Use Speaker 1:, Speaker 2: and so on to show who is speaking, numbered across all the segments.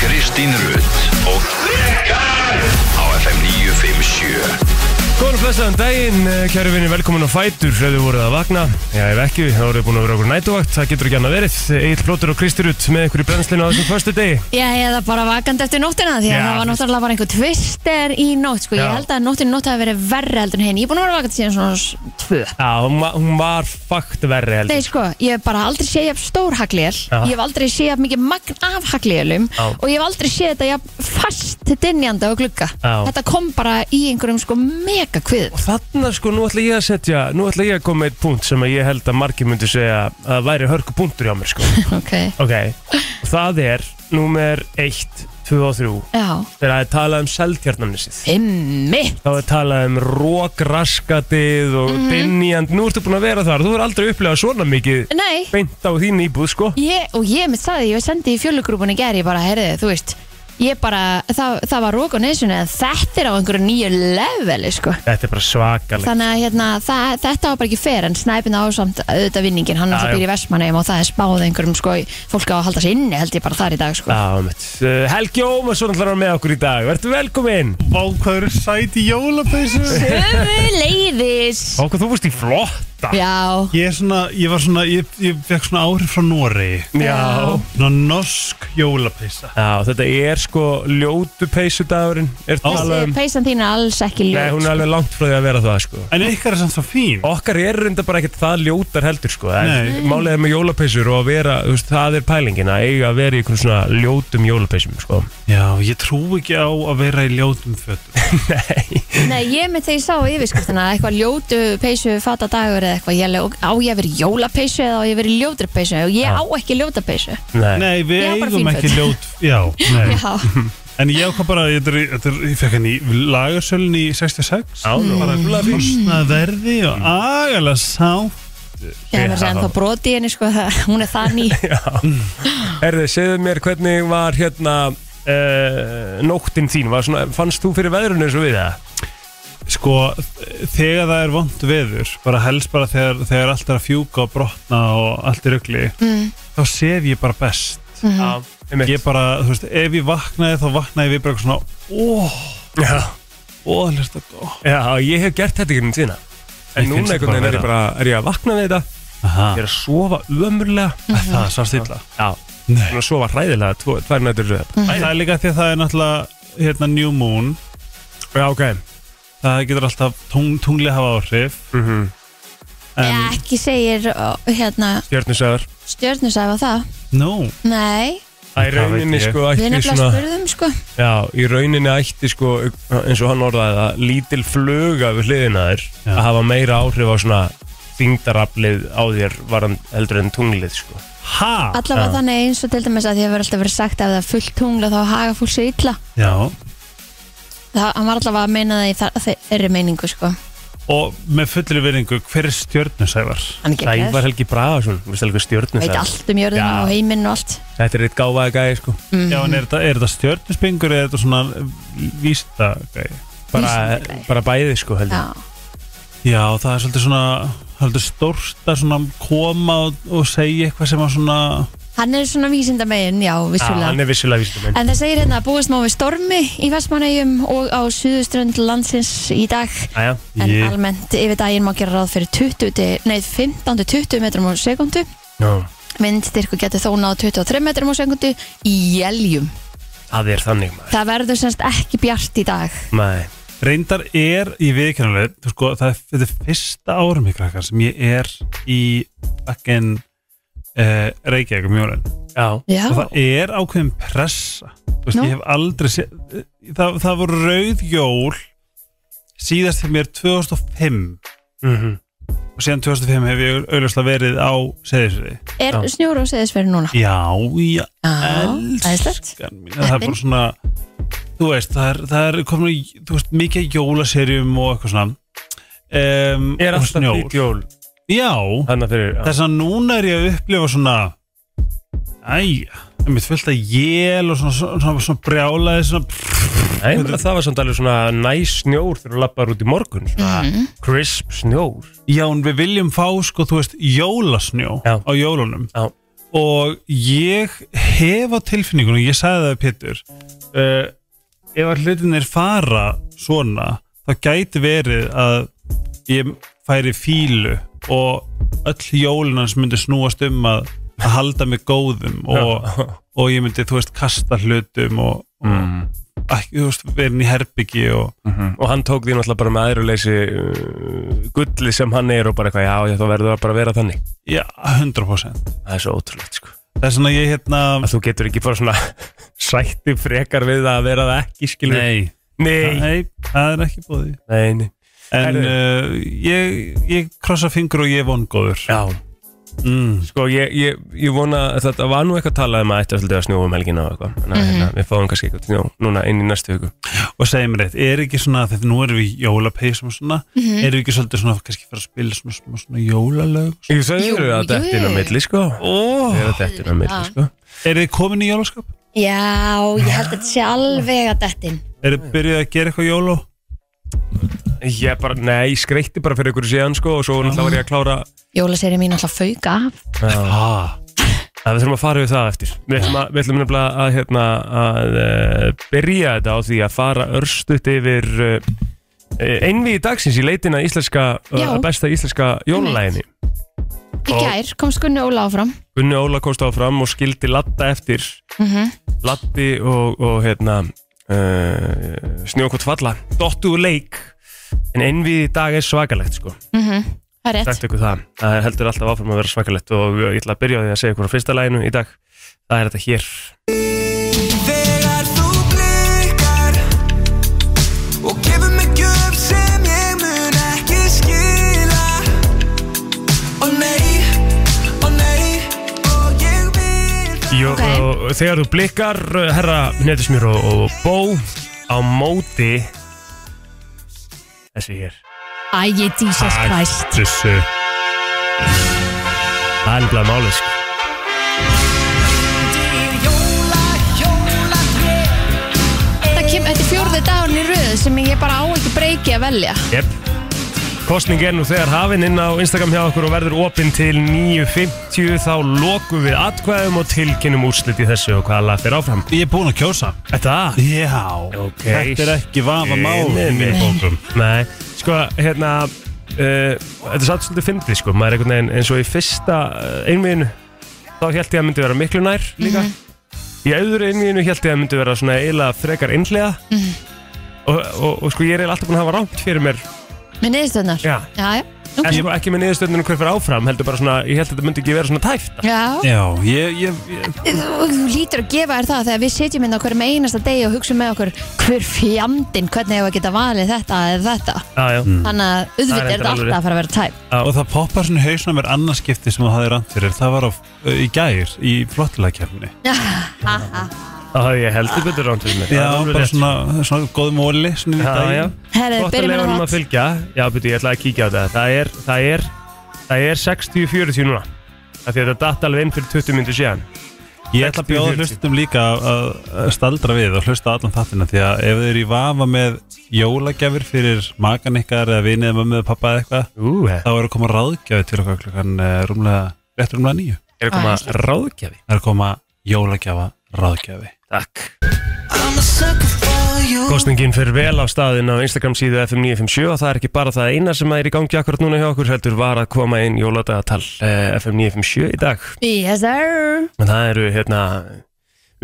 Speaker 1: Kristín Rutt og Rikar á FM 957
Speaker 2: Góðan og blessaðan daginn, eh, kæru vinni, velkomin á Fætur ef þið voruð að vakna, já ef ekki þá voruð þið búin að vera okkur nætuvakt, það getur ekki annað verið Egil Plótur og Kristi Rutt með ykkur í brennslinu á þessum förstu degi
Speaker 3: Já, eða bara vakandi eftir nóttina því að
Speaker 2: Já,
Speaker 3: það var
Speaker 2: þú veist.
Speaker 3: náttúrulega bara einhver tvister í nótt sko. ég
Speaker 2: Já.
Speaker 3: held að nóttin nótt hafi verið verri heldur en henni ég er búin að vera vakandi síðan svona s- tvö
Speaker 2: Já, hún, va- hún var fakt verri heldur
Speaker 3: Nei, sko, ég hef bara aldrei séð jafn stór haglél
Speaker 2: Já.
Speaker 3: ég hef aldrei séð jafn mikið magn af haglélum
Speaker 2: Já.
Speaker 3: og ég hef aldrei séð þetta jafn fast dinjandi á glugga
Speaker 2: Já.
Speaker 3: þetta kom bara í einhverjum sko mega kvið
Speaker 2: Og þarna sko, nú ætla ég að setja, nú ætla ég að koma með eitt punkt sem að ég held að margir myndi segja að væri hörku punktur hjá mér sko
Speaker 3: okay.
Speaker 2: Ok, og það er númer 1, 2 og 3
Speaker 3: Já,
Speaker 2: þegar það er talað um seltjarnanisið
Speaker 3: einmitt
Speaker 2: þá er talað um rókraskatið og mm dinjand, nú ertu búin að vera þar þú er aldrei upplegað svona mikið
Speaker 3: Nei,
Speaker 2: beint á þín íbúð sko
Speaker 3: ég, og ég mitt saði, ég sendi í fjölugrúpunni gæri, ég bara, heyrði, þú veist ég bara, það, það var rók á neðsuna en þetta er á einhverju nýju leveli sko.
Speaker 2: þetta er bara svakalegt
Speaker 3: þannig að hérna, það, þetta var bara ekki fer en snæpina ásamt auðvitað vinningin hann
Speaker 2: Já,
Speaker 3: alltaf
Speaker 2: já.
Speaker 3: býr í Vestmanneum og það er spáð einhverjum sko, fólk á að halda sér inni held ég bara þar í dag sko.
Speaker 2: Já, mitt. Uh, Helgi Ómarsson ætlar að vera með okkur í dag Vertu velkominn
Speaker 4: Vákvæður sæti jólapeysu
Speaker 3: Öfu leiðis
Speaker 2: Okkur þú fórst í flotta
Speaker 3: Já,
Speaker 4: Ég er svona, ég var svona, ég, ég fekk svona áhrif frá Noregi
Speaker 2: Já.
Speaker 4: Svona norsk jólapeysa
Speaker 2: Já, þetta er sko ljótu peysudagurinn Er talað
Speaker 3: þessi
Speaker 2: um
Speaker 3: peysan þín er alls ekki
Speaker 2: Nei,
Speaker 3: ljóð
Speaker 2: hún er alveg langt frá því að vera það sko
Speaker 4: En ykkar er samt svo fín
Speaker 2: Okkar er reynda bara ekkert það ljótar heldur sko
Speaker 4: Nei.
Speaker 2: en Málið er með jólapeysur og að vera þú veist, Það er pælingin að eiga að vera í einhvern svona ljótum jólapeysum sko
Speaker 4: Já, ég trú ekki á að vera í ljótum fötum
Speaker 2: Nei
Speaker 3: Nei, ég með þegar ég sá yfirskriftina eitthvað ljótu peysu fata dagur eða eitthvað, ég alveg, á ég að vera í jólapeysu eða á ég að vera í ljótri peysu og ég
Speaker 2: Já.
Speaker 3: á ekki ljóta peysu
Speaker 2: Nei,
Speaker 4: Nei, við
Speaker 3: Ég á bara
Speaker 4: eigum
Speaker 3: fín
Speaker 4: ekki
Speaker 3: föt.
Speaker 4: ljót Já, nei
Speaker 3: Já,
Speaker 4: En ég ákvað bara, ég, þetta er- þetta er- ég fekk hann í lagarsölun í 66
Speaker 2: Já, nú.
Speaker 4: Bara kostnað verði og agalega sá
Speaker 3: ég hef að segja ennþá broti í henni sko, það, hún er það ný
Speaker 2: Herði, segðu mér hvernig var hérna uh, nóttin þín var svona, Fannst þú fyrir veðrunni eins og við það?
Speaker 4: Sko, þegar það er vond veður, bara helst bara þegar, þegar allt er að fjúka og brotna og allt er ugli,
Speaker 3: Mm.
Speaker 4: þá sef ég bara best.
Speaker 3: Mhm.
Speaker 2: Já, einmitt.
Speaker 4: Ég bara, þú veist, ef ég vaknaði þá vaknaði við bara eitthvað svona, óh,
Speaker 2: já,
Speaker 4: óh, lest að góð.
Speaker 2: já, ég hef gert þetta ekki um tíðina En
Speaker 4: Ég
Speaker 2: núna
Speaker 4: finnst það
Speaker 2: einhvern veginn
Speaker 4: bara
Speaker 2: er ég bara Ah. Er ég að vakna við þetta?
Speaker 4: Aha,
Speaker 2: Ég er að sofa ömurlega
Speaker 3: Mhm.
Speaker 4: það er svart illa.
Speaker 2: Já,
Speaker 4: Nei.
Speaker 2: svona að sofa hræðilega tvo- Tvær nætur röð
Speaker 4: Það er líka því að það er náttúrulega, hérna, New Moon,
Speaker 2: Já, ok
Speaker 4: það getur alltaf tung, tungli hafa áhrif,
Speaker 2: mm -hmm.
Speaker 4: en,
Speaker 3: Ekki segir ó, hérna,
Speaker 2: Stjörnusöður
Speaker 3: stjörnusæfa það
Speaker 4: no,
Speaker 3: Nei,
Speaker 2: Það í
Speaker 4: Það veit
Speaker 2: rauninni
Speaker 4: ég.
Speaker 2: sko
Speaker 3: við
Speaker 2: ætti
Speaker 3: nefnilega
Speaker 2: svona
Speaker 3: spurðum sko
Speaker 2: Já, í rauninni ætti sko eins og hann orðaði það lítil fluga við hliðina þér
Speaker 4: Já.
Speaker 2: að hafa meira áhrif á svona þingdaraflið á þér varan heldur en tunglið sko
Speaker 4: ha,
Speaker 3: Allavega
Speaker 2: Já.
Speaker 3: þannig eins og til dæmis að því hefur alltaf verið sagt að ef það er fullt tungla þá haga fólk sér illa
Speaker 4: já,
Speaker 3: það, Hann var allavega að meina það í þar- þeirri meiningu sko
Speaker 4: og með fullri veringu, hver er stjörnusævar?
Speaker 3: Hann er geggjaður.
Speaker 2: Sævar Helgi Bragason, við stelum hvað stjórnum
Speaker 3: veit allt um jörðina
Speaker 2: Já.
Speaker 3: og heiminn og allt
Speaker 2: Þetta er eitt gáfaði gæði sko
Speaker 4: Já, en er þetta, er þetta stjörnuspengur eða er þetta svona vísta
Speaker 2: bara,
Speaker 3: Vísindagæi.
Speaker 2: bara bæði sko heldur
Speaker 3: Já,
Speaker 4: Já, það er svolítið svona svolítið stórt að svona koma og, og segja eitthvað sem að svona
Speaker 3: hann er svona vísindamegin, já,
Speaker 2: Já,
Speaker 3: vissulega
Speaker 2: Ah, Hann er vissulega vísindamenn
Speaker 3: En það segir hérna að búast má við stormi í Vestmannegjum og á suðuströnd landsins í dag
Speaker 2: Æja,
Speaker 3: en
Speaker 4: Ég-
Speaker 3: almennt yfir daginn má gera ráð fyrir 20, til- nei, 15-20 metrum á sekundu
Speaker 2: já,
Speaker 3: vindstyrku getur þó náð 23 metrum á sekundu í jeljum
Speaker 2: það er þannig maður
Speaker 3: Það verður semst ekki bjart í dag
Speaker 2: Nei,
Speaker 4: reyndar er í viðkjörnuleg, þú sko, það er, þetta er fyrsta árum í krakkar sem ég er í bakken uh, Reykjavík um jólun
Speaker 2: já,
Speaker 3: Já,
Speaker 4: og það er ákveðin pressa þú veist,
Speaker 3: Nú?
Speaker 4: ég hef aldrei sé, eh, það, það voru rauð jól síðast þegar mér 2005
Speaker 2: mm
Speaker 4: og síðan 2005 hef ég auðvitað verið á seðisri.
Speaker 3: er
Speaker 2: já.
Speaker 3: snjór og seðisverið núna
Speaker 4: Já, já,
Speaker 3: æðislegt.
Speaker 4: elskan mín. Það er bara svona, þú veist, það er, það er komin, í- þú veist, mikið af jólaserjum og eitthvað svona. Um,
Speaker 2: Er alltaf hvít jól
Speaker 4: Já,
Speaker 2: Þannig fyrir, já,
Speaker 4: þess að núna er ég að upplifa svona, æja, það er mitt fullt að jél og svona, svona, svona, svona brjálaði, svona,
Speaker 2: Nei, menn, það var samt alveg svona næs snjór þegar þú lappar út í morgun svona
Speaker 3: Mhm.
Speaker 2: crisp snjór
Speaker 4: já, en við viljum fá, sko, þú veist, jólasnjó
Speaker 2: Já.
Speaker 4: á jólunum.
Speaker 2: Já.
Speaker 4: og ég hef á tilfinningunum, ég sagði það við Pétur uh, ef að hlutinir fara svona þá gæti verið að ég færi fílu og öll jólunans myndi snúast um að, að halda mig góðum og, og ég myndi, þú veist, kasta hlutum og, og ekki, þú veist, verin í herbyggi og
Speaker 2: og hann tók því náttúrulega bara með aðruleysi uh, gulli sem hann er og bara eitthvað, já, já, þá verður það bara að vera þannig
Speaker 4: já, 100%
Speaker 2: það er svo ótrúlegt, sko
Speaker 4: það er svona ég hérna
Speaker 2: að þú getur ekki bara svona sætti frekar við það að vera það ekki, skilur nei,
Speaker 4: Nei, það er ekki bóði
Speaker 2: nei, nei.
Speaker 4: En
Speaker 2: Herðu.
Speaker 4: uh, ég, ég krossa fingur og ég er vongóður
Speaker 2: já,
Speaker 4: mm.
Speaker 2: sko, ég, ég, ég vona að þetta var nú eitthvað talað um að ætti alltaf að snjóa um helgina og eitthvað, þannig að hérna, við fáum kannski eitthvað snjó núna inn í næstu viku
Speaker 4: Og segi mér eitt, er ekki svona Þegar nú erum við í jólapeysum og svona Erum við ekki svolítið svona kannski fara að spila svona, svona, svona jólalög og svona?
Speaker 2: ég sagði
Speaker 3: Jú,
Speaker 2: þér að
Speaker 3: jú,
Speaker 2: þetta er á
Speaker 3: jú.
Speaker 2: milli, sko
Speaker 4: oh.
Speaker 2: Ég er að þetta er á milli,
Speaker 3: Já.
Speaker 2: sko
Speaker 4: Er þið komin í jólaskap?
Speaker 3: Já, ég held að þetta sé alveg að dettin
Speaker 4: Er þið byrjuð að gera eitthvað jóló?
Speaker 2: ég bara, nei, ég skreytti bara fyrir ykkur síðan, sko og svo náttúrulega var ég að klára
Speaker 3: Jólaseri mín alltaf fauk af
Speaker 4: Ah.
Speaker 2: að við þurfum að fara við það eftir við ætlum, að, við ætlum nefnilega að, hérna, að uh, byrja þetta á því að fara örstuðt yfir uh, einvið dagsins í leitina íslenska,
Speaker 3: Já.
Speaker 2: uh, besta íslenska jólalæðinni
Speaker 3: Í gær komst Gunni Óla áfram
Speaker 2: Gunni Óla komst áfram og skildi Latta eftir Latti og, og hérna, uh, snjókvot falla dottu úr leik en einvið í dag er svakalegt sko
Speaker 3: Það er rétt
Speaker 2: sagt ykkur það, það heldur alltaf áfram að vera svakalegt og ég ætla að byrja á því að segja ykkur á fyrsta læginu í dag, það er þetta hér
Speaker 5: Þegar þú blikar og gefur mig gjöf sem ég mun ekki skila Ó nei, ó nei, og ég vil það
Speaker 2: Jó,
Speaker 3: Ok.
Speaker 2: og þegar þú blikkar uh, herra Netusmjör og, og Bó á móti þessi hér
Speaker 3: Æ, Jesus Christ
Speaker 2: Þessu Það er nefnilega málið sko.
Speaker 3: Það kem, þetta er fjórði dagun í röð sem ég bara á ekki breyki að velja
Speaker 2: yep. Kostning er nú þegar hafinn inn á Instagram hjá okkur og verður opinn til 9.50 þá lokum við atkvæðum og tilkynum úrslit í þessu og hvaða lag fyrir áfram
Speaker 4: Ég er búin að kjósa
Speaker 2: Þetta?
Speaker 4: Já,
Speaker 2: Ok.
Speaker 4: þetta er ekki vafa mál
Speaker 2: Nei, nei, nei.
Speaker 4: bókum
Speaker 2: Nei, sko, hérna uh, Þetta er satt svolítið fyndið, sko Maður er einhvern veginn eins og í fyrsta uh, einmiðinu Þá held ég að myndi vera miklu nær líka Í auðru einmiðinu held ég að myndi vera svona eiginlega frekar einhlega og, og, og sko, ég er eiginlega alltaf búin að hafa rámt fyrir mér
Speaker 3: Með niðurstöðnar
Speaker 2: Já,
Speaker 3: Já, já,
Speaker 2: en sko ekki með niðurstöndinu hver fyrir áfram Heldur bara svona, ég held að þetta myndi ekki vera svona tæft
Speaker 3: já.
Speaker 4: Já, ég, ég, ég
Speaker 3: Þú þú lítur að gefa þér það þegar við sitjum inn á hverjum einasta degi og hugsa með okkur hver fjandinn, hvernig hefur að geta valið þetta eða þetta.
Speaker 2: Já, já,
Speaker 3: Þannig að
Speaker 2: Það er
Speaker 3: auðvitað er
Speaker 2: reyndar
Speaker 3: þetta
Speaker 2: alveg
Speaker 3: alltaf að fara að vera tæp.
Speaker 4: og það poppar svona í hausnum er annarskipti sem þú hafði rand fyrir það var á, eh, í gær í flottilegkjarni
Speaker 2: þá hafði ég heldur betur rámt fyrir mér
Speaker 4: Já,
Speaker 2: Það er alveg
Speaker 4: bara
Speaker 2: rétt.
Speaker 4: svona, svona góð móli svona í
Speaker 2: Já, já
Speaker 4: daginn
Speaker 3: Herri,
Speaker 2: Gott að
Speaker 3: byrjum
Speaker 2: leifa
Speaker 3: með
Speaker 2: honum
Speaker 3: það.
Speaker 2: að fylgja Já, betur, ég ætla að kíkja á þetta Það er, það er, það er 60-40 núna Það því að þetta datt alveg inn fyrir 20 myndir síðan
Speaker 4: Ég ætla að bjóða
Speaker 2: 60-40.
Speaker 4: hlustum líka að að staldra við og hlusta á allan þáttina því að ef þau eru í vafa með jólagjafir fyrir makan ykkar eða vinið eða mömmu eða pappa eða eitthvað
Speaker 2: Ú,
Speaker 4: þá eru að koma ráðgjafi til okkar klukkan eh, rúmlega, rétt rúmlega nýju
Speaker 2: er að koma ráðgjafi
Speaker 4: Það er að koma jólagjafa ráðgjafi
Speaker 2: Takk
Speaker 5: I'm a sucker for you
Speaker 2: Kostningin fyrir vel á staðin á Instagram síðu FM957 og það er ekki bara það eina sem er í gangi akkurat núna hjá okkur heldur var að koma inn jóladagatal eh, FM957 í dag
Speaker 3: Yes sir.
Speaker 2: en það eru hérna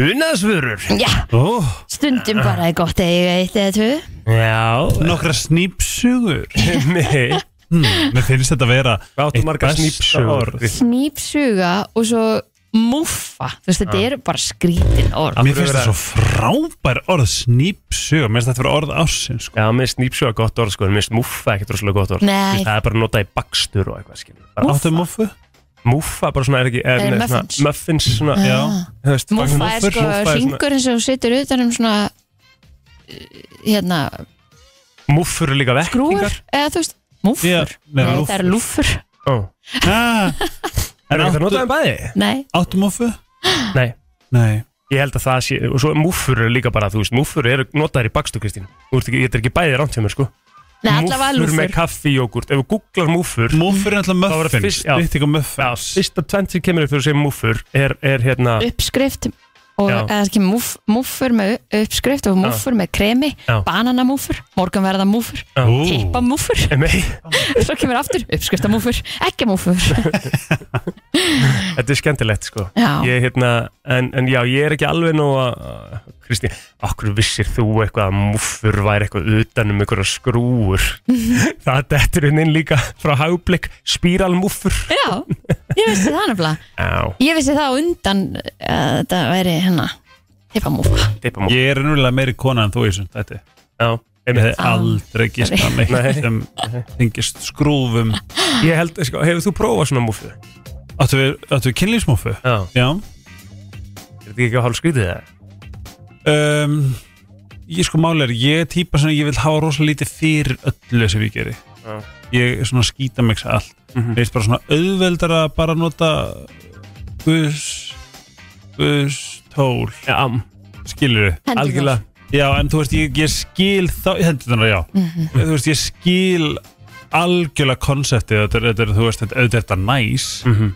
Speaker 2: unaðsvörur
Speaker 3: Já,
Speaker 4: oh.
Speaker 3: stundum bara er gott að eiga eitt eða tvö.
Speaker 2: Já,
Speaker 4: Nokkra snýpsugur
Speaker 2: með
Speaker 4: hmm, Mér finnst þetta að vera
Speaker 2: Hvað áttu
Speaker 4: eitt
Speaker 2: margar
Speaker 4: besta
Speaker 2: snýpsugur?
Speaker 4: orð.
Speaker 3: Snýpsuga og svo muffa. Þú veist, þetta eru bara skrítin orð.
Speaker 4: Mér finnst þetta svo frábær orð snýpsuga, mér finnst þetta vera orð ársins sko.
Speaker 2: Já, mér finnst snýpsuga gott orð sko en mér finnst muffa ekkert rosalega gott orð
Speaker 3: Nei.
Speaker 2: Það er bara að nota í bakstur og eitthvað skilur Bara
Speaker 4: Áttu muffu?
Speaker 2: Muffa bara svona er ekki er,
Speaker 3: Eh,
Speaker 2: nei,
Speaker 3: muffins.
Speaker 2: svona, Muffins svona,
Speaker 3: Ah.
Speaker 2: já þú veist,
Speaker 3: Muffa
Speaker 2: muffur,
Speaker 3: er sko
Speaker 2: muffa svona-
Speaker 3: ringurinn sem þú situr utan um svona eh, hérna,
Speaker 2: Muffur er líka
Speaker 3: grúur
Speaker 2: vekkingar
Speaker 3: eða þú veist, muffur.
Speaker 4: Já, nei,
Speaker 3: Nei, það er lúfur.
Speaker 2: Ó,
Speaker 4: Ah,
Speaker 2: Er
Speaker 4: En
Speaker 2: ekki það
Speaker 4: áttu-
Speaker 2: notað um bæði?
Speaker 3: Nei.
Speaker 4: Áttu muffu?
Speaker 2: Nei
Speaker 4: Nei
Speaker 2: Ég held að það sé Og svo muffur er líka bara, þú veist Muffur eru notaðir í bakstur, Kristín Þú veist ekki, þetta er ekki bæði rámt hjá mér sko
Speaker 3: Nei, allavega
Speaker 2: múffur með
Speaker 3: lúfur
Speaker 2: kaffijógurt Ef þú googlar múffur
Speaker 4: Múffur er alltaf
Speaker 2: var það
Speaker 4: muffins
Speaker 2: fyrst- já.
Speaker 4: Ritting og muffins
Speaker 2: Fyrsta tvent sem kemur upp þegar þú segir múffur er, er hérna
Speaker 3: uppskrift og
Speaker 2: Já.
Speaker 3: eða það kemur múf, múfur með uppskrift og múfur með kremi,
Speaker 2: Já.
Speaker 3: bananamúfur morgunverðamúfur,
Speaker 2: Ú.
Speaker 3: tippamúfur
Speaker 2: Nei,
Speaker 3: svo kemur aftur uppskriftamúfur eggjamúfur
Speaker 2: þetta er skemmtilegt sko
Speaker 3: Já.
Speaker 2: Ég hérna, en, en já, ég er ekki alveg nú að Kristín, okkur vissir þú eitthvað að múffur væri eitthvað utan um einhverja skrúur Það dettur henni inn líka frá hagblik Spíralmúffur
Speaker 3: já, ég vissi það nefnilega
Speaker 2: Já,
Speaker 3: ég vissi það á undan eh, að þetta væri hérna tippamúfa
Speaker 2: tippamúffur
Speaker 4: Ég er ennúlega meiri kona en þú í þessum þetta
Speaker 2: Já,
Speaker 4: Ég
Speaker 2: einmitt
Speaker 4: hef aldrei gist að mig
Speaker 2: Ah. Nei.
Speaker 4: sem tengist skrúfum
Speaker 2: Ég held, sko, hefur þú prófað svona múffu?
Speaker 4: Áttu við, áttu við kynlífsmúfu?
Speaker 2: Já
Speaker 4: Já
Speaker 2: Er þetta ekki á hálf skrítið það?
Speaker 4: um, Ég sko máli er Ég er típa sem ég vil hafa rosalega lítið fyrir öllu sem ég geri
Speaker 2: Já.
Speaker 4: Ég er svona skýta mig allt mm
Speaker 2: Mhm.
Speaker 4: Mér er bara svona auðveldar að bara nota Guðs Guðs tól
Speaker 2: Já,
Speaker 4: Skilur við?
Speaker 3: Hendurnar.
Speaker 2: algjörlega
Speaker 4: Já, en þú veist, ég, ég skil þá, hendurnar, já
Speaker 3: Mhm.
Speaker 4: Þú veist, ég skil algjörlega konseptið þetta, er- þetta, er, þú veist, þetta, auðvitað er þetta næs
Speaker 2: Mhm.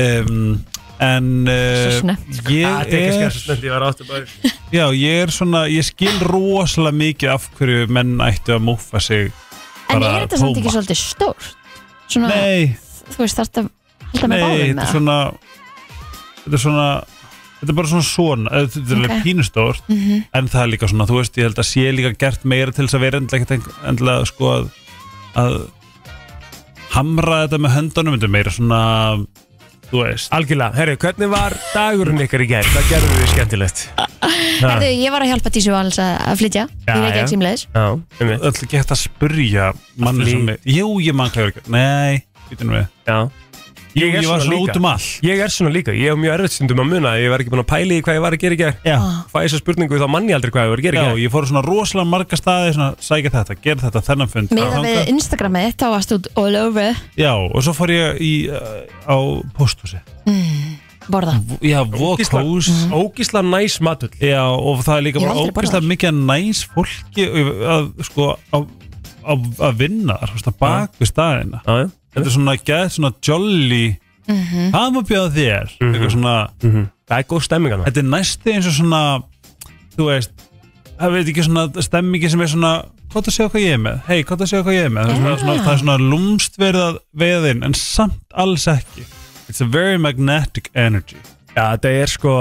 Speaker 4: um, en
Speaker 3: Svo
Speaker 4: uh,
Speaker 3: snemmt, sko.
Speaker 4: ég
Speaker 2: Það Ah, er ekki
Speaker 4: er
Speaker 2: skjærstönd, ég var áttu bara
Speaker 4: já, ég er svona, ég skil rosalega mikið af hverju menn ættu að múffa sig
Speaker 3: en
Speaker 4: bara
Speaker 3: er þetta samt
Speaker 4: tóma.
Speaker 3: ekki svolítið stórt svona,
Speaker 4: nei,
Speaker 3: þú veist þarft að halda með
Speaker 4: nei,
Speaker 3: báðum
Speaker 4: þetta
Speaker 3: með
Speaker 4: er svona þetta er svona þetta er bara svona svona, eða þetta er
Speaker 3: Ok.
Speaker 4: okay. pínustórt
Speaker 3: mm -hmm.
Speaker 4: en það er líka svona, þú veist, ég held að sé líka gert meira til þess að vera endilega, ekkert eng- endilega sko að, að hamra þetta með höndunum þetta er meira svona, þú veist
Speaker 2: Algjörlega, herru, hvernig var dagurinn ykkar í gær? Hvað gerðu þið skemmtilegt?
Speaker 3: Herðu, ég var að hjálpa Dísu Valens að að flytja
Speaker 2: Já,
Speaker 3: í Reykjavík
Speaker 2: já.
Speaker 3: símleis
Speaker 2: Já, um mitt
Speaker 4: öll gett að spurja manni
Speaker 2: Flý-
Speaker 4: sem er, jú, ég mann hvað er ekki nei, býtum við
Speaker 2: Já
Speaker 4: jú, ég, var svona út um all
Speaker 2: Ég er svona líka, ég hef mjög erfitt stundum að muna Ég var ekki búin að pæli í hvað ég var að gera í gær
Speaker 4: já,
Speaker 2: Fæ þessa spurningu þá manni aldrei hvað ég var að gera
Speaker 4: já,
Speaker 2: í gær
Speaker 4: ég fór á svona rosalega marga staði svona, sækja þetta, gera þetta, þennan fund
Speaker 3: meða
Speaker 4: þangað.
Speaker 3: við Instagramið þá varst út all over
Speaker 4: já, og svo fór ég í, uh, á posthúsi
Speaker 3: borða
Speaker 4: já, vokós
Speaker 2: Ógísla, ógísla næs matull
Speaker 4: Já, og það er
Speaker 3: Ég
Speaker 4: líka
Speaker 3: hef
Speaker 4: bara
Speaker 3: aldrei borðað
Speaker 4: ógeðslega mikið næs fólki að, sko, að, að, að vinna þar, þú veist, að baka við staðina
Speaker 2: Já, já
Speaker 4: Þetta er svona gæð, svona jolly
Speaker 3: Mhm.
Speaker 4: Hvað maður bjóða þér? Eitthvað svona,
Speaker 2: Það er góð stemming að það
Speaker 4: þetta er næsti eins og svona Þú veist, það veit ekki svona stemmingi sem er svona Hvað það segja hvað ég er með? Hei, hvað það segja hvað ég er með? Það er svona,
Speaker 3: Ah.
Speaker 4: svona, það er svona lúmst verið að veðin En samt alls ekki It's a very magnetic energy
Speaker 2: Já, þetta er sko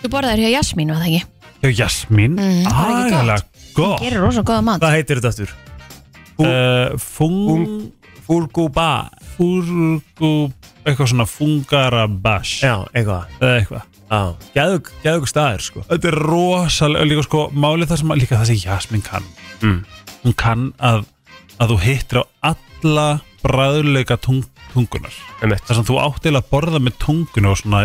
Speaker 3: Þú borðaður hjá Jasmín, var það ekki?
Speaker 4: Já, Jasmín, mm,
Speaker 3: var Mhm. ekki gott?
Speaker 4: aðeinslega gott
Speaker 3: Gerir rosa góða mat
Speaker 2: Hvað heitir þetta aftur?
Speaker 4: uh, Fung
Speaker 2: Fúrgúba
Speaker 4: Furgu eitthvað svona fungarabash
Speaker 2: Já, eitthvað
Speaker 4: eða eitthvað
Speaker 2: Já, geðug, geðug staðir sko
Speaker 4: þetta er rosalega líka sko málið það sem líka það sem Jasmine kann
Speaker 2: Mm.
Speaker 4: hún kann að, að þú hittir á alla bræðuleika tung, tungunar
Speaker 2: Um mitt
Speaker 4: þar sem þú átt til að borða með tunguna og svona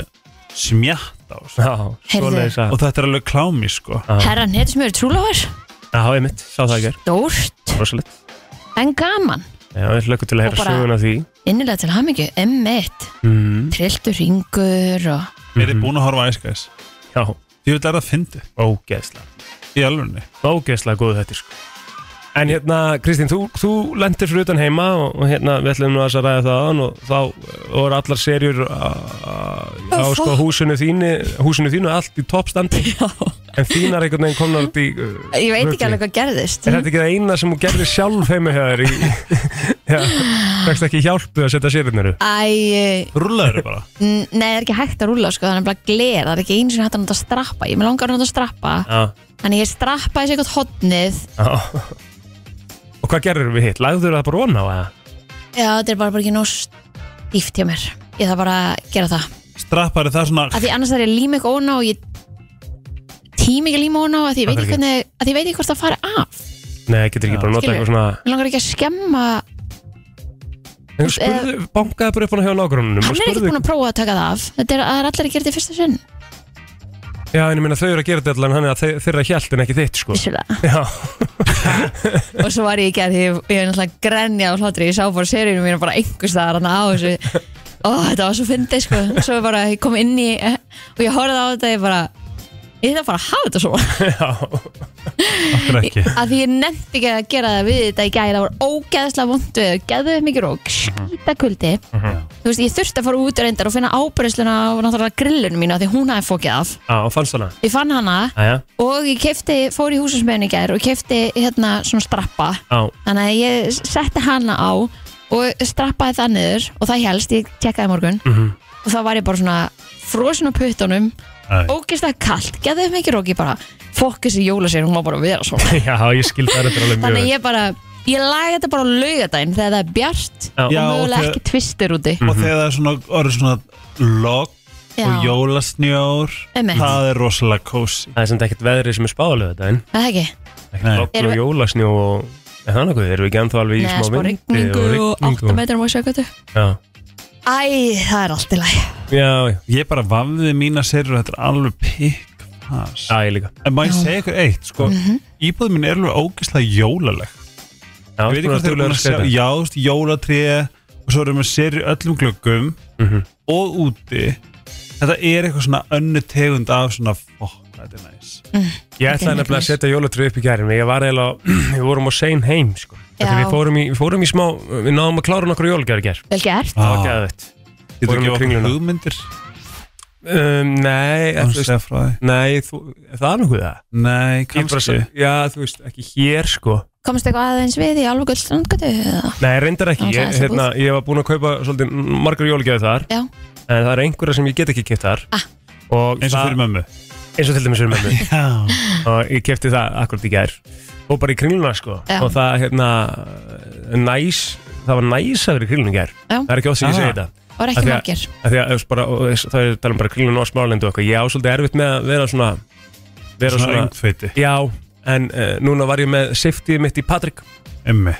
Speaker 4: smjatta og,
Speaker 2: Já,
Speaker 3: Heyrðu.
Speaker 2: svoleiðis að
Speaker 4: og þetta er alveg klámi sko
Speaker 3: Herran, hér sem eru trúlófar
Speaker 2: Já, um mitt, sá það ekki
Speaker 3: Dórt,
Speaker 2: Rosalegt
Speaker 3: en gaman
Speaker 2: Já, ég hlökkum til að
Speaker 3: Og
Speaker 2: heyra
Speaker 3: bara-
Speaker 2: söguna af því
Speaker 3: Innilega til hamingju, M1
Speaker 4: Mhm.
Speaker 2: mm.
Speaker 3: Trilltur ringur og
Speaker 4: er þið búin að horfa æskæs
Speaker 2: Já,
Speaker 4: ég vil læra að fyndi
Speaker 2: ógeðsla
Speaker 4: í alvegni
Speaker 2: Ógeðslega góðu þetta sko En hérna, Kristín, þú, þú lendir fyrir utan heima og, og hérna, við ætlum nú að ræða það áðan og þá uh, voru allar serjur uh, á sko húsinu þínu húsinu þínu allt í toppstandi
Speaker 3: Já.
Speaker 2: en þínar einhvern veginn komnar út í uh,
Speaker 3: Ég veit ekki
Speaker 2: rugli.
Speaker 3: alveg hvað gerðist
Speaker 2: Er þetta ekki það eina sem þú gerðir sjálf heima hjá þér í, já, fækst ekki hjálpu að setja sérðinir upp?
Speaker 3: Æ,
Speaker 4: rúlaður bara
Speaker 3: n- nei, það er ekki hægt að rúla sko, þannig að gler, það er ekki eins og hægt að nota strappa Ég með langar að nota strappa
Speaker 2: Já,
Speaker 3: Þannig ég strappaði sér eitthvað hotnið
Speaker 2: já Og hvað gerður við hitt? Lagður það bara ón á eða?
Speaker 3: Já, þetta er bara, bara ekki nóg stíft hjá mér Ég þarf bara að gera það
Speaker 4: strappar það svona
Speaker 3: Af því annars þarf ég að líma eitthvað óná og ég tím ekki að líma óná af því ég veit
Speaker 2: Af
Speaker 3: ekki
Speaker 2: hverju?
Speaker 3: hvernig, af því ég veit ekki hvort það fari af
Speaker 2: Nei, getur ekki
Speaker 4: Já.
Speaker 2: bara að nota
Speaker 3: Skilur.
Speaker 2: eitthvað svona
Speaker 3: Mér langar ekki að skemma
Speaker 2: En spurðu, bankaði bara upp hann hjá nágrununum
Speaker 3: Hann er ekki búin að prófa að taka það af Þetta er, það er allir að gera þetta í fyrsta sinn
Speaker 2: Já, en ég meina þau eru að gera þetta allan hann er að þe- þeirra hjælt en ekki þitt, sko
Speaker 3: Vissulega
Speaker 2: Já,
Speaker 3: Og svo var ég ekki að því ég, ég er náttúrulega grenja á hlátri Ég sá bara seríunum mínu bara einhvers staðar hann á þessu Ó, þetta var svo fyndið sko Svo bara ég kom inn í Og ég horfði á þetta ég bara Ég þarf bara að hafa þetta svo
Speaker 2: já
Speaker 4: okkur ekki
Speaker 3: að því ég nefndi ekki að gera það við þetta í gæri það var ógeðslega vond við geðuð mikið rók, skýta kuldi þú veist, ég þurfti að fara út reyndar og finna ábyrðsluna á náttúrulega grillunum mínu af því hún hafi fókið af
Speaker 2: Á, fannst hana
Speaker 3: ég fann hana
Speaker 2: Æja,
Speaker 3: og ég kefti, fór í húsinsmiðun í gæri og kefti hérna svona strappa
Speaker 2: á,
Speaker 3: þannig að ég setti hana á og strappaði það niður og það helst, ég tjekkaði í morgun
Speaker 2: Mhm.
Speaker 3: og þá var ég bara svona frosin á puttunum
Speaker 4: Æ.
Speaker 3: ógeðslega kalt, geðuð mikið rók ég bara, fokkis í jólasir, hún má bara vera svona
Speaker 2: já, ég skildi það þetta alveg mjög
Speaker 3: Þannig að ég bara, ég laga þetta bara á laugadaginn þegar það er bjart
Speaker 2: Já.
Speaker 3: og
Speaker 4: Já, og
Speaker 3: mögulega
Speaker 4: þegar-
Speaker 3: ekki tvistir úti.
Speaker 4: og
Speaker 2: Mhm.
Speaker 4: þegar það er svona orðið svona logg og
Speaker 3: Já, Mhm.
Speaker 4: jólasnjór
Speaker 3: Einmitt.
Speaker 4: það er rosalega kósi
Speaker 2: Það er samt ekkert veðrið sem er spáðalöð þetta en
Speaker 3: það er ekki.
Speaker 4: Nei.
Speaker 2: Logn
Speaker 3: Erum
Speaker 2: og
Speaker 3: við-
Speaker 2: jólasnjó og Er það nokkuð? Erum við ekki ennþá alveg í
Speaker 3: Nei,
Speaker 2: smá
Speaker 3: spá
Speaker 2: vindi
Speaker 3: rigningu og 8
Speaker 2: og-
Speaker 3: metrum á sjökvöldu.
Speaker 2: Já,
Speaker 3: Æ, það er allt í lagi.
Speaker 2: já, já,
Speaker 4: ég bara vafði mína serur þetta er alveg pikk pass.
Speaker 2: já, ég líka
Speaker 4: en má ég segja ykkur
Speaker 3: Mhm.
Speaker 4: eitt sko, íbúðum mín er alveg ógeðslega jólaleg
Speaker 2: Já,
Speaker 4: ég veit ekki
Speaker 2: svona
Speaker 4: hvað þeir eru
Speaker 2: duglegur
Speaker 4: að
Speaker 2: að
Speaker 4: sjá
Speaker 2: skreyta.
Speaker 4: já, þú veist, jólatré og svo erum við serur öllum glöggum
Speaker 2: Mhm.
Speaker 4: og úti þetta er eitthvað svona önnu tegund af svona fokk, þetta er næs
Speaker 2: Ég ætlaði nefnilega að setja jólatröð upp í gæri Ég var eiginlega, við vorum á sein heim sko. Þegar
Speaker 3: Já.
Speaker 2: við fórum, í, við fórum í smá Við náðum að klára nokkur jólagjör gær
Speaker 3: Vel gert.
Speaker 2: Það var
Speaker 4: Ah.
Speaker 2: geðvett
Speaker 4: Getur
Speaker 2: Vorum
Speaker 4: ekki
Speaker 2: við
Speaker 4: okkur
Speaker 2: Kringluna?
Speaker 4: hugmyndir
Speaker 2: um, Nei,
Speaker 4: án
Speaker 2: þú
Speaker 4: þess að
Speaker 2: veist,
Speaker 4: segja frá því?
Speaker 2: nei þú, er það er nokkuð það
Speaker 4: Nei,
Speaker 2: Ég er bara að
Speaker 4: kannski
Speaker 2: segja- Já, þú veist, ekki hér sko
Speaker 3: Komst eitthvað aðeins við í alveg gull strandgötu? eða?
Speaker 2: Nei, reyndar ekki,
Speaker 3: Já, það er
Speaker 2: ég,
Speaker 3: þessi
Speaker 2: hérna, ég var búin að kaupa svolítið margar jólagjör þar
Speaker 3: Já.
Speaker 2: En það er einhverja sem ég get ekki kipta þar
Speaker 3: Ah.
Speaker 2: Og
Speaker 4: eins og
Speaker 2: það-
Speaker 4: fyrir mömmu
Speaker 2: eins og til dæmis fyrir mömmu
Speaker 4: Já.
Speaker 2: og ég kefti það akkurat í gær og bara í kringluna sko
Speaker 3: Já.
Speaker 2: og það hérna næs, það var næs að vera í kringluna í gær
Speaker 3: Já.
Speaker 2: það er ekki oft sem ég
Speaker 4: Ah.
Speaker 2: segi þetta
Speaker 3: Var
Speaker 2: Af
Speaker 3: ekki
Speaker 2: því að-
Speaker 3: margir.
Speaker 2: Af því að, þú veist, bara, og þess- það er talað um bara kringluna og smálendu og eitthvað ég á svolítið erfitt með að vera svona vera
Speaker 4: svona
Speaker 2: svona,
Speaker 4: öngþveiti
Speaker 2: já en uh, núna var ég með safety mitt í Patrik
Speaker 4: emmi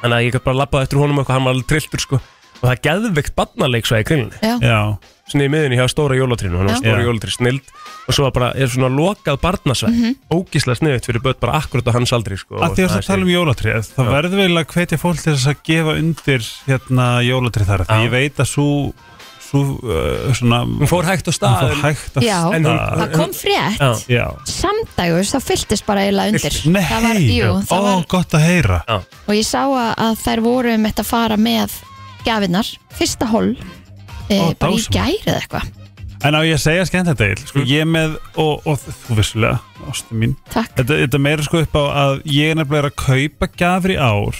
Speaker 2: þannig að ég gæti bara labbað eftir honum og eitthvað, hann var alveg trilltur sko og það er geðveikt barnaleik svo í kringlunni
Speaker 4: já,
Speaker 2: svona í miðunni hjá stóra jólatrínu hann var
Speaker 3: Já.
Speaker 2: stóra
Speaker 4: Já.
Speaker 2: jólatrínu snild og svo var bara er svona lokað barnasveg
Speaker 3: Mhm.
Speaker 2: ógíslega sniðut fyrir börn bara akkurat á hans aldri sko,
Speaker 4: að því að það tala um jólatrið þá
Speaker 2: Já.
Speaker 4: verður vel að hvetja fólk til þess að gefa undir hérna jólatrið þar því
Speaker 2: Já.
Speaker 4: ég veit að svo svo uh, svona
Speaker 2: hún fór hægt á
Speaker 4: hún
Speaker 2: stað
Speaker 4: fór hægt að
Speaker 3: Já.
Speaker 4: stað.
Speaker 2: en hún,
Speaker 3: Það kom frétt.
Speaker 2: Já.
Speaker 4: já
Speaker 3: Samdægus þá fylltist bara eiginlega undir.
Speaker 4: nei,
Speaker 3: það var, jú,
Speaker 4: ó,
Speaker 3: það var,
Speaker 4: gott að heyra
Speaker 2: Já.
Speaker 3: og ég sá að að þær voru um þetta að fara með gafinnar, fyrsta hol, e,
Speaker 4: Ó,
Speaker 3: bara í
Speaker 4: dásamlegt.
Speaker 3: gæri eða eitthvað.
Speaker 4: en á ég að segja skemmt þetta eil sko, ég með, og, og þú vissulega ástu mín,
Speaker 3: Takk.
Speaker 4: þetta, þetta meira sko upp á að ég er nefnilega að kaupa gafir í ár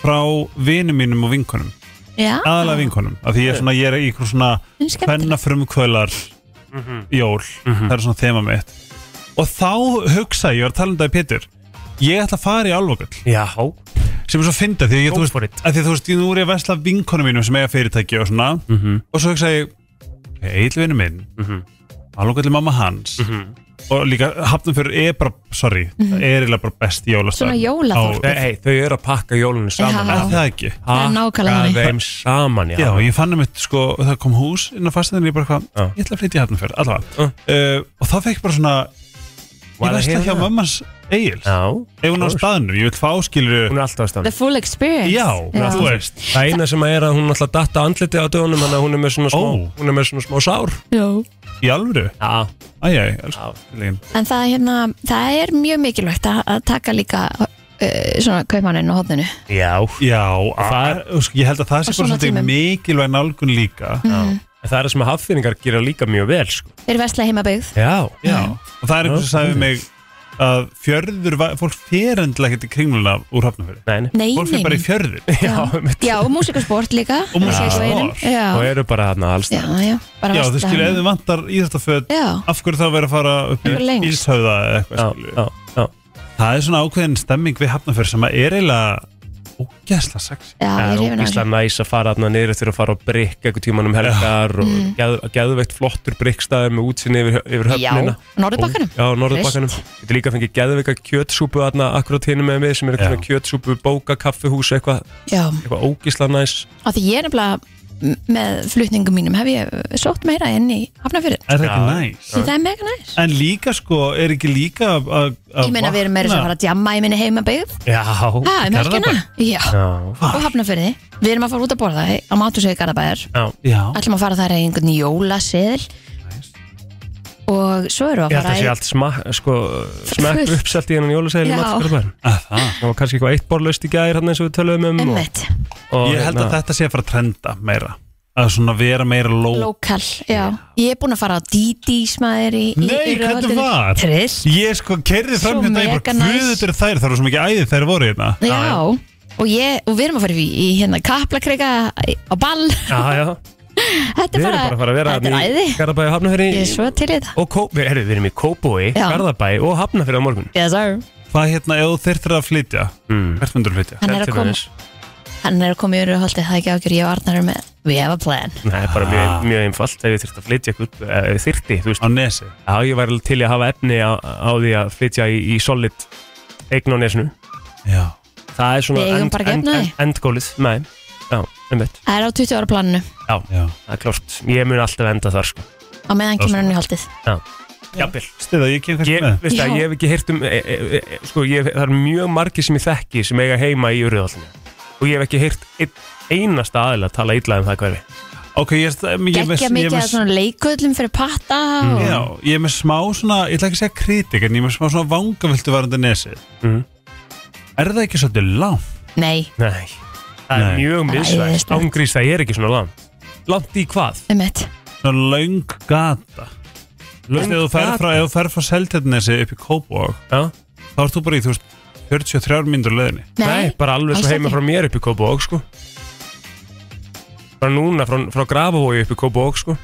Speaker 4: frá vinum mínum og vinkonum,
Speaker 3: Já,
Speaker 4: aðalega vinkonum af því ég er svona, ég er í ykkur svona
Speaker 3: hún er skemmtileg.
Speaker 4: hvenna frumkvölar
Speaker 2: Mhm.
Speaker 4: jól, það er svona þema mitt og þá hugsa ég, ég var að tala um það í Pétur ég ætla að fara í álfogull
Speaker 2: já,
Speaker 4: sem er svo fyndið því að ég,
Speaker 2: Go
Speaker 4: þú veist,
Speaker 2: for it.
Speaker 4: að því þú veist, ég nú er ég að vesla vinkonu mínum sem eiga fyrirtæki og svona og svo hugsa ég, eilvinu minn mm
Speaker 2: Mhm.
Speaker 4: álfogull er mamma hans og líka Hafnarfjörður er bara sorry,
Speaker 2: Mhm.
Speaker 4: það er eiginlega bara best jólastað
Speaker 3: Svona jólaþorpið.
Speaker 4: Á-
Speaker 2: Nei, hey, þau eru að pakka jólunni saman
Speaker 3: Já.
Speaker 4: Er það
Speaker 3: Það er
Speaker 4: ekki? Ah,
Speaker 3: nákvæmlega
Speaker 2: Pakka
Speaker 3: þannig.
Speaker 2: þeim saman, já,
Speaker 4: Já, ég fann um eitt sko, það kom hús inn á fasteðinni, ég bara hvað,
Speaker 2: Já.
Speaker 4: ég ætla að flytja í Hafnarfjörð, allavega. Uh, og þá fekk ég bara svona,
Speaker 2: Var
Speaker 4: ég
Speaker 2: það
Speaker 4: veist það hjá
Speaker 2: hérna?
Speaker 4: mammas Egil,
Speaker 2: já.
Speaker 4: ef hún á
Speaker 2: Sure.
Speaker 4: staðnum, ég vil fá skilur,
Speaker 2: hún er alltaf á
Speaker 3: The
Speaker 2: stað
Speaker 3: full experience.
Speaker 4: já,
Speaker 3: Já.
Speaker 4: þú veist,
Speaker 2: það eina sem er að hún alltaf datta andliti á dögunum þannig að hún er með svona smá,
Speaker 4: Ó.
Speaker 2: hún er með svona smá sár
Speaker 3: Já.
Speaker 4: í alvöru,
Speaker 2: já,
Speaker 4: æjæj, elsku,
Speaker 2: já.
Speaker 4: skilin.
Speaker 3: En það, er hérna, það er mjög mikilvægt að, að taka líka uh, svona kaupmanninn á hodninu.
Speaker 2: já.
Speaker 3: Mm.
Speaker 4: Já, það, sko, ég held að það
Speaker 3: Á
Speaker 4: sé bara
Speaker 3: svona
Speaker 4: svolítið
Speaker 3: tímum.
Speaker 4: mikilvæg nálgun líka,
Speaker 2: En það er það sem að haffyrningar gera líka mjög vel sko.
Speaker 3: Þeir vesla heimabyggð.
Speaker 2: já,
Speaker 4: já,
Speaker 3: Mm.
Speaker 4: og það er
Speaker 2: Já,
Speaker 4: einhvers sem sagði
Speaker 2: það
Speaker 4: við mig að fjörður, va- fólk ferendilega ekkert í kringluna úr Hafnarfjörði,
Speaker 2: nei, nei.
Speaker 3: Nei,
Speaker 4: fólk
Speaker 3: nei.
Speaker 4: fyrir bara í fjörður
Speaker 2: já, einmitt.
Speaker 3: Já, og músikasport líka.
Speaker 4: Og músík
Speaker 3: Já.
Speaker 4: og sport.
Speaker 2: og
Speaker 3: Já.
Speaker 2: eru bara þarna alls
Speaker 3: já,
Speaker 2: staðar.
Speaker 3: já, bara
Speaker 4: Já, þú
Speaker 3: versla
Speaker 4: skilur, ef
Speaker 3: heima.
Speaker 4: þið vantar íþróttaföt
Speaker 3: Já,
Speaker 4: af hverju þá verið að fara upp
Speaker 3: Eitthvað
Speaker 4: í
Speaker 3: lengst.
Speaker 4: Íshöfða eða eitthvað
Speaker 2: já,
Speaker 4: skilur við.
Speaker 2: já, já.
Speaker 4: Það er svona ákveðin stemming við hafnafjörð sem að er eiginlega ógæsla sexy
Speaker 3: já,
Speaker 2: Það
Speaker 3: ég
Speaker 2: er
Speaker 3: hrifin að
Speaker 2: ógíslega næs að fara þarna niður eftir að fara á brikk eitthvað tíman um helgar og geð, geðveitt flottur brikkstæði með útsinni yfir, yfir
Speaker 3: Mm. Já,
Speaker 2: höfnina
Speaker 3: Norðurbakkanum.
Speaker 2: Já, Norðurbakkanum Þetta er líka fengið geðveika kjötsúpu þarna akkurat hinn með mig sem er
Speaker 4: Já.
Speaker 2: eitthvað svona kjötsúpu, bóka, kaffihús eitthvað,
Speaker 3: Já,
Speaker 2: eitthvað ógíslega næs
Speaker 3: af því ég er nefnilega m- með flutningum mínum hef ég uh, sótt meira inn í hafnafyrir.
Speaker 4: Er það ekki
Speaker 2: Já.
Speaker 4: næs?
Speaker 3: Því það er mega næs.
Speaker 4: En líka sko, er ekki líka að- að
Speaker 3: Ég meina við erum meira sem að fara að djamma í minni heimabyggð.
Speaker 2: Já,
Speaker 3: Ha, um helgina? Já.
Speaker 2: já,
Speaker 3: Og hafnafyrði. Við erum að fara út að borða á mátusegi Garðabæðar.
Speaker 2: já.
Speaker 4: Já,
Speaker 3: Ætlum að fara þær í einhvern jólaseðil og svo
Speaker 2: Ég
Speaker 3: erum við
Speaker 2: held
Speaker 3: að
Speaker 2: að
Speaker 3: fara
Speaker 2: það sé allt sma, sko, smekk
Speaker 3: Fullt.
Speaker 2: uppselt í hennan jólasegil
Speaker 3: Já.
Speaker 4: að það
Speaker 2: Það var kannski eitthvað eitt borlaust í gæðir hann eins og við töluðum um og,
Speaker 3: ummitt,
Speaker 2: og, hérna.
Speaker 4: Ég held að þetta sé að fara að trenda meira að svona vera meira ló
Speaker 3: lokal já. ég er búin að fara á Didis maður í, í,
Speaker 4: Nei,
Speaker 3: í
Speaker 4: hvernig
Speaker 3: röðaldinu.
Speaker 4: var?
Speaker 3: Trill.
Speaker 4: Ég sko kerði fram
Speaker 3: Svo
Speaker 4: hérna ég
Speaker 3: mega
Speaker 4: bara
Speaker 3: næs.
Speaker 4: Guð þetta eru þær, það eru svo mikið æði þær voru hérna
Speaker 3: já, Og, ég, og við erum að fara í, í hérna kaplakreika á ball
Speaker 2: Já, já,
Speaker 3: þetta
Speaker 2: við erum
Speaker 3: er
Speaker 2: bara að fara að vera
Speaker 3: þetta er
Speaker 2: þarna
Speaker 3: æði
Speaker 2: í Garðabæi og Hafnafyrri
Speaker 3: ég er svo til í þetta
Speaker 2: og Kó, við, herri, við erum í Kóbói,
Speaker 3: Já.
Speaker 2: Garðabæi og Hafnafyrri á morgun
Speaker 3: yes, sir.
Speaker 4: Hvað hérna, ef þú þyrftir að flytja
Speaker 2: mm.
Speaker 4: Hvert myndur flytja?
Speaker 3: hann er
Speaker 2: Til
Speaker 3: að koma
Speaker 2: dæmis.
Speaker 3: hann er að koma í Uruholti, það er ekki ákjör, ég og Arnar er með we have a plan
Speaker 2: Nei, bara
Speaker 4: Ah.
Speaker 2: mjög, mjög einfalt ef ég þyrfti að flytja ykkur, ef ég þyrfti, þú veist
Speaker 4: Á nesi
Speaker 2: Já, ég væri alveg til í að hafa efni á, á því að flytja í, í solid eign á nesinu
Speaker 4: Já
Speaker 2: Það er svona
Speaker 3: Við eigum bara ekki efni á því.
Speaker 2: endgólið Nei, já, einmitt
Speaker 3: það er á 20 ára planinu,
Speaker 2: Já,
Speaker 4: Já.
Speaker 2: það er klart, ég mun alltaf enda þar sko
Speaker 3: á meðan kemur hann í holdið
Speaker 2: Jafnvel
Speaker 4: Stiða, ég kem kannski
Speaker 2: Ég,
Speaker 4: með
Speaker 2: veist það,
Speaker 3: Já.
Speaker 2: ég hef ekki heyrt um e, e, e, sko, ég, það er mjög margir sem ég þekki sem eiga heima í Urðalina og ég hef ekki heyrt ein, einasta aðila að tala illa um það hverfi
Speaker 4: Ok, ég er ég er með
Speaker 3: geggja
Speaker 4: ég er
Speaker 3: mikið að
Speaker 4: með-
Speaker 3: svona leikullum fyrir patta og...
Speaker 2: Mm.
Speaker 4: Já, ég er með smá svona, ég ætla ekki að segja kritik en ég er með smá svona vangaviltu varandi nesi
Speaker 2: Mhm.
Speaker 4: Er það ekki svolítið langt?
Speaker 3: nei,
Speaker 2: Nei, það er
Speaker 4: Nei.
Speaker 2: mjög
Speaker 3: Það er
Speaker 2: misvægt
Speaker 3: æðislegt.
Speaker 2: Ángrís það er ekki svona langt Langt í hvað?
Speaker 3: um mitt
Speaker 4: Svona löng gata Þú veist,
Speaker 2: Löng
Speaker 4: ef þú ferð
Speaker 2: gata?
Speaker 4: frá, ef þú ferð frá Seltjarnesi upp í Kópavog
Speaker 2: Já?
Speaker 4: þá ert þú bara í, þú veist, 43 myndur leðinni
Speaker 3: nei,
Speaker 2: bara alveg svo
Speaker 3: alls
Speaker 2: heima
Speaker 3: ekki.
Speaker 2: frá mér upp í Kópavók sko Bara núna frá, frá Grafavói upp í Kópavók sko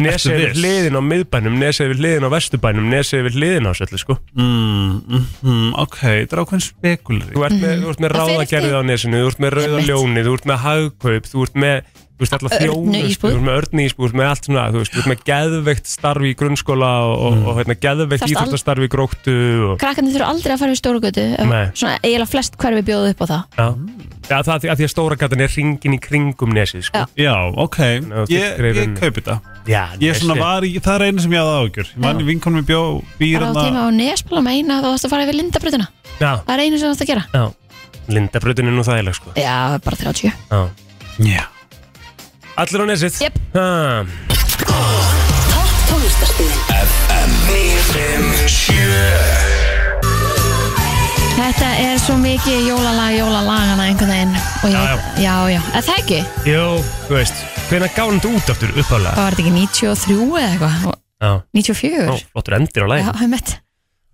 Speaker 2: Nesið
Speaker 4: Ertu
Speaker 2: við
Speaker 4: viss?
Speaker 2: hliðin á miðbænum, nesið við hliðin á vesturbænum, nesið við hliðin á sérli sko
Speaker 4: mm, mm, mm, Ok, það er ákveðin
Speaker 2: Þú
Speaker 4: spekulir
Speaker 2: ert með, þú ert með
Speaker 3: Það fer
Speaker 2: ráðagerðið á nesinu, þú ert með rauða
Speaker 3: Einmitt.
Speaker 2: ljónið, þú ert með hagkaup, þú ert með þú veist alltaf
Speaker 3: Örnu
Speaker 2: þjónustu,
Speaker 3: ísbúð.
Speaker 2: þú ert með örni ísbúð, þú ert með allt svona, þú veist, þú ert með geðveikt starfi í grunnskóla og, og, og hérna, geðveikt
Speaker 3: Þarft al-
Speaker 2: íþróttastarfi í gróttu og,
Speaker 3: krakkarnir þurfa aldrei að fara í stóru götu
Speaker 2: Nei.
Speaker 3: svona eiginlega flest hverfi bjóðu upp á það
Speaker 2: já, já, það að því að því að stóra gatan er ringin í kringum nesið, sko.
Speaker 3: Já.
Speaker 4: Já, ok,
Speaker 2: Ná, þú
Speaker 4: ég,
Speaker 2: skrifir
Speaker 4: ég
Speaker 2: inn.
Speaker 4: kaupi það
Speaker 2: Já,
Speaker 4: Ég svona var, í, það er eina sem ég hafði áhugjur Ég manni vinkonum í bjó,
Speaker 3: það er
Speaker 4: býr
Speaker 3: á
Speaker 4: þarna-
Speaker 3: tíma á Nesbala með eina þá varst að fara yfir Lindabrutina
Speaker 2: Já,
Speaker 3: það er einu sem það að gera
Speaker 2: já, lindabröðin er nú þægileg, sko.
Speaker 3: já, bara 30
Speaker 2: Já.
Speaker 4: Já
Speaker 2: Allir á nesið.
Speaker 3: Jep.
Speaker 2: Ha,
Speaker 6: Topp tónlistarstíðin
Speaker 3: þetta er svo mikið jólalag jólalagana einhvern veginn og ég,
Speaker 2: Já,
Speaker 3: já, já, já. Að það ekki,
Speaker 2: jú, þú veist, hvenær gáði þetta út aftur uppálega?
Speaker 3: það var þetta ekki 93 eða eitthvað og
Speaker 2: Já,
Speaker 3: 94
Speaker 2: Ó, flottur endir á
Speaker 3: já,
Speaker 2: lægin.
Speaker 3: einmitt.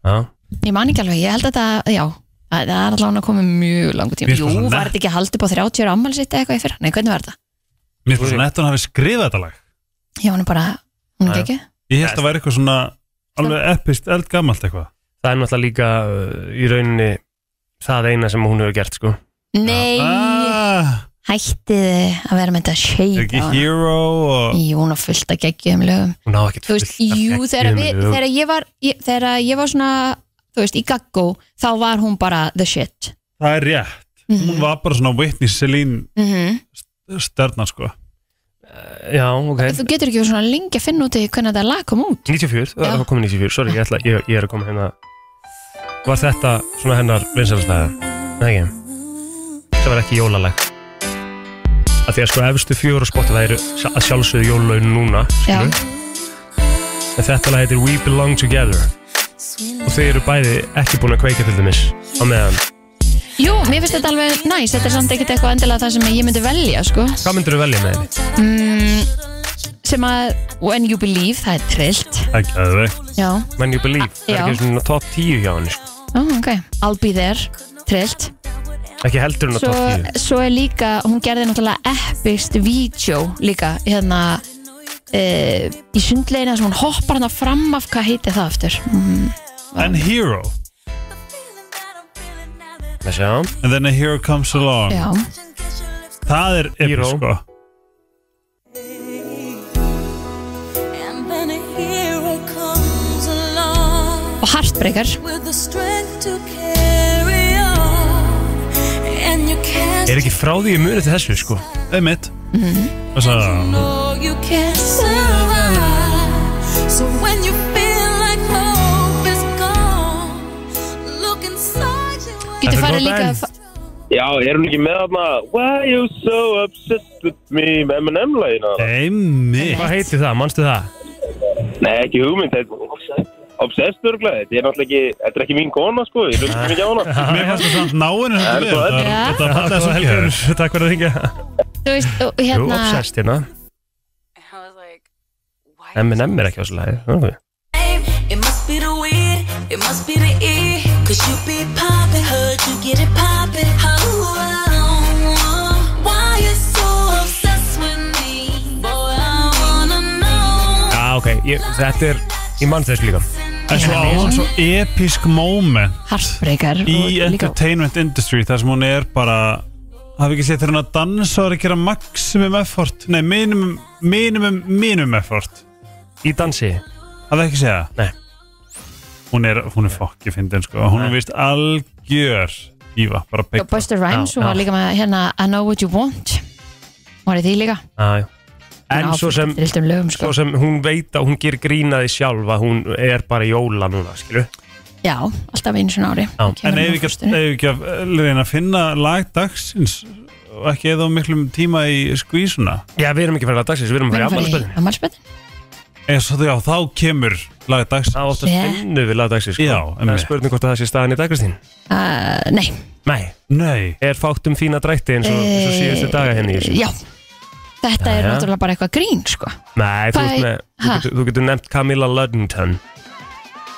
Speaker 2: Já.
Speaker 3: ég man ekki alveg, ég held að það já, að það er allavega að koma mjög langur tíma
Speaker 4: Mér
Speaker 3: jú,
Speaker 4: finnst það
Speaker 3: var þetta ekki haldið upp á 30 ára ammæli sitt eða eitthvað í fyrra, nei, hvernig var þetta?
Speaker 4: Mér finnst svona að hún hafi skrifað þetta lag
Speaker 3: já, hún er bara, hún er
Speaker 2: Já, já.
Speaker 3: ekki
Speaker 4: Ég held að það væri eitthvað svona alveg epist, eldgamalt eitthvað
Speaker 2: það er náttúrulega líka uh, í rauninni það eina sem hún hefur gert sko.
Speaker 3: nei,
Speaker 4: ah,
Speaker 3: hættið að vera með þetta
Speaker 4: Er
Speaker 3: shade
Speaker 4: ekki
Speaker 3: á hana.
Speaker 4: hero og
Speaker 3: Jú, hún á fullt að geggjum lögum
Speaker 2: hún á ekkert
Speaker 3: Þú veist,
Speaker 2: fullt af
Speaker 3: jú, þegar,
Speaker 2: geggjum
Speaker 3: við,
Speaker 2: lögum.
Speaker 3: þegar ég var ég, þegar ég var svona, þú veist, í gaggó þá var hún bara the shit
Speaker 4: það er rétt
Speaker 3: Mhm.
Speaker 4: Hún var bara svona Whitney Celine
Speaker 3: mm
Speaker 4: stjarnar sko
Speaker 2: já, ok,
Speaker 3: Þú getur ekki verið svona lengi að finna út í hvernig þetta lag kom út
Speaker 2: 94, það
Speaker 3: Já.
Speaker 2: var komin 94 sorry, ég, ætla, ég, ég er að koma hérna var þetta svona hennar vinsalstæða, ekki þetta var ekki jólalag að því að sko efstu fjóru spotti það eru sj- að sjálfsögðu jólalaun núna
Speaker 3: Já,
Speaker 2: skilur. en þetta lag heitir We Belong Together og þau eru bæði ekki búin að kveika til dæmis á meðan,
Speaker 3: Jú, mér finnst þetta alveg næs Þetta er samt ekkert eitthvað endilega það sem ég myndi velja sko.
Speaker 2: hvað myndir þú velja með henni?
Speaker 3: mm, sem að When You Believe, það er trillt
Speaker 4: Það er geðveikt.
Speaker 3: Já,
Speaker 2: When You Believe, það er
Speaker 3: Já.
Speaker 2: ekki svona top 10 hjá henni sko.
Speaker 3: Ó, ok, I'll Be There trillt
Speaker 2: Ekki heldur hún að
Speaker 3: svo,
Speaker 2: top 10
Speaker 3: svo er líka, hún gerði náttúrulega eppist vídeo líka hérna e, í sundleginu þar sem hún hoppar hann fram af hvað heiti það aftur mm,
Speaker 4: En hero
Speaker 2: Það sjá
Speaker 4: And then a hero comes along
Speaker 3: já,
Speaker 4: Það er
Speaker 2: Hero.
Speaker 4: episk sko
Speaker 7: And then a hero comes along
Speaker 3: og Heartbreaker
Speaker 7: with the strength to carry on. And you can't
Speaker 2: Er ekki frá því ég muni til þessu sko
Speaker 4: Einmitt
Speaker 3: Mhm.
Speaker 4: Og svo
Speaker 7: know you can't survive. So when you feel like hope is gone, look inside you.
Speaker 3: getur
Speaker 2: Þetta er
Speaker 3: farið
Speaker 2: gott
Speaker 3: líka
Speaker 2: enn.
Speaker 3: að-
Speaker 8: Já, er hún ekki með þarna Why you so obsessed with me með M&M M&M-lægina
Speaker 4: Einmitt
Speaker 2: Hvað heitir það, manstu það?
Speaker 8: Nei, ekki hugmynd þetta Obsessed örgulega, þetta er náttúrulega ekki Þetta er ekki mín kona sko, ég hlusta ekki mikið á hana
Speaker 4: Mér fannst það samt náinn
Speaker 8: Það er svo
Speaker 3: öll.
Speaker 4: þetta vel. Það-
Speaker 2: Það er
Speaker 4: Þetta fallið svo
Speaker 2: svo
Speaker 4: helgur
Speaker 2: helgur, takk fyrir að ringja
Speaker 3: Þú veist, og
Speaker 2: Jú,
Speaker 3: hérna
Speaker 2: obsessed hérna
Speaker 7: I was like, why?
Speaker 2: M&M er ekki á þessu lagi það er-
Speaker 5: It must be the weed, it must be the E. Cause you be poppin', heard you get it poppin'. How
Speaker 7: Why you so obsessed with me? Boy, I wanna know.
Speaker 2: Já, ok, ég, þetta er, ég mann þessu líka
Speaker 4: En svo á hún svo episk moment
Speaker 3: Hartbreykar
Speaker 4: í entertainment industry þar sem hún er bara hafi ekki séð þegar hún að dansa og er að gera maximum effort nei, minimum, minimum, minimum effort
Speaker 2: Í dansi
Speaker 4: hafi ekki séð það
Speaker 2: Nei.
Speaker 4: hún er, hún er fokki fyndin sko hún er vist algjör íva, bara
Speaker 3: Og
Speaker 4: byggja
Speaker 3: Buster Rhymes,
Speaker 2: Já,
Speaker 3: hún var
Speaker 2: já.
Speaker 3: líka með hérna I know what you want Hún var í því líka
Speaker 2: Ah, Já, já. En svo sem,
Speaker 3: Riltum lögum
Speaker 2: svo
Speaker 3: sko
Speaker 2: sem hún veit að hún ger grínaði sjálf að hún er bara í jóla núna, skilu
Speaker 3: Já, alltaf einu svona ári
Speaker 2: Já.
Speaker 4: en
Speaker 3: Kemur hún á
Speaker 4: ef ekki,
Speaker 3: föstunni.
Speaker 4: ef ekki að reyna að finna lag dagsins og ekki eða á miklum tíma í skvísuna
Speaker 2: Já, við erum ekki fyrir að dagsins, við erum
Speaker 3: Við
Speaker 2: fyrir
Speaker 3: erum farið í
Speaker 2: afmælisböðin
Speaker 3: afmælisbörnin.
Speaker 4: eða svo já, þá kemur lag dagsins
Speaker 2: Það oftast
Speaker 3: Yeah.
Speaker 2: finnum við lagdagsins, sko
Speaker 4: Já,
Speaker 2: Það
Speaker 4: emmi.
Speaker 2: er spurning hvort að það sé staðan í dag, Kristín
Speaker 3: Uh, Nei
Speaker 2: Nei, Eh,
Speaker 4: nei,
Speaker 2: er fátt um fína drætti eins og, eins og síðustu daga henni í þessu
Speaker 3: Eh, Já Þetta
Speaker 2: Já,
Speaker 3: er
Speaker 2: já.
Speaker 3: náttúrulega bara eitthvað grín sko
Speaker 2: Nei, þú,
Speaker 3: Hvað
Speaker 2: ert
Speaker 3: er-
Speaker 2: með, þú,
Speaker 3: Ha?
Speaker 2: getur, þú getur nefnt Camilla Luddington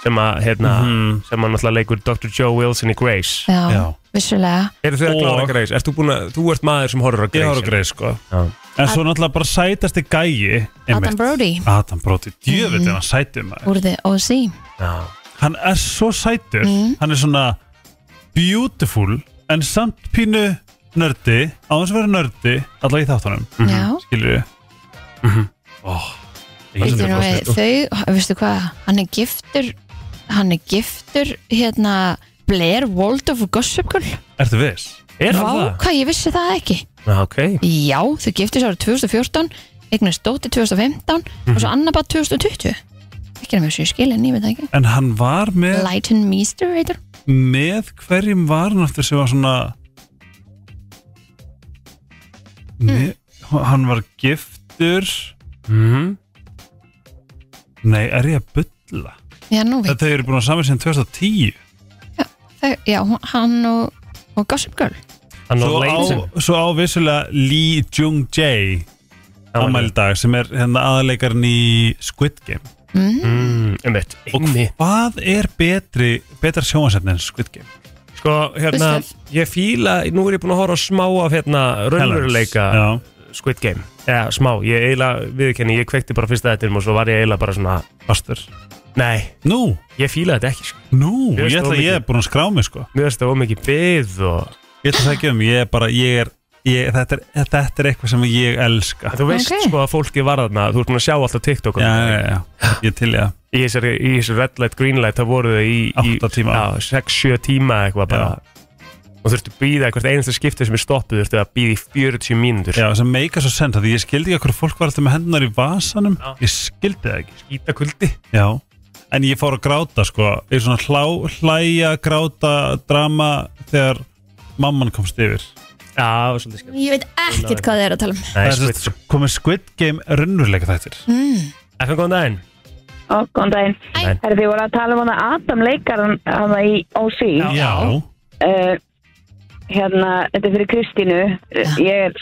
Speaker 2: sem að, hérna,
Speaker 4: Mhm.
Speaker 2: sem að náttúrulega leikur Dr. Joe Wilson í Grace
Speaker 3: Já,
Speaker 4: Já.
Speaker 3: vissulega
Speaker 2: Eru þau að
Speaker 4: Og-
Speaker 2: klára Grace? Ert þú, búin að, þú ert maður sem horfur á Grace
Speaker 4: ég har að greið sko
Speaker 2: Já.
Speaker 4: En svo náttúrulega bara sætasti gæi einmitt.
Speaker 3: Adam Brody Mhm.
Speaker 4: Adam Brody, djöfitt er hann sætur maður
Speaker 3: úr The OC
Speaker 2: Já.
Speaker 4: Hann er svo sætur, hann er svona beautiful en samt pínu nördi á þess að vera nördi, allavega í þáttunum
Speaker 3: Já,
Speaker 4: skilur við
Speaker 3: Býttu nú við,
Speaker 2: sko.
Speaker 3: þau, veistu hvað, hann er giftur, hann er giftur, hérna, Blair Waldorf og Gossip Girl.
Speaker 4: Ertu viss?
Speaker 2: Er
Speaker 3: Vá,
Speaker 2: það?
Speaker 3: hvað ég vissi það ekki.
Speaker 2: Já, ok
Speaker 3: Já, þau giftist árið 2014, eignast dóttir 2015 og
Speaker 2: Mhm.
Speaker 3: svo annar bara 2020. Ekki er mér sér skil en ég veit það ekki.
Speaker 4: En hann var með,
Speaker 3: Lighten Meester heitir. hún.
Speaker 4: með hverjum var hann eftir sem var svona með, hann var giftur
Speaker 2: mm.
Speaker 4: nei, er ég að bulla?
Speaker 3: Já, nú veit.
Speaker 4: Þetta eru búin að saman sem 2010
Speaker 3: Þau, já, hún- hann og, og Gossip Girl.
Speaker 2: Hann
Speaker 4: Svo
Speaker 2: var
Speaker 4: á,
Speaker 2: leitin
Speaker 4: svo á vissulega Lee Jung Jae amældag sem er hérna aðleikarinn í Squid Game
Speaker 3: Mhm.
Speaker 2: Mm, Einmitt, einmitt
Speaker 4: Hvað er betri, betra sjónasefni en Squid Game?
Speaker 2: Sko, hérna, ég fíla Nú er ég búin að horfa á smá af, hérna, raunveruleika
Speaker 4: Já,
Speaker 2: Squid Game Eða, smá, ég eiginlega, viðkenni, ég kveikti bara fyrsta þetta og svo var ég eiginlega bara svona
Speaker 4: fastur
Speaker 2: Nei,
Speaker 4: Nú,
Speaker 2: ég fíla þetta ekki, sko
Speaker 4: nú,
Speaker 2: Ég veist
Speaker 4: ég ætla
Speaker 2: það
Speaker 4: að ég
Speaker 2: mikið.
Speaker 4: er búin að skrá mig sko
Speaker 2: Mér finnst það ómikið byð og
Speaker 4: Ég ætla að segja um, ég er bara, ég er ég, þetta, er, þetta er eitthvað sem ég elska
Speaker 2: Þú veist
Speaker 3: Ok.
Speaker 2: sko að fólki var þarna, þú ert búin að sjá alltaf TikTok
Speaker 4: Já, já, já, ég til ég
Speaker 2: Í þessari, í þessari red light, green light, það voru þau í, í
Speaker 4: Átta tíma.
Speaker 2: Já, 6-7 tíma eitthvað bara Og þurftu að býða hvert einasta skipti sem er stoppuð Þurftu að býða í 40 mínútur
Speaker 4: Já, sem meika svo sent að ég skildi ekki okkur fólk var alltaf með hendunar í vasanum
Speaker 2: Já.
Speaker 4: Ég skildi það ekki sko.
Speaker 2: Íta kuldi
Speaker 4: Já, en ég fór að gráta sko Ég er svona hlá, hlæja, gráta, drama Þegar mamman komst yfir
Speaker 2: Já, svolítið skemmt
Speaker 3: Ég veit ekkert hvað þið er að tala um.
Speaker 2: Nei,
Speaker 4: Það er
Speaker 2: skvitt
Speaker 4: svo komið Squid Game runnurleika þættir
Speaker 2: FN, góðan daginn
Speaker 6: Ó, góðan daginn.
Speaker 2: Hæ.
Speaker 6: Er þið voru að tala um hana Adam leikaran hana í OC?
Speaker 4: Já,
Speaker 6: Uh, hérna, þetta er fyrir Kristínu. Uh, Ég er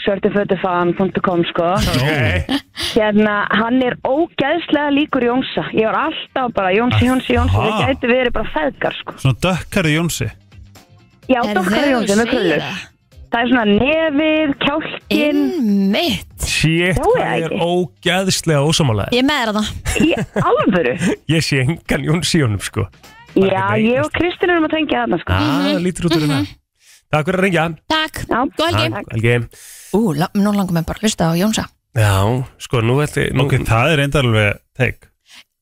Speaker 6: svörtufötufan.com sko.
Speaker 2: Ok
Speaker 6: Hérna, hann er ógæðslega líkur Jónsa. Ég var alltaf bara Jónsi, Jónsi, Jónsi.
Speaker 4: Aha.
Speaker 6: Það gæti verið bara feðgar sko.
Speaker 4: svona dökkari Jónsi
Speaker 6: Já,
Speaker 3: Er
Speaker 6: dokkar
Speaker 3: þau
Speaker 6: Jónsi
Speaker 3: að
Speaker 6: með
Speaker 3: segja
Speaker 6: krullur. Það er svona nefið, kjálkin.
Speaker 3: Einmitt.
Speaker 2: Shit,
Speaker 6: Sjáið
Speaker 2: hvað
Speaker 6: það
Speaker 2: er
Speaker 6: ekki?
Speaker 2: ógæðslega ósamálaðið
Speaker 3: Ég er með þér að það.
Speaker 6: Í alvöru.
Speaker 2: Ég sé engan Jón Sjónum sko er
Speaker 6: Já,
Speaker 2: ekki
Speaker 6: ég
Speaker 2: veikast.
Speaker 6: og Kristínu erum að tengja þarna sko.
Speaker 2: Ah, það lítur út úr hérna Takk fyrir að ringja
Speaker 3: Takk.
Speaker 6: Já.
Speaker 3: Góð helgi.
Speaker 2: Takk, Helgi
Speaker 3: Ú, la- nú langar mér bara að hlusta á Jónsa.
Speaker 2: Já, sko, nú ætti nú-
Speaker 4: Ok, það er reyndar alveg teik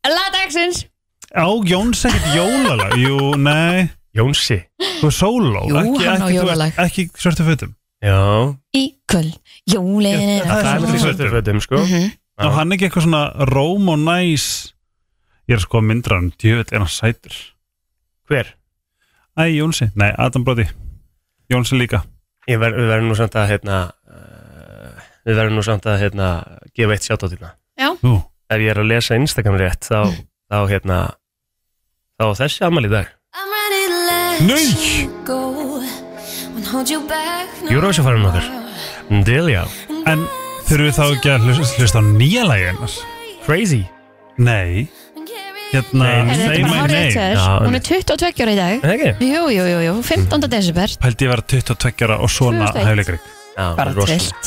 Speaker 3: Ladagsins.
Speaker 4: Á Jóns ekkert jólala Jú, nei,
Speaker 2: Jónsi
Speaker 4: þú er sóló
Speaker 3: Jú,
Speaker 4: ekki,
Speaker 3: hann á
Speaker 4: ekki, þú
Speaker 3: jólalag.
Speaker 4: ert Ekki svörtu fötum
Speaker 2: Já,
Speaker 3: í kvöld jólin Mhm. er
Speaker 4: Það
Speaker 3: að
Speaker 4: er
Speaker 2: það er til
Speaker 4: svolítið
Speaker 3: koma.
Speaker 4: svolítið.
Speaker 2: svörtu fötum sko Já.
Speaker 4: Og hann ekki eitthvað svona róm og næs Ég er sko að myndra hann Djöfitt er hann sætur
Speaker 2: Hver?
Speaker 4: Æ, Jónsi, nei, Adam Brody Jónsi líka
Speaker 2: Ég ver, við verðum nú eh, samt að hérna uh, Við verðum nú samt að hérna gefa eitt sjátt á tíma
Speaker 4: Ú,
Speaker 2: ef ég er að lesa Instagram rétt þá, þá hérna þá á þessi afmæli í dag
Speaker 7: I'm ready to let
Speaker 2: Nei!
Speaker 7: you go. Won't hold you back. no
Speaker 2: Eurovision farin okkar Delia,
Speaker 4: En þurfum við þá ekki að hlusta, hlusta á nýja lagi hennar?
Speaker 2: crazy
Speaker 4: Nei,
Speaker 7: more. Carry
Speaker 4: hérna
Speaker 2: Nei,
Speaker 3: Er
Speaker 2: Nei,
Speaker 3: þetta bara
Speaker 2: nei,
Speaker 3: hárið til þér?
Speaker 2: Já,
Speaker 3: Hún er 22 ára í dag
Speaker 2: en ekki?
Speaker 3: Jú, jú, jú, jú,
Speaker 4: Mm.
Speaker 3: 15. desember
Speaker 4: Pældi ég vera 22 ára og svona
Speaker 3: 2001.
Speaker 4: hæfileikari
Speaker 2: Já,
Speaker 3: Bara
Speaker 2: rosaleg,
Speaker 3: trillt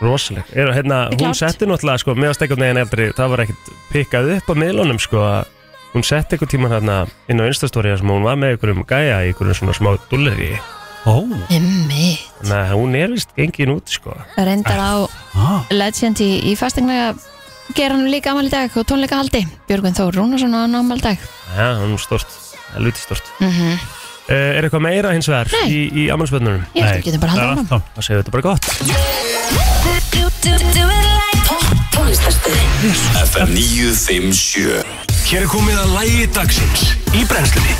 Speaker 2: rosaleg. Er, hérna,
Speaker 3: er
Speaker 2: Hún
Speaker 3: klárt.
Speaker 2: setti náttúrulega, sko, mér var stekkað neginn eldri það var ekkert pikkað upp á miðlunum sko, að hún setti einhver tíman hérna inn á Instastory þar sem hún var með einhverjum gæja í einhverjum svona smá dulleri
Speaker 4: Ó,
Speaker 3: Emmi,
Speaker 2: þannig að hún er vist gengin út sko.
Speaker 3: reyndar á
Speaker 4: ah,
Speaker 3: Legend í, í fastegna gera hann líka amal í dag og tónleika haldi Björgvin Þór Rúnarsson á hann amal í dag
Speaker 2: Já, hún er stort, helviti stort
Speaker 3: mm
Speaker 2: uh, Er eitthvað meira hins vegar
Speaker 3: Nei.
Speaker 2: í, í afmælspöndunum?
Speaker 3: Ég held að við getum bara
Speaker 4: það er
Speaker 3: haldið áfram
Speaker 4: alltaf
Speaker 2: Það segir þetta bara gott
Speaker 7: Do, do, do it like
Speaker 1: Tónlistarstöðin FM 957 Hér er komið að lægi dagsins í brennslunni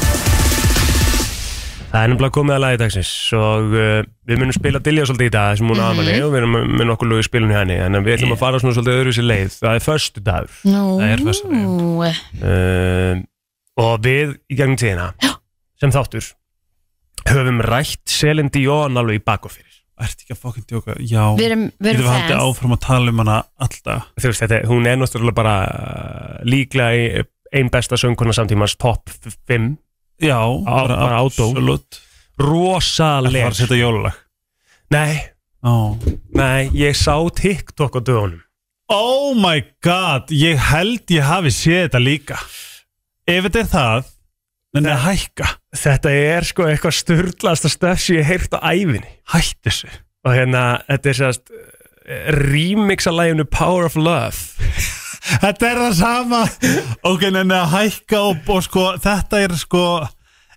Speaker 2: Það er nefnilega komið að lagi dagsins og uh, við munum spila Dilja svolítið í dag sem hún mm -hmm. aðmæli og við erum með- með nokkur lög í spilinu henni en við ætlum að fara svona svolítið öðruvísi leið það er förstu dagur
Speaker 4: Það er fyrsta leið.
Speaker 3: Nú,
Speaker 2: uh, og við í gegnum tíðina sem þáttur höfum rætt Selin Dion alveg í bak og fyrir
Speaker 4: Ertu ekki að fokkin djóka? Já,
Speaker 3: við erum, við
Speaker 4: getum
Speaker 3: erum
Speaker 4: við haldið
Speaker 3: fans
Speaker 4: áfram að tala um hana alltaf
Speaker 2: þú veist þetta, hún er náttúrulega bara uh, líklega í- ein besta söngkona samtímans top 5
Speaker 4: Já,
Speaker 2: bara ádó.
Speaker 4: absolutt Það var að
Speaker 2: rosaleg
Speaker 4: setja jólulag
Speaker 2: nei,
Speaker 4: Ó.
Speaker 2: nei, ég sá TikTok á dögunum
Speaker 4: Oh my god, ég held ég hafi séð þetta líka Ef þetta er það Nenni að hækka,
Speaker 2: þetta er sko eitthvað sturdlasta stöf sem ég hef heyrt á æfinni
Speaker 4: hætti þessu
Speaker 2: og hérna, þetta er sérst remix að læginu Power of Love
Speaker 4: Þetta er það sama Ok, nenni að hækka og, og sko, þetta er sko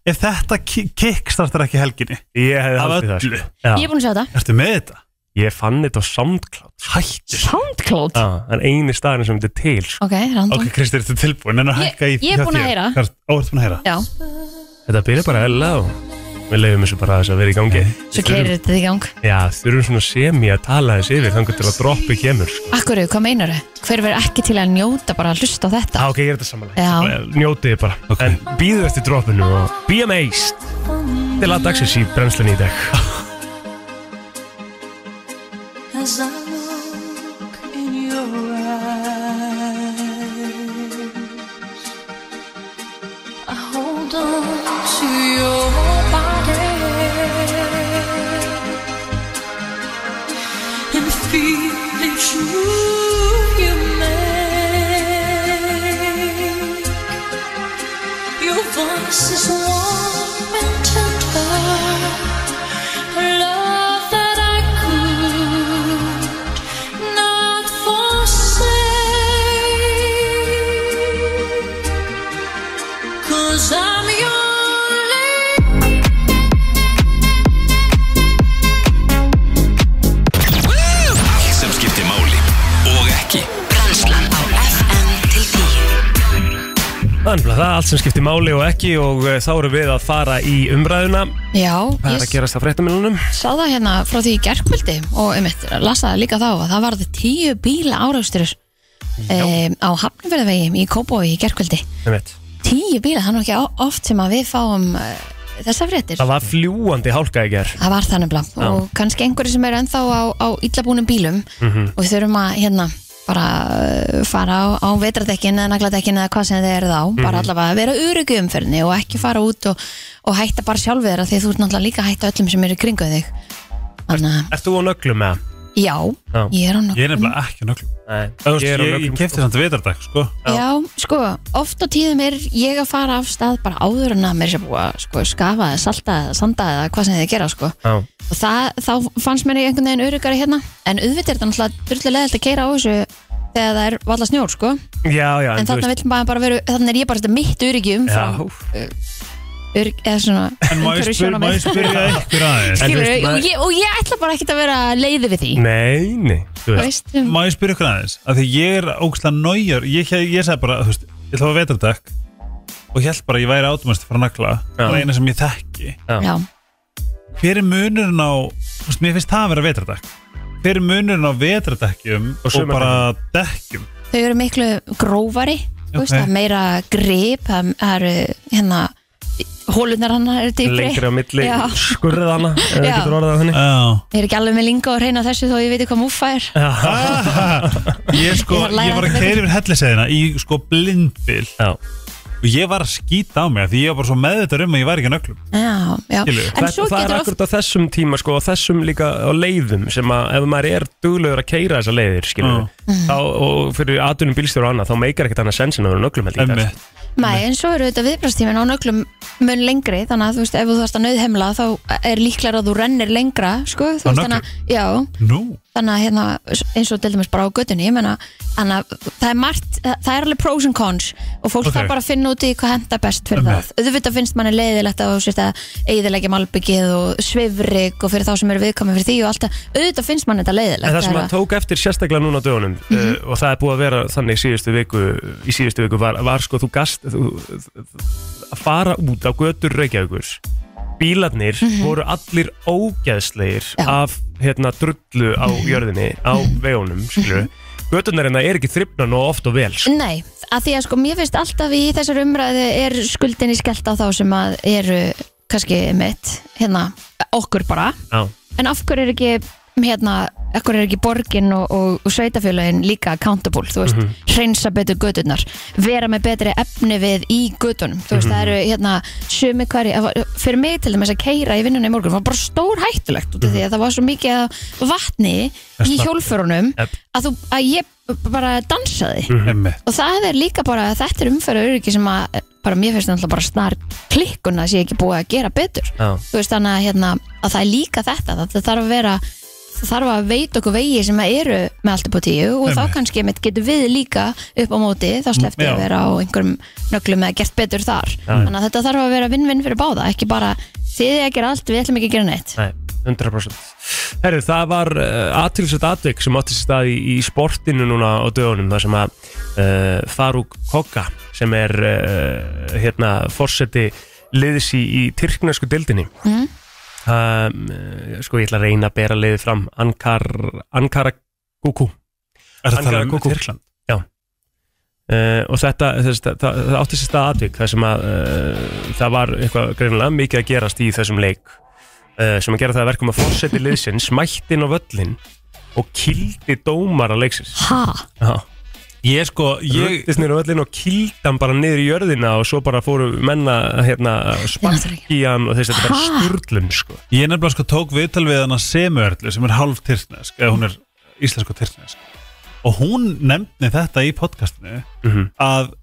Speaker 4: Ef þetta ki- kickstartar ekki helginni
Speaker 2: ég hefði
Speaker 4: Af
Speaker 2: haldið það
Speaker 4: öllu.
Speaker 2: sko.
Speaker 3: Ég er búin að sjá þetta
Speaker 4: Ertu með þetta?
Speaker 2: ég fann þetta á SoundCloud sko.
Speaker 4: Hætti þessu
Speaker 3: Soundcloud
Speaker 2: Já, það er eini staðin sem þetta er til sko.
Speaker 3: Ok, random
Speaker 4: Ok, Kristi, ertu tilbúin? Nenni að
Speaker 3: Ég-
Speaker 4: hækka í
Speaker 3: ég er
Speaker 4: hjá
Speaker 3: búin að
Speaker 4: þér.
Speaker 3: heyra.
Speaker 4: Karl- Ó, ertu búin að heyra?
Speaker 3: Já,
Speaker 2: þetta byrja bara hella á við leiðum þessu bara þess að vera í gangi
Speaker 3: svo keirir þetta í gang
Speaker 2: já, þurfum svona semi að tala þessi yfir þannig til að droppi kemur sko.
Speaker 3: Akkur, hvað meinar Hver verður ekki til að njóta bara að hlusta á þetta?
Speaker 2: ah, ok, ég er þetta samanlega
Speaker 3: Já,
Speaker 2: njótið þið bara,
Speaker 4: Ok.
Speaker 2: en býðu eftir droppinu og be amazed
Speaker 7: Oh,
Speaker 2: til að dagsins í brennslunni í dag
Speaker 7: As I look in your eyes, I hold on to your body and feel the truth you make. Your voice is warm and tender. Love that I could not forsake. 'Cause I'm your
Speaker 1: Allt sem skiptir máli og ekki
Speaker 9: Brennslan á FM til 10
Speaker 2: Þannig að það er allt sem skiptir máli og ekki og eh, þá erum við að fara í umræðuna
Speaker 3: já
Speaker 2: Það er að
Speaker 3: ég
Speaker 2: gerast á fréttamilunum
Speaker 3: sá það hérna frá því í gerkvöldi og um eitt, lasaði líka þá að það varði tíu bíla áraustur um, á Hafnverðvegi í Kóbói í gerkvöldi Tíu bíla, það er nú ekki o- oft sem að við fáum uh, þessa fréttir
Speaker 2: Það var fljúandi hálka í ger
Speaker 3: Það var þannig blá
Speaker 2: Já.
Speaker 3: og kannski einhverju sem eru ennþá á, á illabúnum bílum og við þurfum að hérna bara uh, fara á, á vetradekkin eða nagladekkin eða hvað sem þið eru þá bara allavega að vera öryggi umferðinni og ekki fara út og, og hætta bara sjálf þeirra því þú ert náttúrulega líka að hætta öllum sem eru í kringu þig Þannig að,
Speaker 2: Ert þú á nöglum með það?
Speaker 3: já,
Speaker 2: Já.
Speaker 3: ég er á nokkuð
Speaker 4: Ég er nefnilega ekki á nöglum
Speaker 2: Nei,
Speaker 4: Mm. Ég, ég, ég kefti samt vetardag, sko
Speaker 2: Já.
Speaker 3: Já, sko, oft á tíðum er ég að fara af stað bara áður en að mér sé búið að sko, skafa eða salta eða sanda eða hvað sem þið gera, sko.
Speaker 2: Já.
Speaker 3: Og það, þá fannst mér ég einhvern veginn öryggari hérna, en auðvitað er þetta náttúrulega drullu leðilt að keira á þessu þegar það er valla snjór, sko.
Speaker 2: Já, já,
Speaker 3: En, þarna vill maður bara vera, þarna er ég bara þetta mitt öryggi umfram
Speaker 2: Já.
Speaker 3: örygg, eða svona,
Speaker 4: En má ég spyr- má
Speaker 3: umhverfissjónarmið.
Speaker 4: ég spyrja ykkur aðeins
Speaker 2: En þú
Speaker 3: Skilurðu,
Speaker 2: veist, maður-
Speaker 3: og, ég- og ég ætla bara ekkert að vera leiði við því.
Speaker 2: Nei, nei, þú veist
Speaker 3: Veist, um,
Speaker 4: Má ég spyrja ykkur aðeins? Af því ég er ógstlega nájar Ég, ég, ég sagði bara, þú veist, ég ætla að vetardekk og held bara að ég væri átumast að fara að nagla
Speaker 2: Já.
Speaker 4: það er eina sem ég þekki
Speaker 3: já,
Speaker 4: Hver er munurinn á þú veist, Mér finnst það að vera vetardekk Hver er munurinn á vetardekkum
Speaker 2: Og
Speaker 4: og,
Speaker 2: sumardekkjum.
Speaker 4: bara dekkjum
Speaker 3: þau eru miklu grófari þú veist,
Speaker 4: Ok.
Speaker 3: það er meira grip það það eru hérna hólunar hann eru dýpri
Speaker 2: Lengri á milli,
Speaker 3: Já.
Speaker 2: skurrið hana ef það
Speaker 3: Já.
Speaker 2: getur orðað þannig
Speaker 4: Já
Speaker 3: ég er ekki alveg með linga og reyna þessu þó ég veit hvað múfa er
Speaker 4: Ég sko,
Speaker 3: Ég var að læra
Speaker 4: ég var að
Speaker 3: þetta
Speaker 4: keira yfir hellisæðina í sko blindbil
Speaker 2: Já.
Speaker 4: og ég var að skýta á mig af því ég var bara svo meðvitað um að ég var ekki að nöglum
Speaker 3: já, já.
Speaker 4: Skilur.
Speaker 3: en
Speaker 2: Það,
Speaker 3: svo
Speaker 2: það er
Speaker 3: getur oft
Speaker 2: akkurat á þessum tíma sko, og þessum líka á leiðum sem að ef maður er duglegur að keira þessa leiðir skilur,
Speaker 3: Mm.
Speaker 2: þá, og fyrir aðdunum bílstjóru og annað þá meikar ekkert annað sensin að vera nöglum held ég sko.
Speaker 4: Emmi,
Speaker 2: þess.
Speaker 3: Nei, en svo eru þetta viðbrastímin á nöglum mun lengri, þannig að þú veist, ef þú þarfst að nauðhemla þá er líklar að þú rennir lengra, sko,
Speaker 4: Á
Speaker 3: þú veist, þannig
Speaker 4: nöglum?
Speaker 3: að, já,
Speaker 4: nú
Speaker 3: þannig að hérna, eins og deildumist bara á göttunni, ég menna, þannig að það er margt, það er alveg pros and cons og fólk
Speaker 4: Ok.
Speaker 3: þarf bara að finna út í hvað henda best fyrir
Speaker 4: Einmitt.
Speaker 3: það. Auðvitað finnst manni leiðilegt að þú sért að eigðilegja malbyggið og svifrik og fyrir þá sem eru viðkomið fyrir því og allt það, auðvitað finnst manni þetta leiðilegt.
Speaker 2: En það sem
Speaker 3: er
Speaker 2: maður tók eftir sérstaklega núna á dögunum
Speaker 3: Mhm.
Speaker 2: uh, og það er búið að vera þannig síðustu viku, í síðustu viku var, var sko þú gast þú, að fara út á götur Reykjavíkurs bílarnir voru allir ógeðslegir
Speaker 3: Mhm. Já. Mhm.
Speaker 2: af hérna drullu á jörðinni á vegunum skilur göturnar hérna er ekki þryfna nú oft og vel sko.
Speaker 3: Nei, að því að sko mér finnst alltaf í þessar umræðu er skuldinni skellt á þá sem að eru kannski mitt, hérna, okkur bara
Speaker 2: Já.
Speaker 3: en af hverju er ekki hérna, af hverju er ekki borgin og, og, og sveitafélagin líka accountable, þú veist, hreinsa betur gödurnar, vera með betri efni við í gödunum, þú veist, það eru hérna, sumi hverju, að- fyrir mig til dæmis að keira í vinnunni í morgun, var bara stór hættulegt út af því að það var svo mikið af vatni í hjólfurunum
Speaker 2: Yep.
Speaker 3: að, þú, að ég bara dansaði
Speaker 4: Emmi
Speaker 3: og það er líka bara þetta er umferða öryggi sem að bara mér finnst náttúrulega bara snar klikkun að sé ekki búið að gera betur
Speaker 2: Já.
Speaker 3: þú veist þannig að, hérna, að það er líka þetta það það þarf að vera það þarf að veita okkur vegi sem að eru með allt upp á tíu og
Speaker 4: Einmitt.
Speaker 3: þá kannski einmitt getur við líka upp á móti þá slefti
Speaker 4: Já.
Speaker 3: að vera á einhverjum nöglum eða gert betur þar þannig að þetta þarf að vera vinn-vinn fyrir báða ekki bara þið er að gera allt, við ætlum ekki að gera neitt
Speaker 2: Nei, 100% Herru, það var uh, aðtilsett atvik sem átti sér stað í, í sportinu núna á dögunum þar sem að uh, Faruk Koka sem er uh, hérna forseti liðis í, í tyrknarsku dildinni
Speaker 3: Mhm.
Speaker 2: um, eh, Sko, ég ætla að reyna að bera liðið fram Ankar, Ankara Kuku
Speaker 4: Er það
Speaker 2: Ankara
Speaker 4: talað um
Speaker 2: Kúkú.
Speaker 4: Tyrkland?
Speaker 2: Uh, og þetta, þess, það, það, það átti sér stað atvik þar sem að uh, það var eitthvað greinilega mikið að gerast í þessum leik uh, sem að gera það að verkum að fórseti liðsins mætti inn á völlin og kildi dómara leiksins
Speaker 3: ha,
Speaker 4: Ég sko,
Speaker 2: Mhm.
Speaker 4: ég
Speaker 2: ruttist niður á völlin og kildi hann bara niður í jörðina og svo bara fóru menna hérna sparki hann og þess að þetta er bara
Speaker 3: Ha?
Speaker 2: sturlun sko.
Speaker 4: Ég nefnilega sko tók viðtal við hana Semörlu sem er hálf tyrknesk eða hún er íslensko tyrknesk og hún nefndi þetta í podcastinu
Speaker 2: Mhm.
Speaker 4: að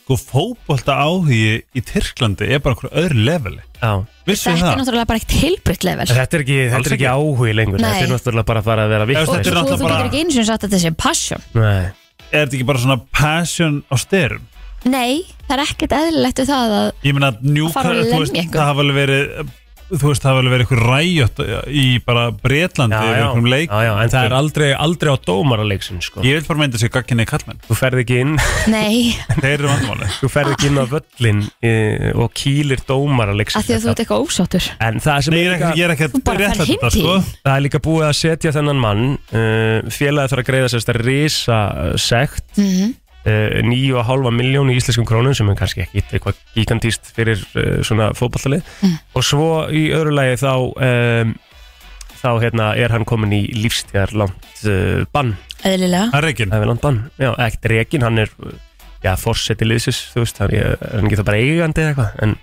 Speaker 4: sko fótbolta áhugi í Tyrklandi er bara einhver öðru leveli
Speaker 2: Já.
Speaker 4: Vissu
Speaker 3: þetta er
Speaker 4: það?
Speaker 3: náttúrulega bara eitt heilbrytt level
Speaker 2: þetta er ekki, þetta
Speaker 4: Alls
Speaker 2: er ekki áhugi lengur
Speaker 3: Nei.
Speaker 2: þetta er náttúrulega bara að fara að vera
Speaker 4: Ef
Speaker 3: og
Speaker 4: þetta
Speaker 2: vitt
Speaker 3: þú,
Speaker 4: er náttúrulega
Speaker 3: þú getur
Speaker 4: bara-
Speaker 3: ekki eins og sagt að þetta sé passion
Speaker 2: Nei,
Speaker 4: Er þetta ekki bara svona passion á styrum?
Speaker 3: Nei, það er ekkert eðlilegt við það að
Speaker 4: Ég meina að
Speaker 3: fara
Speaker 4: Newcastle,
Speaker 3: að
Speaker 4: þú
Speaker 3: lemja
Speaker 4: veist,
Speaker 3: einhvern.
Speaker 4: það hafa alveg verið þú veist, það hafa alveg verið einhver ræjött í bara Bretlandi
Speaker 2: já,
Speaker 4: yfir
Speaker 2: já,
Speaker 4: einhverjum leik
Speaker 2: já, já, en það er aldrei, aldrei á dómara leiksin sko.
Speaker 4: Ég vil bara mynda sér gagginni í kallmenn
Speaker 2: þú ferð ekki inn
Speaker 3: Nei,
Speaker 4: Þeir eru vandmáli
Speaker 2: þú ferð ekki inn á völlin e, og kýlir dómara
Speaker 3: af því að þú ert eitthvað ósáttur
Speaker 2: en það sem
Speaker 4: Nei, ég
Speaker 2: er
Speaker 4: er
Speaker 2: líka,
Speaker 4: ekki, ég er ekki
Speaker 3: Þú bara
Speaker 4: rétt
Speaker 3: ferð
Speaker 4: þetta
Speaker 3: heim
Speaker 4: sko
Speaker 3: til.
Speaker 2: það er líka búið að setja þennan mann uh, félagið þarf að greiða sérst að risa e, sekt
Speaker 3: mm
Speaker 2: uh, 9,5 miljónu íslenskum krónum sem er kannski ekki eitthvað gigantíst fyrir uh, svona fótballalið
Speaker 3: Mm.
Speaker 2: og svo í öðru lagi þá um, þá hérna er hann komin í lífstíðar langt uh, bann,
Speaker 3: Eðlilega
Speaker 4: Það er ekki
Speaker 2: það er langt bann já, ekkert rekin, hann er uh, já, forseti liðsis, þú veist, hann er er hann ekki það bara eigandi eða eitthvað, en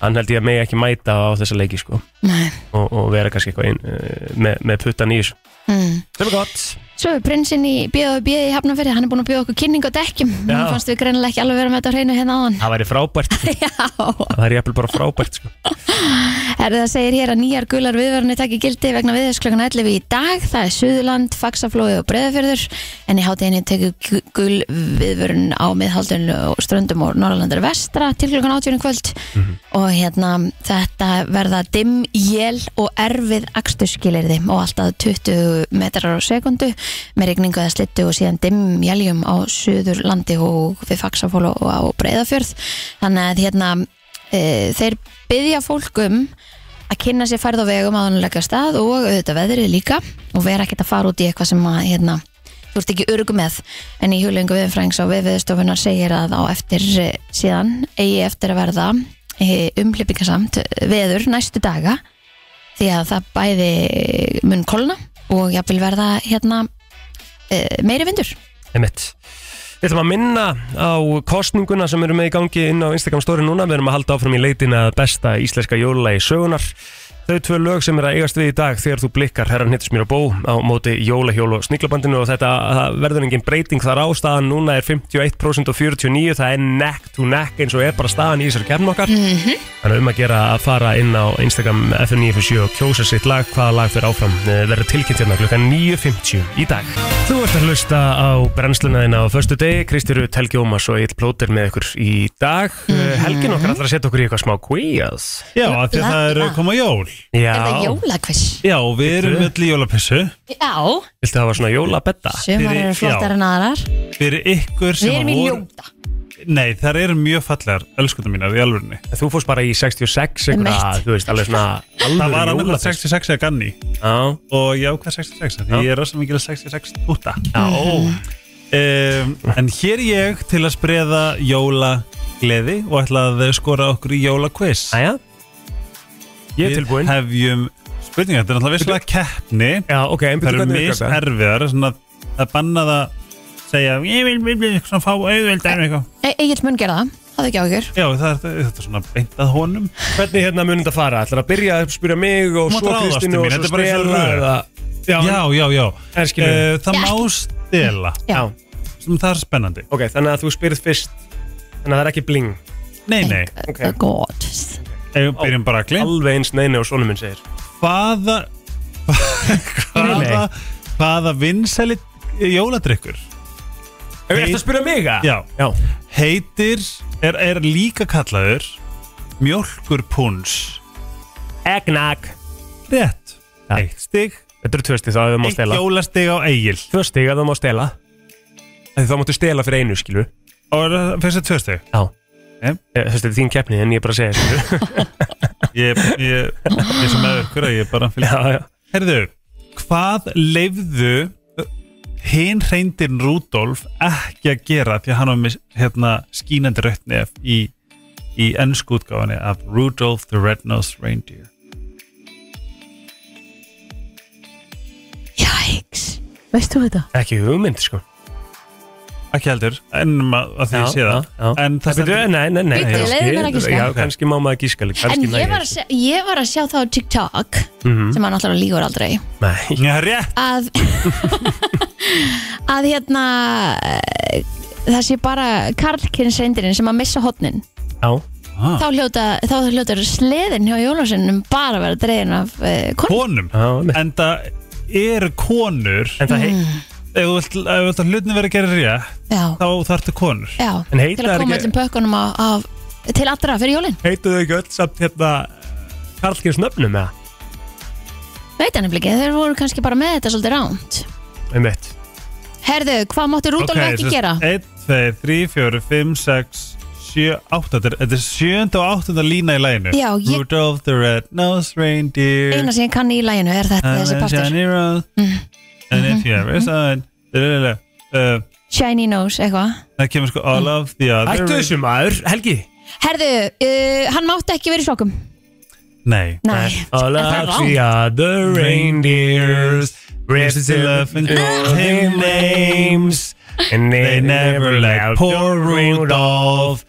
Speaker 2: hann held ég að megi ekki mæta á þessa leiki sko
Speaker 3: Nei.
Speaker 2: og, og vera kannski eitthvað inn, uh, með, með puttan í þessu
Speaker 3: Mm.
Speaker 2: sem er gott
Speaker 3: Svo er prinsinn í B.O.B. í Hafnarfyrði hann er búin að bjóða okkur kynning á dekkjum
Speaker 2: Já.
Speaker 3: hann fannst við greinilega ekki alveg vera með þetta á hreinu hérna á hann
Speaker 2: það væri frábært, sko.
Speaker 3: Já,
Speaker 2: það er jafnvel bara frábært sko.
Speaker 3: er það segir hér að nýjar gular viðvarni takki gildi vegna viðhers klukkan 11 í dag það er Suðurland, Faxaflói og Breiðafjörður en í hátíðinni tekur gu- gul viðvörun á miðhaldun og ströndum og Norrlandur vestra til klukkan 18 í kvöld og hérna þetta verða dimm, jél og erfið aksturskilirði og alltaf 20 metrar á sekundu með regningu eða slittu og síðan dimm jéljum á Suðurlandi og við Faxafól og á Breiðafjörð þannig að hérna e, þeir byggja fólkum að kynna sér færð á vegum á annulega stað og auðvitað veðrið líka og vera ekkert að fara út í eitthvað sem að hérna, þú ert ekki örugum með en í huglingu viðfrængs og viðviðstofunar segir að á eftir eh, síðan eigi eftir að verða umhlipingasamt veður næstu daga því að það bæði mun kolna og jafnvel verða hérna eh, meiri vindur
Speaker 2: Einmitt. Við ætlum að minna á kostninguna sem eru með í gangi inn á Instagram story núna. Við erum að halda áfram í leitin að besta íslenska jólalagi sögunar. Þau tvö lög sem eru að eigast við í dag þegar þú blikkar herran hittis mér á bó á móti jólahjól og sniglabandinu og þetta það verður engin breyting þar á. Staðan núna er 51% og 49%. Það er neck to neck eins og er bara staðan í þessari kemn okkar. Þannig að um að gera að fara inn á Instagram FN957 og kjósa sitt lag, hvaða lag fyrir áfram eh, verður tilkynnt hérna klukkan 9.50 í dag. Þú ert að hlusta á brennsluna þína á förstu degi, Kristi Rut, Helgi Ómas og Egil Plóter með ykkur í dag. Mm
Speaker 3: Mhm.
Speaker 2: Helgin okkar allar að setja okkur í eitthvað smá quiz.
Speaker 4: Já, af því að það er
Speaker 3: Labba.
Speaker 4: koma jól
Speaker 2: Já.
Speaker 3: Er það jólakviss?
Speaker 4: Já, við erum öll í jólapissu
Speaker 3: Já,
Speaker 2: Viltu hafa svona jólabetta?
Speaker 3: sumar
Speaker 4: Fyrir-
Speaker 3: eru flottar
Speaker 4: já.
Speaker 3: en aðrar
Speaker 4: Fyrir ykkur
Speaker 3: Við
Speaker 4: sem
Speaker 3: erum í
Speaker 4: voru
Speaker 3: ljóta
Speaker 4: Nei, það eru mjög fallegar, elskundar mínar, í alvörunni
Speaker 2: Þú fórst bara í 66 einhverja,
Speaker 3: Einmitt.
Speaker 2: þú veist, alveg svona
Speaker 4: Það var
Speaker 2: alvöru
Speaker 4: annað
Speaker 2: jólabetta.
Speaker 4: 66 eða ganni
Speaker 2: Já,
Speaker 4: og ég ákvað 66 af því
Speaker 2: Já.
Speaker 4: ég er rosa mikil 66 túta
Speaker 2: já, ó.
Speaker 3: Mm.
Speaker 4: um, En hér er ég til að spreða jóla gleði og ætla að skora okkur í jóla quiz
Speaker 2: Æja, ég er tilbúinn.
Speaker 4: Við hefjum spurningar, þetta er náttúrulega visslega keppni
Speaker 2: Já, ok, en
Speaker 4: Það
Speaker 2: byrju
Speaker 4: eru
Speaker 2: hvernig
Speaker 4: mis
Speaker 2: virkar þetta?
Speaker 4: erfiðar svona, að banna það að segja ég vil, vil, vil, svona fá auðveldar eitthvað
Speaker 3: e Egil mun gera það, hafðu ekki áhyggjur
Speaker 4: Já, það er, þetta er svona beint að honum
Speaker 2: Hvernig hérna munum þetta fara? Ætlar að byrja að spyrja mig og
Speaker 4: Þú mátt
Speaker 2: svo
Speaker 4: ráðast í
Speaker 2: Kristínu
Speaker 4: mín,
Speaker 2: og
Speaker 4: þetta
Speaker 2: svo
Speaker 4: er bara eins og
Speaker 2: Stella
Speaker 4: rör.
Speaker 2: eða... Já,
Speaker 4: Já, já, já
Speaker 2: Er skilur.
Speaker 4: Eh, Það
Speaker 3: Já,
Speaker 4: má
Speaker 3: ekki.
Speaker 4: stela
Speaker 3: Já.
Speaker 4: sem það er spennandi
Speaker 2: ok, þannig að þú spyrð fyrst Þannig að það er ekki bling
Speaker 4: Nei, nei,
Speaker 3: Thank the God
Speaker 4: ef við byrjum bara að gleym
Speaker 2: Alveg eins neini og svona minn segir
Speaker 4: Hvaða Hvaða Hvaða vinsæli jóladrykkur
Speaker 2: Ef ég eftir að spyrja mig að?
Speaker 4: Já.
Speaker 2: Já,
Speaker 4: heitir er, er líka kallaður mjólkurpúns
Speaker 2: egnag
Speaker 4: Rétt Eitt stig
Speaker 2: Þetta eru tvö stig þá að þú má
Speaker 4: Eitt
Speaker 2: stela
Speaker 4: jólastig á eigil
Speaker 2: Tvö stig að þú má stela Þegar þá máttu stela fyrir einu, skilu
Speaker 4: Og er það fyrst að tvö stig
Speaker 2: Já Eh,
Speaker 4: Nei.
Speaker 2: Þú veist, þetta er þín keppni en ég er bara að segja skilu
Speaker 4: Ég, ég, ég sem meður ykkur að ég bara fylg
Speaker 2: Já, já
Speaker 4: Herðu, hvað leifðu hinn reyndirn Rúdolf ekki að gera því að hann var með hérna, skínandi rautt nef í, í ennsku útgáfanni af Rudolph the Red-Nosed Reindeer
Speaker 3: Jæks, veist þú þetta?
Speaker 2: Ekki hugmynd, sko
Speaker 4: ekki heldur, ennum að, að því
Speaker 2: Já,
Speaker 4: ég sé það
Speaker 2: já, já.
Speaker 4: en það
Speaker 2: Bíddu,
Speaker 4: stendur
Speaker 2: Nei, nei, nei
Speaker 3: Bíddu,
Speaker 2: kannski-
Speaker 3: leyfðu mér að giska.
Speaker 2: Já, kannski má maður gíska líka
Speaker 3: En
Speaker 2: kannski næ
Speaker 3: ég var, að sjá, ég var að sjá það á TikTok
Speaker 4: Mhm.
Speaker 3: sem hann alltaf lígur aldrei
Speaker 2: Nei,
Speaker 4: Já, rétt,
Speaker 3: að að hérna eh, það sé bara karlkynns reyndirinn sem að missa hotnin
Speaker 2: já Ah.
Speaker 3: þá hljóta, þá hljóta sleðin hjá jólásinnum bara að vera dregin af uh, konum
Speaker 4: konum
Speaker 2: Já, einmitt.
Speaker 4: en það eru konur ef
Speaker 2: En það heit
Speaker 3: Mm.
Speaker 4: þú vilt ef þú vilt að hlutin verið að gera rétt
Speaker 3: já,
Speaker 4: þá þarftu konur
Speaker 3: já,
Speaker 2: En
Speaker 3: til
Speaker 2: heita
Speaker 3: að
Speaker 2: er
Speaker 3: koma
Speaker 2: ekki-
Speaker 3: öllum pökkunum á, af, til allra fyrir jólin
Speaker 2: heitu þau ekki öll samt hérna Karlkins nöfnum eða?
Speaker 3: veit hann ekki, þeir voru kannski bara með þetta svolítið ránt
Speaker 2: Einmitt.
Speaker 3: herðu, hvað máttu Rúdolf ekki gera?
Speaker 4: 1, 2, 3, 4, 5, 6 7, 8, þetta er- þetta er 7 og 8 lína í læginu
Speaker 3: Já, ég-
Speaker 4: Rudolph the Red-Nosed Reindeer
Speaker 3: eina sem ég kann í læginu er þetta
Speaker 4: and
Speaker 3: þessi
Speaker 4: a
Speaker 3: partur Mm. Mm-hmm.
Speaker 4: shiny rose and if you ever saw it da-da-da-da. Uh,
Speaker 3: shiny nose, eitthvað
Speaker 4: það kemur sko all
Speaker 3: Mm.
Speaker 4: of the other
Speaker 2: Hættu þessu maður, Helgi
Speaker 3: herðu, uh, hann mátti ekki verið í sokkum
Speaker 4: nei
Speaker 3: nei,
Speaker 2: All
Speaker 3: Er það
Speaker 2: of the
Speaker 3: rangt?
Speaker 2: other reindeers Rips in love and call him names And
Speaker 4: they never let poor Rudolph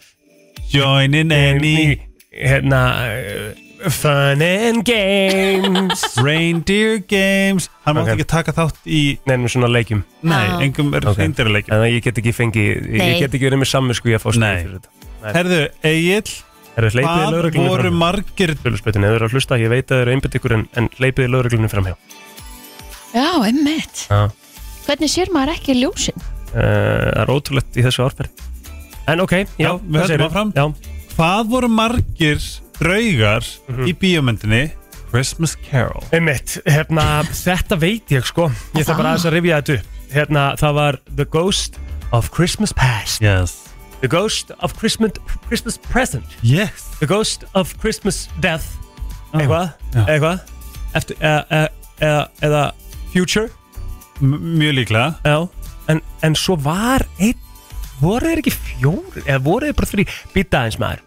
Speaker 4: join in any
Speaker 2: Hérna uh, Fun and games
Speaker 4: reindeer games hann
Speaker 2: Ok.
Speaker 4: mátti ekki taka þátt í
Speaker 2: Nefnum svona leikjum
Speaker 3: Ah.
Speaker 4: nei, engum er
Speaker 2: Ok.
Speaker 4: reindeerleikjum
Speaker 2: Þannig að ég get ekki fengið
Speaker 3: Nei.
Speaker 2: Ég get ekki verið með samvisku í að fá stig
Speaker 4: Nei.
Speaker 2: fyrir þetta
Speaker 4: herðu, Egil
Speaker 2: Er það hleypið
Speaker 4: hvað
Speaker 2: lögreglunum
Speaker 4: voru
Speaker 2: framhjá?
Speaker 4: margir
Speaker 2: Töluspötin, ef þau eru að hlusta, ég veit að þau eru einbytt ykkur en, en hleypið lögreglunum framhjá
Speaker 3: já, emmitt
Speaker 2: Já
Speaker 3: hvernig sér maður ekki ljósin?
Speaker 2: Eh, Það er ótrúlegt í þessu árferð En ok, já,
Speaker 4: Já,
Speaker 2: hvað
Speaker 4: við höldum
Speaker 2: segirðu?
Speaker 4: áfram.
Speaker 2: Já,
Speaker 4: hvað voru margir draugar í bíómyndinni Christmas Carol
Speaker 2: einmitt, hérna, þetta veit ég sko Ég þarf bara aðeins að rifja þetta upp Hérna, það var The Ghost of Christmas Past
Speaker 4: yes
Speaker 2: The Ghost of Christmas, Christmas Present
Speaker 4: yes
Speaker 2: The Ghost of Christmas Death Eitthvað,
Speaker 4: Ah. já.
Speaker 2: eitthvað e, Eftir, eh, eh, eh, Eða Future
Speaker 4: M mjög líklega
Speaker 2: Já, en, en svo var einn voru þeir ekki fjóri eða voru þeir bara þrý býta eins maður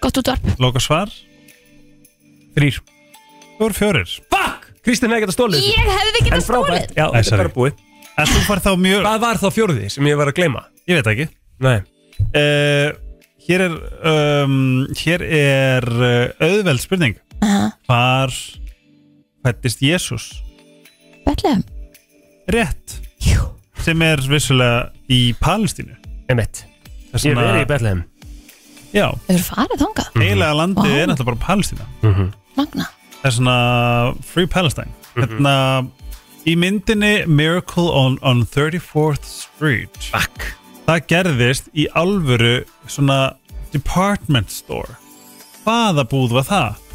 Speaker 3: Gott útvarp
Speaker 4: Loka svar
Speaker 2: þrýr
Speaker 4: Þú eru fjórir
Speaker 2: fuck Kristín hefði getað stólið þessu.
Speaker 3: Ég hefði ekki
Speaker 2: en
Speaker 3: það stólið
Speaker 2: frábært já
Speaker 4: Æ,
Speaker 2: þetta er
Speaker 4: sorry.
Speaker 2: bara búið
Speaker 4: En þú fær þá mjög
Speaker 2: hvað var þá fjórði sem ég var að gleyma
Speaker 4: Ég veit ekki
Speaker 2: nei
Speaker 4: uh, Hér er um, Hér er uh, auðveld spurning
Speaker 3: Aha.
Speaker 4: Hvar fættist Jésús?
Speaker 3: Betlehem
Speaker 4: Rétt
Speaker 3: Jú.
Speaker 4: Sem er vissulega í Palestínu
Speaker 2: emitt
Speaker 4: Þess
Speaker 2: ég
Speaker 4: vegna-
Speaker 2: verið í Mhm. Bethlehem
Speaker 4: Já,
Speaker 3: Þau eru farið þangað
Speaker 4: eiginlega landið
Speaker 3: Vá.
Speaker 4: er náttúrulega bara Palestína
Speaker 2: Mhm.
Speaker 3: Magna
Speaker 4: Það er svona Free Palestine Hérna Í myndinni Miracle on, on 34th Street
Speaker 2: fuck
Speaker 4: það gerðist í alvöru svona department store hvaða búð var það?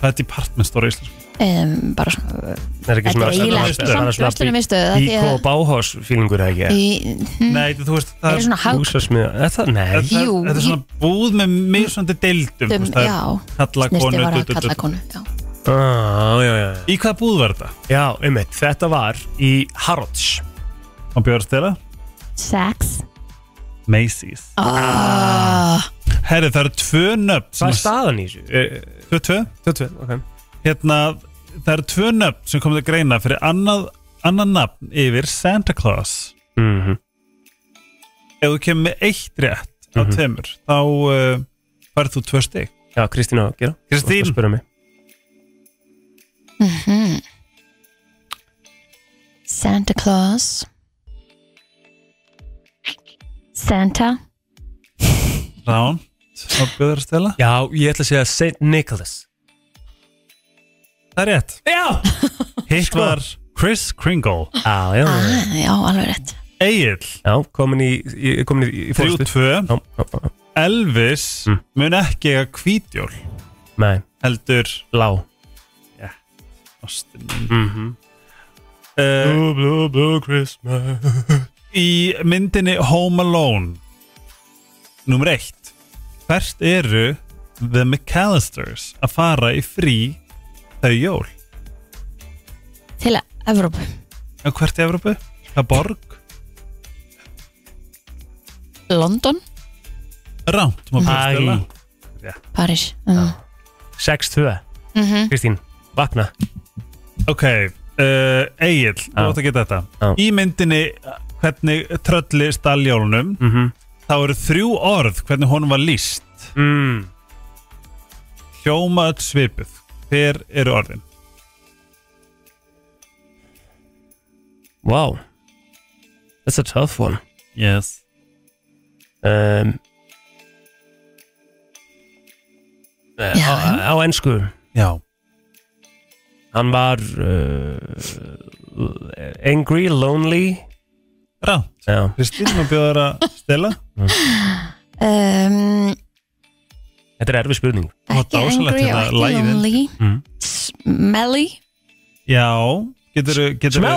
Speaker 4: Það er department store í Íslands
Speaker 3: um, Bara svona
Speaker 2: það er ekki
Speaker 3: Þetta
Speaker 2: svona
Speaker 3: er eiginlega ekki samt verslunarstöð, af því
Speaker 2: Bíko
Speaker 3: að-
Speaker 2: og Báhás fílingur eða ekki
Speaker 3: í, hm,
Speaker 4: Nei, þú veist,
Speaker 3: Er
Speaker 4: það
Speaker 3: það svona hag-
Speaker 2: húsasmiða er það? nei
Speaker 4: það-
Speaker 3: Jú,
Speaker 4: Þetta er svona búð með misandi deildum þú
Speaker 3: Dum,
Speaker 4: veist, það er
Speaker 3: já.
Speaker 4: Kallakonu
Speaker 3: Snirti var
Speaker 4: du-
Speaker 3: að
Speaker 4: du- du-
Speaker 3: kalla konu já.
Speaker 2: Ah, já, já, já.
Speaker 4: Í hvaða búð var þetta?
Speaker 2: já, einmitt, þetta var í Harrods
Speaker 4: Á Björnstela?
Speaker 3: Sex
Speaker 4: Macy's
Speaker 3: ah.
Speaker 4: Herri, það eru tvö nöfn
Speaker 2: Hvað er
Speaker 4: sem-
Speaker 2: staðan í þessu?
Speaker 4: Tvö, tvö?
Speaker 2: 22, ok
Speaker 4: Hérna, það eru tvö nöfn sem komið að greina fyrir annað, annað nafn yfir Santa Claus
Speaker 2: mm -hmm.
Speaker 4: ef þú kemur með eitt rétt á tveimur, þá uh, færð þú tvö stig.
Speaker 2: Já, Kristín á að gera
Speaker 4: Kristín.
Speaker 2: Þú varst að spyrja mig.
Speaker 3: Santa Claus Santa
Speaker 4: Rán, á bjöður að stela.
Speaker 2: Já, ég ætla að segja St. Nicholas
Speaker 4: Það er rétt.
Speaker 2: Já
Speaker 4: Hitt var Chris Kringle.
Speaker 2: Já, já,
Speaker 3: ah,
Speaker 2: já.
Speaker 3: Já, alveg rétt
Speaker 4: Egil,
Speaker 2: já komin í, í, komin í, í fórstu
Speaker 4: 32.
Speaker 2: Já, já, já.
Speaker 4: Elvis
Speaker 2: Mm.
Speaker 4: mun ekki að kvítjól,
Speaker 2: Nei,
Speaker 4: heldur
Speaker 2: lá
Speaker 4: ástin mín. Uh,
Speaker 2: blue, blue Christmas
Speaker 4: í myndinni Home Alone, nummer eitt. Hvert eru The McAllisters að fara í frí þau jól?
Speaker 3: Til Evrópu
Speaker 4: Já, hvert í Evrópu? Hvað borg?
Speaker 3: London,
Speaker 4: Ránt, maður bjöður að stela.
Speaker 2: Æ,
Speaker 3: Paris um,
Speaker 2: 6-2
Speaker 3: Mhm.
Speaker 2: Kristín, vakna
Speaker 4: Ok, uh, Egil, þú
Speaker 2: Já.
Speaker 4: átt að geta þetta
Speaker 2: Já.
Speaker 4: Í myndinni hvernig trölli stalljólunum
Speaker 2: mm -hmm.
Speaker 4: þá eru þrjú orð hvernig honum var líst
Speaker 2: mm.
Speaker 4: Hjóma öll svipuð Hver eru orðin?
Speaker 2: Wow That's a tough one
Speaker 4: Yes
Speaker 2: um, eh,
Speaker 3: Já.
Speaker 2: á, á ennsku
Speaker 4: Já,
Speaker 2: Hann var uh, Angry, lonely
Speaker 4: ránt
Speaker 2: Já,
Speaker 4: Kristín, maður bjóður að stela
Speaker 3: um,
Speaker 2: þetta er erfið spurning
Speaker 4: var
Speaker 3: Ekki
Speaker 4: dásamlegt
Speaker 3: angry og
Speaker 4: hérna,
Speaker 3: ekki
Speaker 4: lagið
Speaker 3: lonely
Speaker 2: Mm.
Speaker 3: Smelly
Speaker 4: Já, geturðu getur,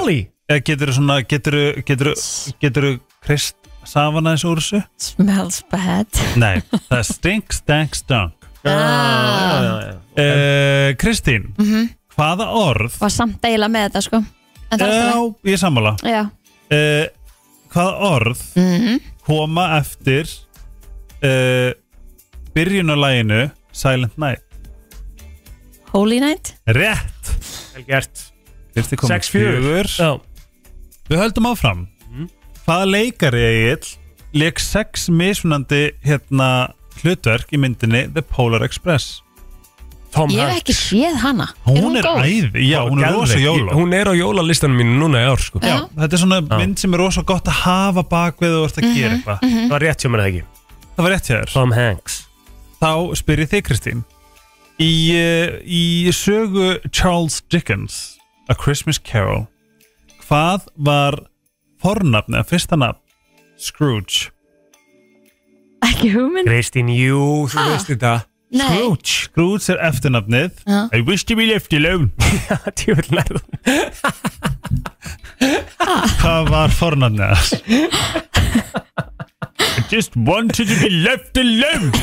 Speaker 4: Geturðu svona, geturðu geturðu geturðu Krist safana þessu úr þessu?
Speaker 3: Smells bad
Speaker 4: Nei, það er stink, stank, stunk
Speaker 3: Ah,
Speaker 2: Já, já, já.
Speaker 4: uh, Kristín, hvaða orð
Speaker 3: Var samt deila með þetta sko En það er
Speaker 4: Já,
Speaker 3: alltaf
Speaker 4: ég er sammála
Speaker 3: leið. Já
Speaker 4: uh, hvaða orð
Speaker 3: Mhm.
Speaker 4: koma eftir uh, byrjunalæginu Silent Night
Speaker 3: Holy Night
Speaker 4: rétt
Speaker 2: Vel gert
Speaker 4: Fyrsti kom
Speaker 2: 6-4
Speaker 4: fjögur.
Speaker 2: Já.
Speaker 4: við höldum áfram hvaða leikari Egill leik sex mismunandi hérna hlutverk í myndinni The Polar Express
Speaker 2: Tom
Speaker 3: Ég hef
Speaker 2: Hanks
Speaker 3: ekki séð hana
Speaker 4: hún,
Speaker 3: hún
Speaker 4: er
Speaker 3: góð?
Speaker 4: æði, já hún er
Speaker 2: Geðveik.
Speaker 4: rosa jóla
Speaker 2: Hún er á jólalistanum mínu núna í ár sko.
Speaker 3: Já.
Speaker 4: þetta er svona mynd sem er rosa gott að hafa bak við og þú ert að
Speaker 3: Mhm.
Speaker 4: gera eitthvað
Speaker 2: Það var rétt hjá mér eða ekki
Speaker 4: það var rétt hjá þér
Speaker 2: Tom Hanks
Speaker 4: þá spyr ég þig Kristín í, eh, í sögu Charles Dickens A Christmas Carol hvað var fornafni að fyrsta nafn Scrooge
Speaker 3: Ekki hugmynd
Speaker 2: Kristín, jú, þú veist þetta
Speaker 3: Nei
Speaker 4: Scrooge, Scrooge er eftirnafnið
Speaker 3: Já.
Speaker 4: I wish to be left alone
Speaker 2: Djöfull nærðu.
Speaker 4: hvað var fornafnið hans I just wanted to be left alone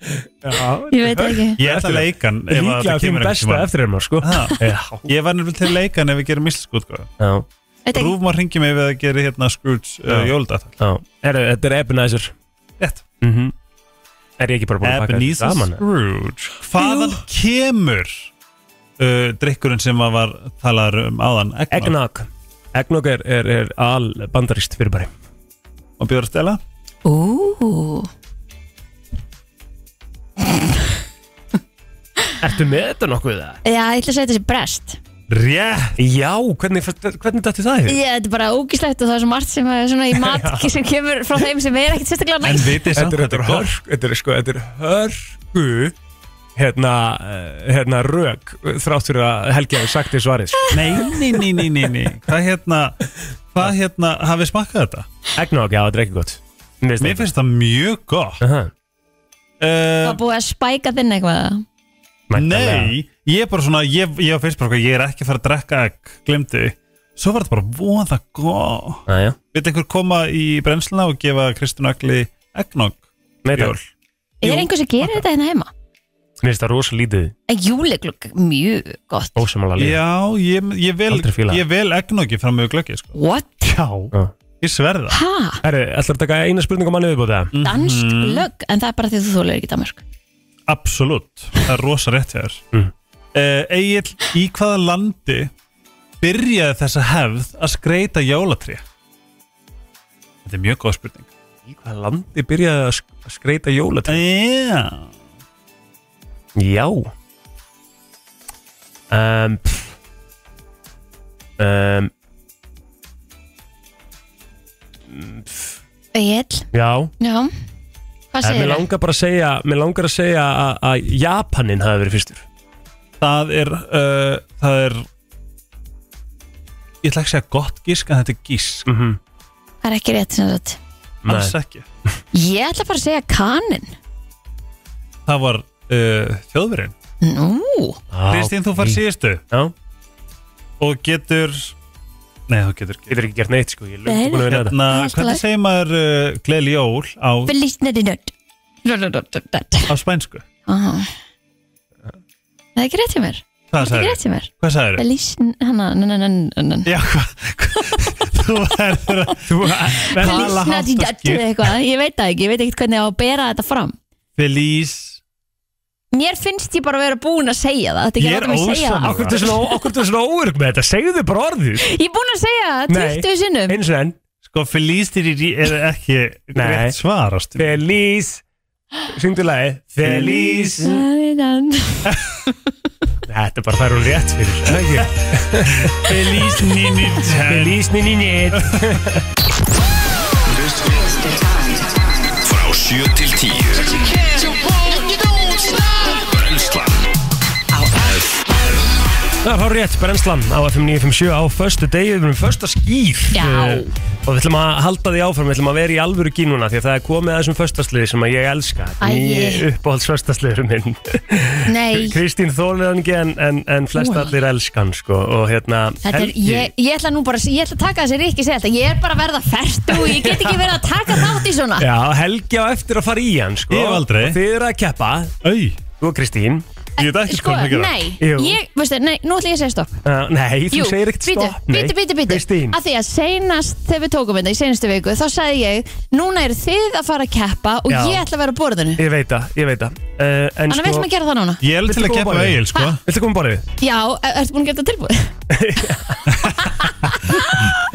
Speaker 3: Ég veit það ekki.
Speaker 4: Ég ætla að leika hann ef að
Speaker 2: Líklega
Speaker 4: þetta
Speaker 2: að
Speaker 4: kemur
Speaker 2: fimm
Speaker 4: einhvern
Speaker 2: besta
Speaker 4: tímann.
Speaker 2: eftir þeim sko
Speaker 4: Ha.
Speaker 2: Já,
Speaker 4: Ég var nefnilega til að leika hann ef við gerum mislisku útgáðu
Speaker 2: já,
Speaker 3: Veit ekki.
Speaker 4: Rúf má ringi mig við að gera hérna Scrooge uh,
Speaker 2: Já.
Speaker 4: jóldatal
Speaker 2: já Herru, þetta er Ebenezer
Speaker 4: Rétt.
Speaker 2: Mhm. Er ég ekki bara búin að pakka þetta
Speaker 4: Ebenezer
Speaker 2: saman?
Speaker 4: Scrooge Hvaðan kemur uh, drikkurinn sem að var talaður um áðan Eggnog
Speaker 2: Eggnog Eggnog er, er, er al bandarist fyrirbæri
Speaker 4: og bjóður að stela
Speaker 3: Ú,
Speaker 2: Ertu með þetta nokkuð það?
Speaker 3: já, ég ætla að segja þessi brest
Speaker 2: Rétt Já, hvernig, hvernig dætti það í þig?
Speaker 3: Ég, þetta er bara ógislegt og það er svo margt sem er svona í mat sem kemur frá þeim sem er ekkert sérstaklega
Speaker 4: En
Speaker 3: næst
Speaker 4: vitið samt
Speaker 2: Þetta er,
Speaker 4: að
Speaker 2: þetta er
Speaker 4: gott.
Speaker 2: hörk Þetta er sko, þetta er hörku Hérna, eh, hérna rök Þrátt fyrir að Helgi hafi sagt því svarið sko.
Speaker 4: Nei, nei, nei, nei, nei, nei Hvað hérna, hvað hérna hafið smakkað þetta?
Speaker 2: Eggnog, já, þetta er ekki gott
Speaker 4: Mér finnst það mjög gott
Speaker 2: Aha,
Speaker 4: uh,
Speaker 3: Það er búið að spæka þinn eitthvað
Speaker 4: Nei, ég er bara svona Ég, ég á Facebook og ég er ekki að fara að drekka egg Glemdi, svo var þetta bara voða gott
Speaker 2: Næja
Speaker 4: Vil einhver koma í brennsluna og gefa Kristján Ögli eggnog?
Speaker 2: Nei,
Speaker 4: Jól.
Speaker 2: takk
Speaker 3: Er einhver sem gerir þetta hérna heima?
Speaker 2: Mér finnst það rosa lítið
Speaker 3: En júleglugg, mjög gott
Speaker 2: Ósamalega lítið
Speaker 4: Já, ég, ég vel,
Speaker 2: Aldrei fílað.
Speaker 4: ég vel eggnogi fram með glöggi sko.
Speaker 3: What?
Speaker 4: Já,
Speaker 2: Já.
Speaker 4: ég sverða
Speaker 3: Ha?
Speaker 2: Herri, ætlar að taka eina spurningu manni viðbúta?
Speaker 3: Dansk
Speaker 4: Mhm.
Speaker 3: lögg? En það er bara því að þú þólar ekki Danmark
Speaker 4: Absolutt, það er rosa rétt hjá þér mm.
Speaker 2: Mm.
Speaker 4: Egil, í hvaða landi byrjaði þessa hefð að skreita jólatrí? Þetta er mjög góð spurning
Speaker 2: Í hvaða landi byrjaði að sk- að skreita jólatré?
Speaker 4: Já,
Speaker 2: Já um, pff. um,
Speaker 3: Egil,
Speaker 2: Já
Speaker 3: já Hvað
Speaker 2: en Mér
Speaker 3: segir
Speaker 2: langar bara að segja Mér langar að segja að, að Japanin hafi verið fyrstur
Speaker 4: það er uh, það er ég ætla ekki að segja gott gísk en þetta er gísk,
Speaker 2: mm -hmm.
Speaker 3: Það er ekki rétt sem sagt
Speaker 4: Mhm. alls ekki
Speaker 3: Ég ætla bara að segja kanin
Speaker 4: Það var uh, þjóðverinn
Speaker 3: Nú,
Speaker 4: Kristín, þú far síðustu
Speaker 2: Já,
Speaker 4: og getur Nei, þú getur ekki
Speaker 2: getur ekki gert neitt sko Ég er
Speaker 3: Nei,
Speaker 2: löngu búin að vinna þetta
Speaker 3: Það
Speaker 4: Hérna,
Speaker 3: er allt í
Speaker 4: hvernig
Speaker 3: lagi.
Speaker 4: segir maður uh, gleyli jól á,
Speaker 3: belýstnætti nödd Röddöddöddödd.
Speaker 4: á spænsku?
Speaker 3: Aha. Það er ekki rétt hjá mér Það
Speaker 4: Hvað
Speaker 3: er ekki
Speaker 4: sagði
Speaker 3: rétt hjá mér
Speaker 4: Hvað sagði þau?
Speaker 3: Belýstn, hana, nann, nann, nann
Speaker 4: Já, hvað? þú verður að þú verður að tala
Speaker 3: Belýstnætti
Speaker 4: hátt og
Speaker 3: nödd
Speaker 4: skýrt.
Speaker 3: eitthvað Ég veit það ekki, ég veit ekkert hvernig á að bera þetta fram
Speaker 4: Feliz
Speaker 3: Mér finnst ég bara að vera búin að segja það Þetta
Speaker 4: Ég
Speaker 3: er ekki
Speaker 4: er
Speaker 3: rátt að segja
Speaker 4: ósammála.
Speaker 3: það
Speaker 2: Akkur til svona, akkur til svona óörg með þetta Segðu bara orðið
Speaker 3: Ég er búin að segja það
Speaker 2: Nei.
Speaker 3: 20 sinnum
Speaker 2: Eins og enn
Speaker 4: Sko, Feliz dýri er ekki
Speaker 2: Nei.
Speaker 4: rétt svarast
Speaker 2: Feliz Syngdu lagi Feliz Þetta er bara þær hún rétt fyrir er það ekki?
Speaker 4: Feliz nínit
Speaker 2: Feliz ninni nýtt
Speaker 1: Frá 7 til 10 Brenslan
Speaker 2: Það er hár rétt, brennslan á FM 957 á föstu degi, við erum fösta skýr
Speaker 3: Já.
Speaker 2: Eh, Og við ætlum að halda því áfram, við ætlum að vera í alvöru gínuna Því að það er komið að þessum föstasliði sem að ég elska
Speaker 3: Æi.
Speaker 2: Uppáhalds föstasliður minn
Speaker 3: Nei,
Speaker 2: Kristín þólið hann ekki en, en, en flest
Speaker 3: Úa.
Speaker 2: allir elskan sko Og hérna
Speaker 3: þetta er,
Speaker 2: Helgi-
Speaker 3: ég, ég ætla nú bara að- Ég ætla að taka þessi Rikki segja þetta Ég er bara að verða fært og ég get ekki verið að taka þátt í svona
Speaker 2: Já, Helgi á eftir að fara í hann sko
Speaker 4: Ég hef aldrei.
Speaker 2: Og Þið eru að keppa,
Speaker 4: Æ,
Speaker 2: þú og Kristín
Speaker 4: ég veit ekki
Speaker 3: Sko,
Speaker 4: hvað það gera
Speaker 3: nei,
Speaker 2: Jú.
Speaker 3: ég, veistu, nei, nú ætla ég að segja stopp
Speaker 2: uh, Nei, þú segir ekkert stopp nei.
Speaker 3: bítu, bítu, bítu
Speaker 2: Kristín,
Speaker 3: Af því að seinast þegar við tókum þetta í senastu viku Þá sagði ég, núna eru þið að fara að keppa Og
Speaker 2: Já.
Speaker 3: ég ætla að vera á borðinu
Speaker 2: ég veit það, ég veit það uh, En
Speaker 3: Þannig
Speaker 2: sko,
Speaker 3: viltum að gera það núna
Speaker 4: Ég er alveg til
Speaker 2: Viltu
Speaker 4: að
Speaker 2: koma
Speaker 4: keppa
Speaker 2: bara
Speaker 4: við
Speaker 2: við?
Speaker 4: Egil, sko
Speaker 2: viltu koma bara við?
Speaker 3: Já, er- ertu búin að gera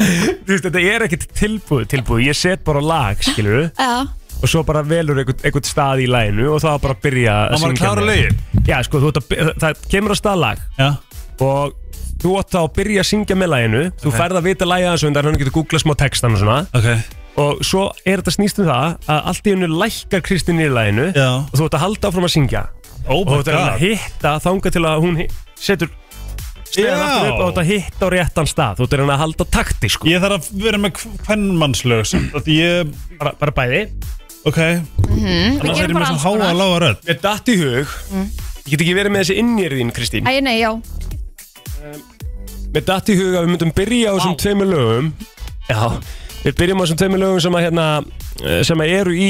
Speaker 3: þetta tilbúið?
Speaker 2: Þú veist, þetta er ekkert tilbúið, tilbúið, ég set bara lag, skilur
Speaker 3: Já,
Speaker 2: og svo bara velur einhvern, einhvern stað í læginu og þá bara byrja
Speaker 4: Má maður
Speaker 2: syngja
Speaker 4: klára
Speaker 2: með.
Speaker 4: lögin?
Speaker 2: Já, sko, þú ert að, by- það kemur að stað lag
Speaker 4: Já,
Speaker 2: og þú átt þá að byrja að syngja með læginu þú færð að vita lægið þessu undan, hann getur googlað smá textan og svona
Speaker 4: ok
Speaker 2: og svo er þetta snýst um það að allt í hennu lækkar Kristín í læginu
Speaker 4: Já.
Speaker 2: og þú ert að halda áfram að syngja
Speaker 4: Oh
Speaker 2: og þú
Speaker 4: my
Speaker 2: ert að
Speaker 4: god
Speaker 2: hitta þanga til að hún hi- setur stegan aftur upp og þú ert að hitta á réttan stað þú ert að reyna að halda takti, sko
Speaker 4: Ég þarf að vera með kvennmannslög Ég,
Speaker 2: bara, bara bæði
Speaker 4: ok Annars
Speaker 3: við
Speaker 4: er ég
Speaker 3: gerum
Speaker 4: með
Speaker 3: bara
Speaker 4: svo
Speaker 3: alls
Speaker 4: háa
Speaker 3: konar
Speaker 4: lága rödd
Speaker 2: Mér datt í hug Ég get ekki verið með þessi innýrið þín, Kristín
Speaker 3: Æ, nei, já
Speaker 2: Mér datt í hug að við myndum byrja á þessum tveimur lögum Já Við byrjum á þessum tveimur lögum sem að hérna eh, sem að eru í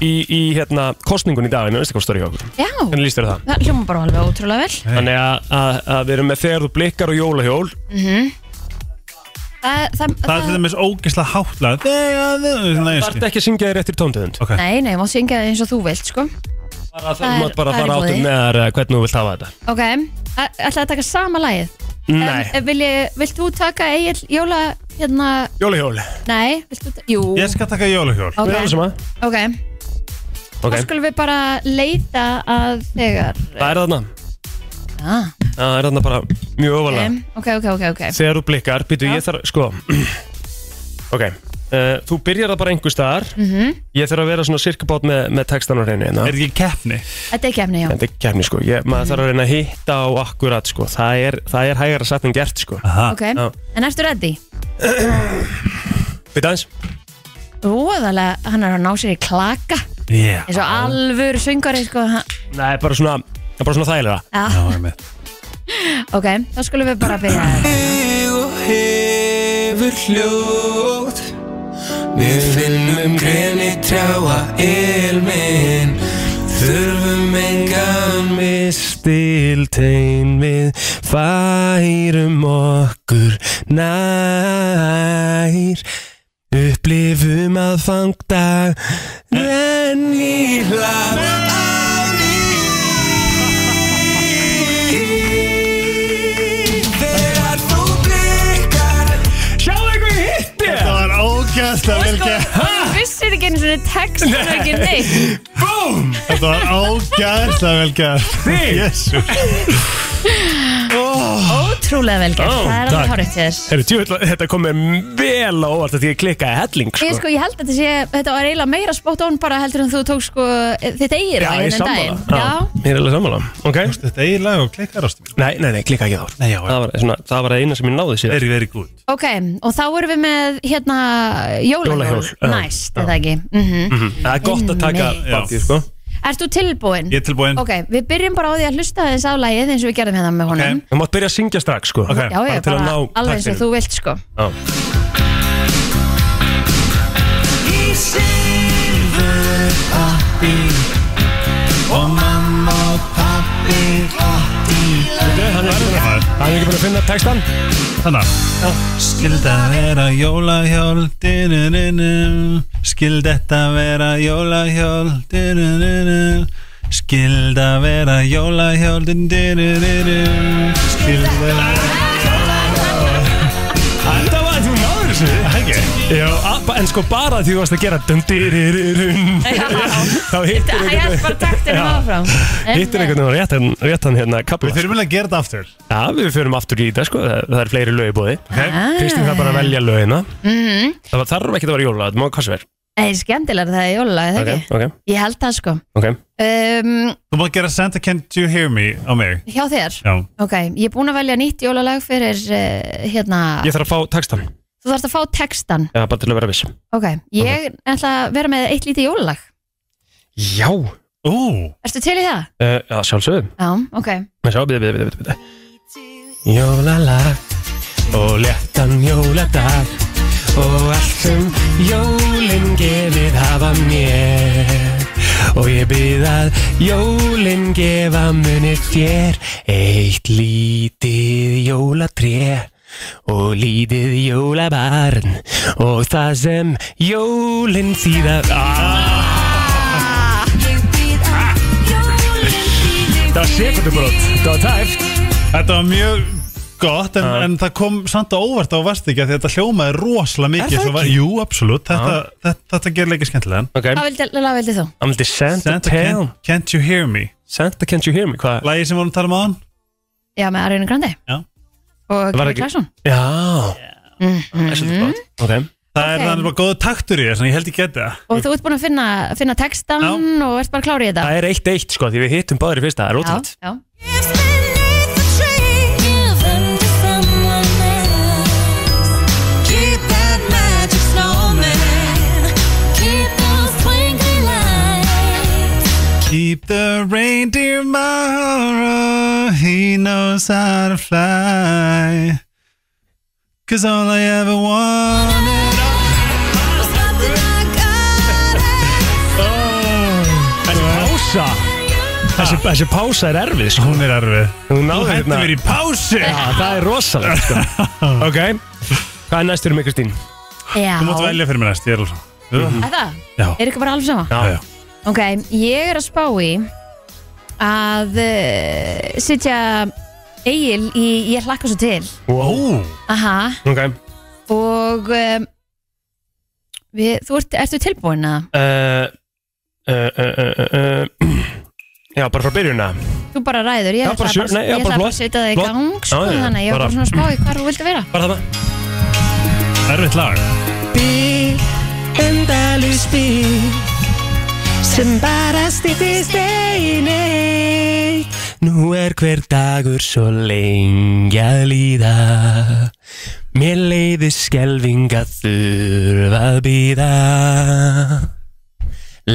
Speaker 2: í, í hérna, kostningun í dag en einstakostar í okkur
Speaker 3: Já,
Speaker 2: Hvernig líst þér á það?
Speaker 3: það hljóma bara alveg ótrúlega vel
Speaker 2: Þannig að, að, að við erum með þegar þú blikkar og jólahjól
Speaker 3: mm það, það,
Speaker 4: Það er til dæmis ógeðslega hátlega Þegar þau Það
Speaker 2: Það ert ekki að syngja þér eftir tóntöðund
Speaker 4: Ok.
Speaker 3: Nei, nei, maður syngja það eins og þú vilt, sko
Speaker 2: Bara
Speaker 3: það
Speaker 2: það
Speaker 3: er-
Speaker 2: mátt bara
Speaker 3: það er
Speaker 2: fara
Speaker 3: í
Speaker 2: áttum
Speaker 3: boði.
Speaker 2: með þær, eh, hvernig þú vilt hafa þetta
Speaker 3: Ok, ætlaði að taka sama lagið
Speaker 2: Nei,
Speaker 3: En eh, vil ég, vilt þú taka Egil Jóla, hérna,
Speaker 2: jólahjól
Speaker 3: nei, vilt þú taka, jú
Speaker 4: Ég skal taka jólahjól
Speaker 3: Ok,
Speaker 2: Við erum sama
Speaker 3: ok,
Speaker 2: Ok,
Speaker 3: þá skulum við bara leita að þegar
Speaker 2: það er þarna
Speaker 3: ah,
Speaker 2: Það er þarna bara mjög ofalega
Speaker 3: okay. ok, ok, ok, ok
Speaker 2: Þegar þú blikkar, býtu ég þarf, sko Ok, uh, þú byrjar það bara einhver staðar
Speaker 3: Mhm.
Speaker 2: Ég þarf að vera svona sirkabát með, með textan á reyni hérna.
Speaker 4: Er ekki keppni?
Speaker 3: Þetta er kemni, já
Speaker 2: Þetta er kemni, sko ég, Maður þarf að reyna að hitta á akkurat, sko Það er, það er hægara satt en gert, sko
Speaker 4: Aha.
Speaker 3: Ok, en ertu ready?
Speaker 2: Býtu aðeins
Speaker 3: Róðalega, hann er að ná sér í klaka
Speaker 4: Yeah.
Speaker 3: eins og alvöru söngari, sko ha-
Speaker 2: Nei, bara svona, það er bara svona þægilega
Speaker 3: Já,
Speaker 4: Já, ég með
Speaker 3: ok, þá skulum við bara byrja
Speaker 1: hefur hljóð Við finnum greni trjáa ilmin Þurfum engan mistil tein við færum okkur nær Upplifum að fangta en í hlað Þegar þú blikkar
Speaker 2: Sjáðu einhver hitti
Speaker 4: Það var ógeðslega vel gert
Speaker 3: Þú vissir ekki einu svona text og ekki neitt
Speaker 2: Búm
Speaker 4: Þetta var ógeðslega vel gert
Speaker 2: Þig.
Speaker 4: Jésús
Speaker 3: Ótrúlega vel
Speaker 2: Ó,
Speaker 3: gert, það er
Speaker 2: takk.
Speaker 3: alveg hárið til þess
Speaker 2: Heru, tjú, Þetta kom mér vel á óvart að ég klikkaði helling sko.
Speaker 3: Ég, sko, ég held að þetta sé, þetta var eiginlega meira spot on bara heldur en þú tók sko þitt eigir
Speaker 2: Já, ég er sammála
Speaker 3: Já,
Speaker 2: Ég er alveg sammála Ok
Speaker 4: Þetta er lag og klikkar ástum
Speaker 2: Nei, nei, nei, klikka ekki þá
Speaker 4: Nei, já, já.
Speaker 2: það, var, svona, það var eina sem ég náði síðan
Speaker 4: Very, very good
Speaker 3: ok, og þá erum við með hérna jólahjól
Speaker 2: Jólahjól, já. Mhm.
Speaker 3: Næst, þetta ekki mm
Speaker 2: Það er gott að taka
Speaker 3: Einmitt.
Speaker 2: partíð, sko
Speaker 3: Ert þú tilbúin?
Speaker 4: Ég er tilbúin
Speaker 3: Ok, við byrjum bara á því að hlusta aðeins á lagið eins og við gerðum hérna með honum
Speaker 2: Það mátt byrja að syngja strax, sko
Speaker 4: Ok.
Speaker 3: Já, já,
Speaker 2: bara til að
Speaker 3: bara
Speaker 2: ná
Speaker 3: alveg eins og þú vilt sko
Speaker 2: taktinum.
Speaker 4: Þannig
Speaker 2: Það er ekki búin að finna textan
Speaker 4: að Skildi að vera jólahjól dinu-ninu. Skildi þetta vera jólahjól dinu-ninu. Skildi að vera jólahjól dinu-ninu. Skildi að vera
Speaker 2: Þetta var því náður þessu Já, að- ba- en sko bara því þú varst að gera dum-dýrirun Þá hittir
Speaker 3: Það er bara taktinum
Speaker 2: Já.
Speaker 3: áfram En,
Speaker 2: Hittir einhvern veginn á réttan, réttan hérna kapla
Speaker 4: Við þurfum alveg að gera þetta aftur
Speaker 2: Já, við förum aftur í þetta sko, það, það er fleiri lög í bóði
Speaker 3: Ah.
Speaker 2: Kristín þarf bara að velja lögina
Speaker 3: Mhm.
Speaker 2: Það var, þarf ekki að vera jóla, þetta má hvað sem er
Speaker 3: Það er skemmtilega það er jólalagið, það ekki?
Speaker 2: ok,
Speaker 3: Ég held það sko
Speaker 2: ok
Speaker 3: um,
Speaker 4: Þú mátt gera Santa Can't You Hear Me á mig
Speaker 3: Hjá þér
Speaker 4: Já
Speaker 3: Ok, ég er búin að velja nýtt jólalag fyrir uh, hérna,
Speaker 2: Ég þarf að fá textan,
Speaker 3: þú þarfst að fá textan
Speaker 2: já, bara til að vera viss
Speaker 3: Ok, ég ætla að vera með eitt lítið jólalag
Speaker 2: Já uh,
Speaker 4: Ú
Speaker 3: Ertu til í það?
Speaker 2: Já, Eh, sjálfsögðu
Speaker 3: Já, ok
Speaker 2: Mér sjá, byrja, byrja, byrja, byrja Jólalag og léttan jóladag og allt sem jólin gefið hafa mér og ég byrð að jólin gefa munir þér eitt lítið jólatré og lítið jólabarn og það sem jólin þýða ah, Það var sekundurbrot, það var tæft
Speaker 4: Þetta var mjög gott en, en það kom samt á óvart á varst ekki af því að þetta hljómaði rosalega mikið
Speaker 2: það
Speaker 4: svo var, Jú, absolutt Þetta, þetta, þetta gerir leikir skemmtilegan
Speaker 2: Ok,
Speaker 3: Hvað vildi, hvað vildi þú?
Speaker 2: I'm the Santa,
Speaker 4: Santa
Speaker 2: Town
Speaker 4: can't, can't You Hear Me
Speaker 2: Santa, can't you hear me? Hvað?
Speaker 4: Lægi sem vorum að tala um á hann
Speaker 3: Já, með Arjuna Grandi
Speaker 4: Já.
Speaker 3: Og
Speaker 2: var
Speaker 3: Kjell
Speaker 2: ekki-
Speaker 3: Klarsson
Speaker 2: Já Það er svolítið gott Ok
Speaker 4: Það er
Speaker 3: Ok.
Speaker 4: þannig bara góða taktur í þess Þannig ég held ég geti það
Speaker 3: Og þú ert búin að finna, finna textan og ert bara klárið í þetta
Speaker 2: Það er eitt eitt sko Því við hittum báðir í fyrsta Það er ótrútt
Speaker 3: já, já.
Speaker 4: Keep the reindeer Mara He knows how to fly Cause all I ever wanted Oh
Speaker 2: þessi, þessi pása er erfið sko.
Speaker 4: Hún er erfið
Speaker 2: Hún
Speaker 4: Þú
Speaker 2: náði
Speaker 4: hendur
Speaker 2: hérna-
Speaker 4: mér í pásu
Speaker 2: Já, það er rosalegt sko. Ok Hvað er næstur um ykkur stín?
Speaker 3: Já.
Speaker 4: Þú mátt velja fyrir mér næst, ég er alveg svo
Speaker 3: Er það?
Speaker 4: Já.
Speaker 3: Er ykkur bara alveg sama?
Speaker 4: Já, já
Speaker 3: Ok, ég er að spá í að uh, sitja Egil í Ég hlakka svo til
Speaker 2: Wow
Speaker 3: Aha,
Speaker 2: Ok
Speaker 3: og um, við, þú ert, ertu tilbúin að
Speaker 2: uh, uh, uh, uh, uh. Já, bara frá byrjunna
Speaker 3: þú bara ræður, ég
Speaker 2: Já, bara
Speaker 3: ætla bara,
Speaker 2: sure, nei, já, bara
Speaker 3: ég ætla bara
Speaker 2: flott,
Speaker 3: að setja það í
Speaker 2: flott.
Speaker 3: gang sko,
Speaker 2: Já, já,
Speaker 3: þannig að ég var bara
Speaker 2: bara-
Speaker 3: svona að spá í hvar þú vildi vera
Speaker 2: Bara þarna
Speaker 4: Erfitt lag
Speaker 9: Bíl, endalus bíl sem bara stýttist einu
Speaker 2: Nú er hver dagur svo lengi að líða Mér leiði skelving að þurfa að býða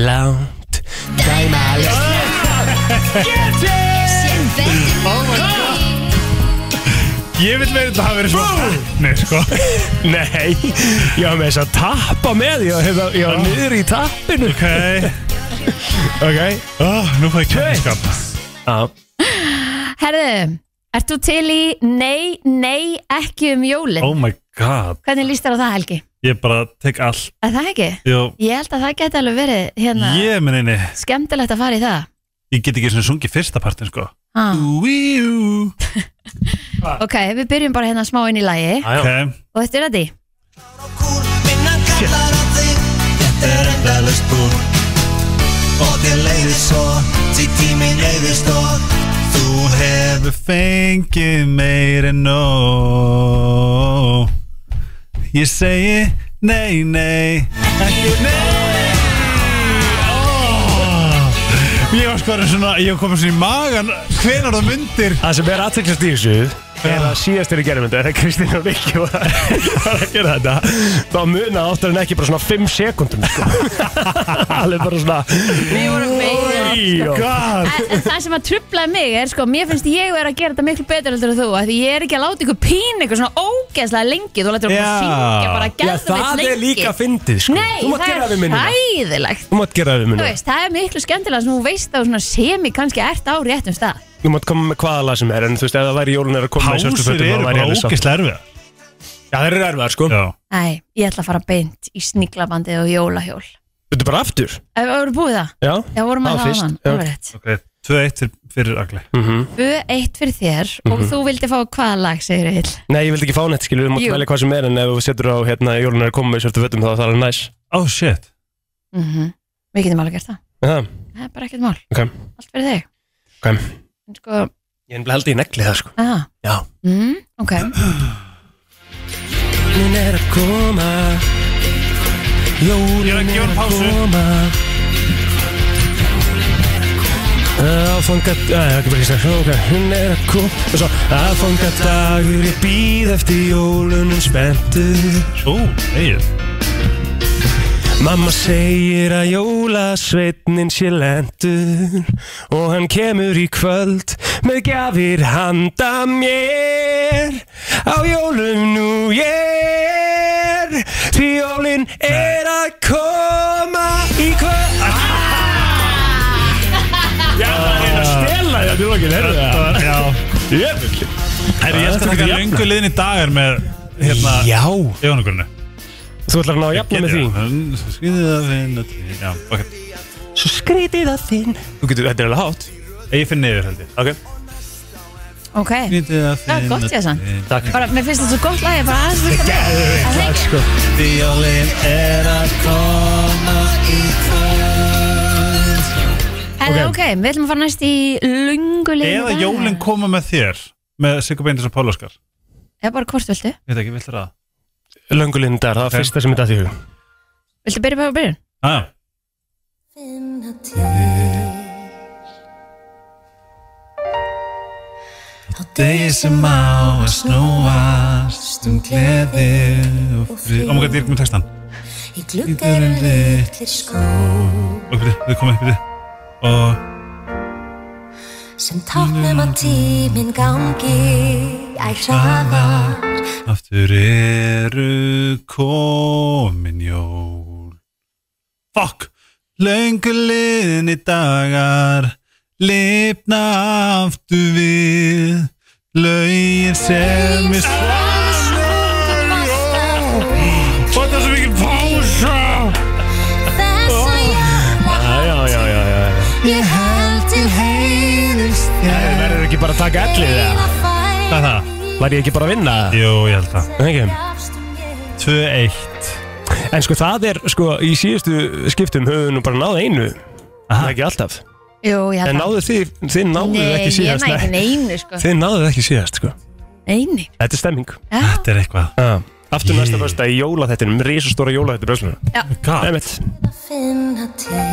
Speaker 2: Lánt
Speaker 4: Ég vil verið að það hafi verið svona Nei, sko
Speaker 2: Nei, ég var með þess að tappa með Ég var, hérna- ég var niður í tappinu
Speaker 4: Ok
Speaker 2: Ok
Speaker 4: oh, Nú fæði kjöndskap
Speaker 2: ah.
Speaker 3: Herðu, ert þú til í Nei, nei, ekki um jólin
Speaker 4: Oh my god
Speaker 3: Hvernig líst þér á það Helgi?
Speaker 4: Ég bara tek allt
Speaker 3: Er það ekki?
Speaker 4: Jó
Speaker 3: Ég held að það geti alveg verið hérna,
Speaker 4: Ég meni, nei
Speaker 3: skemmtilegt að fara í það
Speaker 4: Ég get ekki svona sungið fyrsta partin, sko
Speaker 3: ah.
Speaker 4: Úíú
Speaker 3: Ok, við byrjum bara hérna smá inn í lagi
Speaker 4: Ok
Speaker 3: og þetta er að því
Speaker 4: Þú hefur fengið meir en nóg Ég segi nei, nei Ekki nei Ó, Ég var sko orðinn svona, ég var komin svona í magan Hvenar það myndir
Speaker 2: Það sem er aðteklast í þessu er að síðast eru gerðmynda er að Kristín og Rikki var var að gera þetta þá muna oftar en ekki bara svona 5 sekundum sko. alveg bara svona sko."
Speaker 3: Við vorum meira
Speaker 2: Íjó.
Speaker 4: God
Speaker 3: En en það sem að trublaði mig er sko, mér finnst ég vera að gera þetta miklu betur heldur en þú, af því ég er ekki að láta ykkur pín ykkur svona ógeðslega lengi, þú lætur okkur
Speaker 4: Já.
Speaker 3: syngja
Speaker 2: Já,
Speaker 3: bara gæðum
Speaker 2: það
Speaker 3: lengi.
Speaker 2: er líka fyndið sko.
Speaker 3: Nei,
Speaker 2: Þú mátt gera
Speaker 3: það
Speaker 2: við
Speaker 3: er
Speaker 2: minnuna
Speaker 3: hæðilegt.
Speaker 2: Þú mátt gera við
Speaker 3: Þú
Speaker 2: minnuna
Speaker 3: veist, það er miklu skemmtilega sem þú veist að þú svona semi kannski ert á réttum stað.
Speaker 2: Þú mátt koma með hvaða lag sem er en þú veist, ef það væri jólun er að koma með svörtu
Speaker 4: Pásur
Speaker 2: fötum,
Speaker 4: eru
Speaker 2: þá væri ég
Speaker 4: bara
Speaker 2: alveg sátt.
Speaker 4: ógeðslega erfiða
Speaker 2: Já, það eru erfiðar sko
Speaker 4: Já
Speaker 3: Æ, ég ætla að fara beint í sniglabandið og jólahjól.
Speaker 2: Þetta er bara aftur
Speaker 3: Ef við vorum búið það,
Speaker 2: Já,
Speaker 3: já, vorum
Speaker 2: Það var
Speaker 3: með það
Speaker 2: fyrst,
Speaker 3: annan,
Speaker 2: já.
Speaker 3: alveg rétt.
Speaker 4: Ok, 2-1 fyrir, fyrir agli
Speaker 2: Mhm.
Speaker 3: Bö eitt fyrir þér og þú vildi fá hvaða lag, segir Egil.
Speaker 2: Nei, ég vildi ekki fá neitt skilur, þú mátt
Speaker 3: Jú.
Speaker 2: velja hvað sem er en ef þú setur á hérna, jólun er að koma með svörtu fötum þá er það alveg næs
Speaker 4: Oh shit
Speaker 3: Mhm. Við getum alveg gert það.
Speaker 2: Já,
Speaker 3: Það er bara ekkert mál.
Speaker 2: ok,
Speaker 3: Allt fyrir þig.
Speaker 2: ok
Speaker 3: En sko,
Speaker 2: Ég nefnilega held ég negli það sko
Speaker 3: aha.
Speaker 2: Já
Speaker 3: Mm, ok,
Speaker 2: Jólin er að koma
Speaker 4: Ég er að
Speaker 2: Jólin er
Speaker 4: gefa honum
Speaker 2: að
Speaker 4: pásu.
Speaker 2: koma Aðfanga Það er ekki bara ekki strax Ok, hún er að koma Og svo Aðfanga dagur Ég býð eftir jólunum spenntur
Speaker 4: Ú, eigið
Speaker 2: Mamma segir að jólasveitnin sé lendur og hann kemur í kvöld með gjafir handa mér á jólum nú ég er því jólin er að koma í kvöld Já, það er að stela því að þú ekki lærðu
Speaker 4: Það- Já
Speaker 2: Jöfull
Speaker 4: Herri, ég ætla
Speaker 2: Þetta
Speaker 4: að
Speaker 2: getur
Speaker 4: taka
Speaker 2: jafnað.
Speaker 4: löngu liðin í dagar með hérna
Speaker 2: Já,
Speaker 4: Jónugurinu
Speaker 2: þú ætlar að ná að jafna með því
Speaker 4: Skriðið að vinna til Já, ok
Speaker 2: Svo skrítið að þinn Þú getur, þetta er alveg hátt
Speaker 4: Ég finn niður held ég
Speaker 2: Ok,
Speaker 3: ok
Speaker 4: Skriðið að
Speaker 3: Það er gott, Jason.
Speaker 2: takk
Speaker 3: bara, Mér finnst þetta svo gott lag Ég bara aðeins vilja með Það er ekki-
Speaker 4: Jólin er að koma í kvöld
Speaker 3: Herðu, ok, við ætlum að fara næst í lungulegin
Speaker 4: Eða jólin koma með þér Með Sigur Beindis og Pál Óskar
Speaker 3: Eða bara hvort viltu
Speaker 4: Ég veit ekki, viltu það?
Speaker 2: Löngulindar, það var
Speaker 4: Ok.
Speaker 2: fyrsta sem ég dætti í hug
Speaker 3: Viltu byrja bara að byrja?
Speaker 4: Já, Degi sem á að snúast um gleði og frið Ómega, ég er ekki með textan
Speaker 7: Í gluggarum litlir skó
Speaker 4: Ok, byrju, við komum upp í Og
Speaker 7: sem táknum að tíminn gangi æ hraðar
Speaker 4: aftur eru komin jól Fuck! Löngu liðin í dagar lifna aftur við laugin sem við
Speaker 2: Hvað er það sem ekki pása? Já, já, já, já
Speaker 7: Ég held til heiðust
Speaker 2: Það verður ekki bara að taka ellið það
Speaker 4: Hvað er það?
Speaker 2: Var ég ekki bara að vinna það?
Speaker 4: Jú, ég held það
Speaker 2: Ekki
Speaker 4: 2-1
Speaker 2: En sko það er, sko, í síðustu skiptum höfum við nú bara náð einu Það er ekki alltaf
Speaker 3: Jú, ég
Speaker 2: En
Speaker 3: held
Speaker 2: náðu þið, þið náðuð
Speaker 3: Nei,
Speaker 2: ekki
Speaker 3: ég
Speaker 2: síðast
Speaker 3: næ ekki neinu sko
Speaker 2: Þið náðuð ekki síðast, sko
Speaker 3: Neini
Speaker 2: Þetta er stemming
Speaker 4: Þetta er eitthvað
Speaker 2: ah. Aftur
Speaker 4: Yeah.
Speaker 2: næsta fyrsta í jólaþettinum Rísastóra jólaþettin bröðsluna
Speaker 4: Hvað?
Speaker 2: Emmett
Speaker 7: Finna til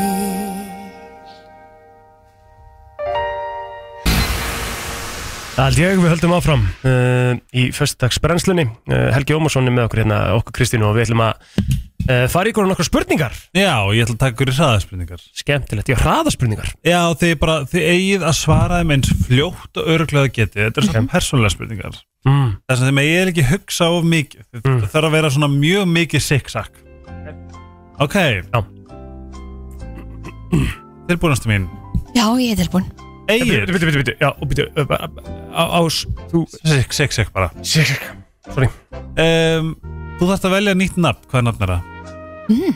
Speaker 2: Allt ég, við höldum áfram uh, í föstudagsbrennslunni. Uh, Helgi Ómarsson er með okkur hérna, okkur Kristínu og við ætlum að uh, fara ykkur á nokkar spurningar.
Speaker 4: Já, ég ætla að taka ykkur í hraðaspurningar
Speaker 2: Skemmtilegt, já, hraðaspurningar.
Speaker 4: Já, þið, bara, þið eigið að svara þeim eins fljótt og örglega getið Þetta er svona persónlega spurningar
Speaker 2: Mm.
Speaker 4: Þess að þið megið ekki hugsa of mikið Þið
Speaker 2: Mm.
Speaker 4: þarf að vera svona mjög mikið siksak Ok
Speaker 2: Já.
Speaker 4: Tilbúnastu mín
Speaker 3: Já, ég er tilbúin
Speaker 4: Egið
Speaker 2: Bitu, bitu, bitu, já, og bitu, uh, bara, á, ás, þú,
Speaker 4: Sikk, sikk, sikk bara
Speaker 2: sorry,
Speaker 4: um, Þú þarft að velja nýtt nafn, hvað nafn er það?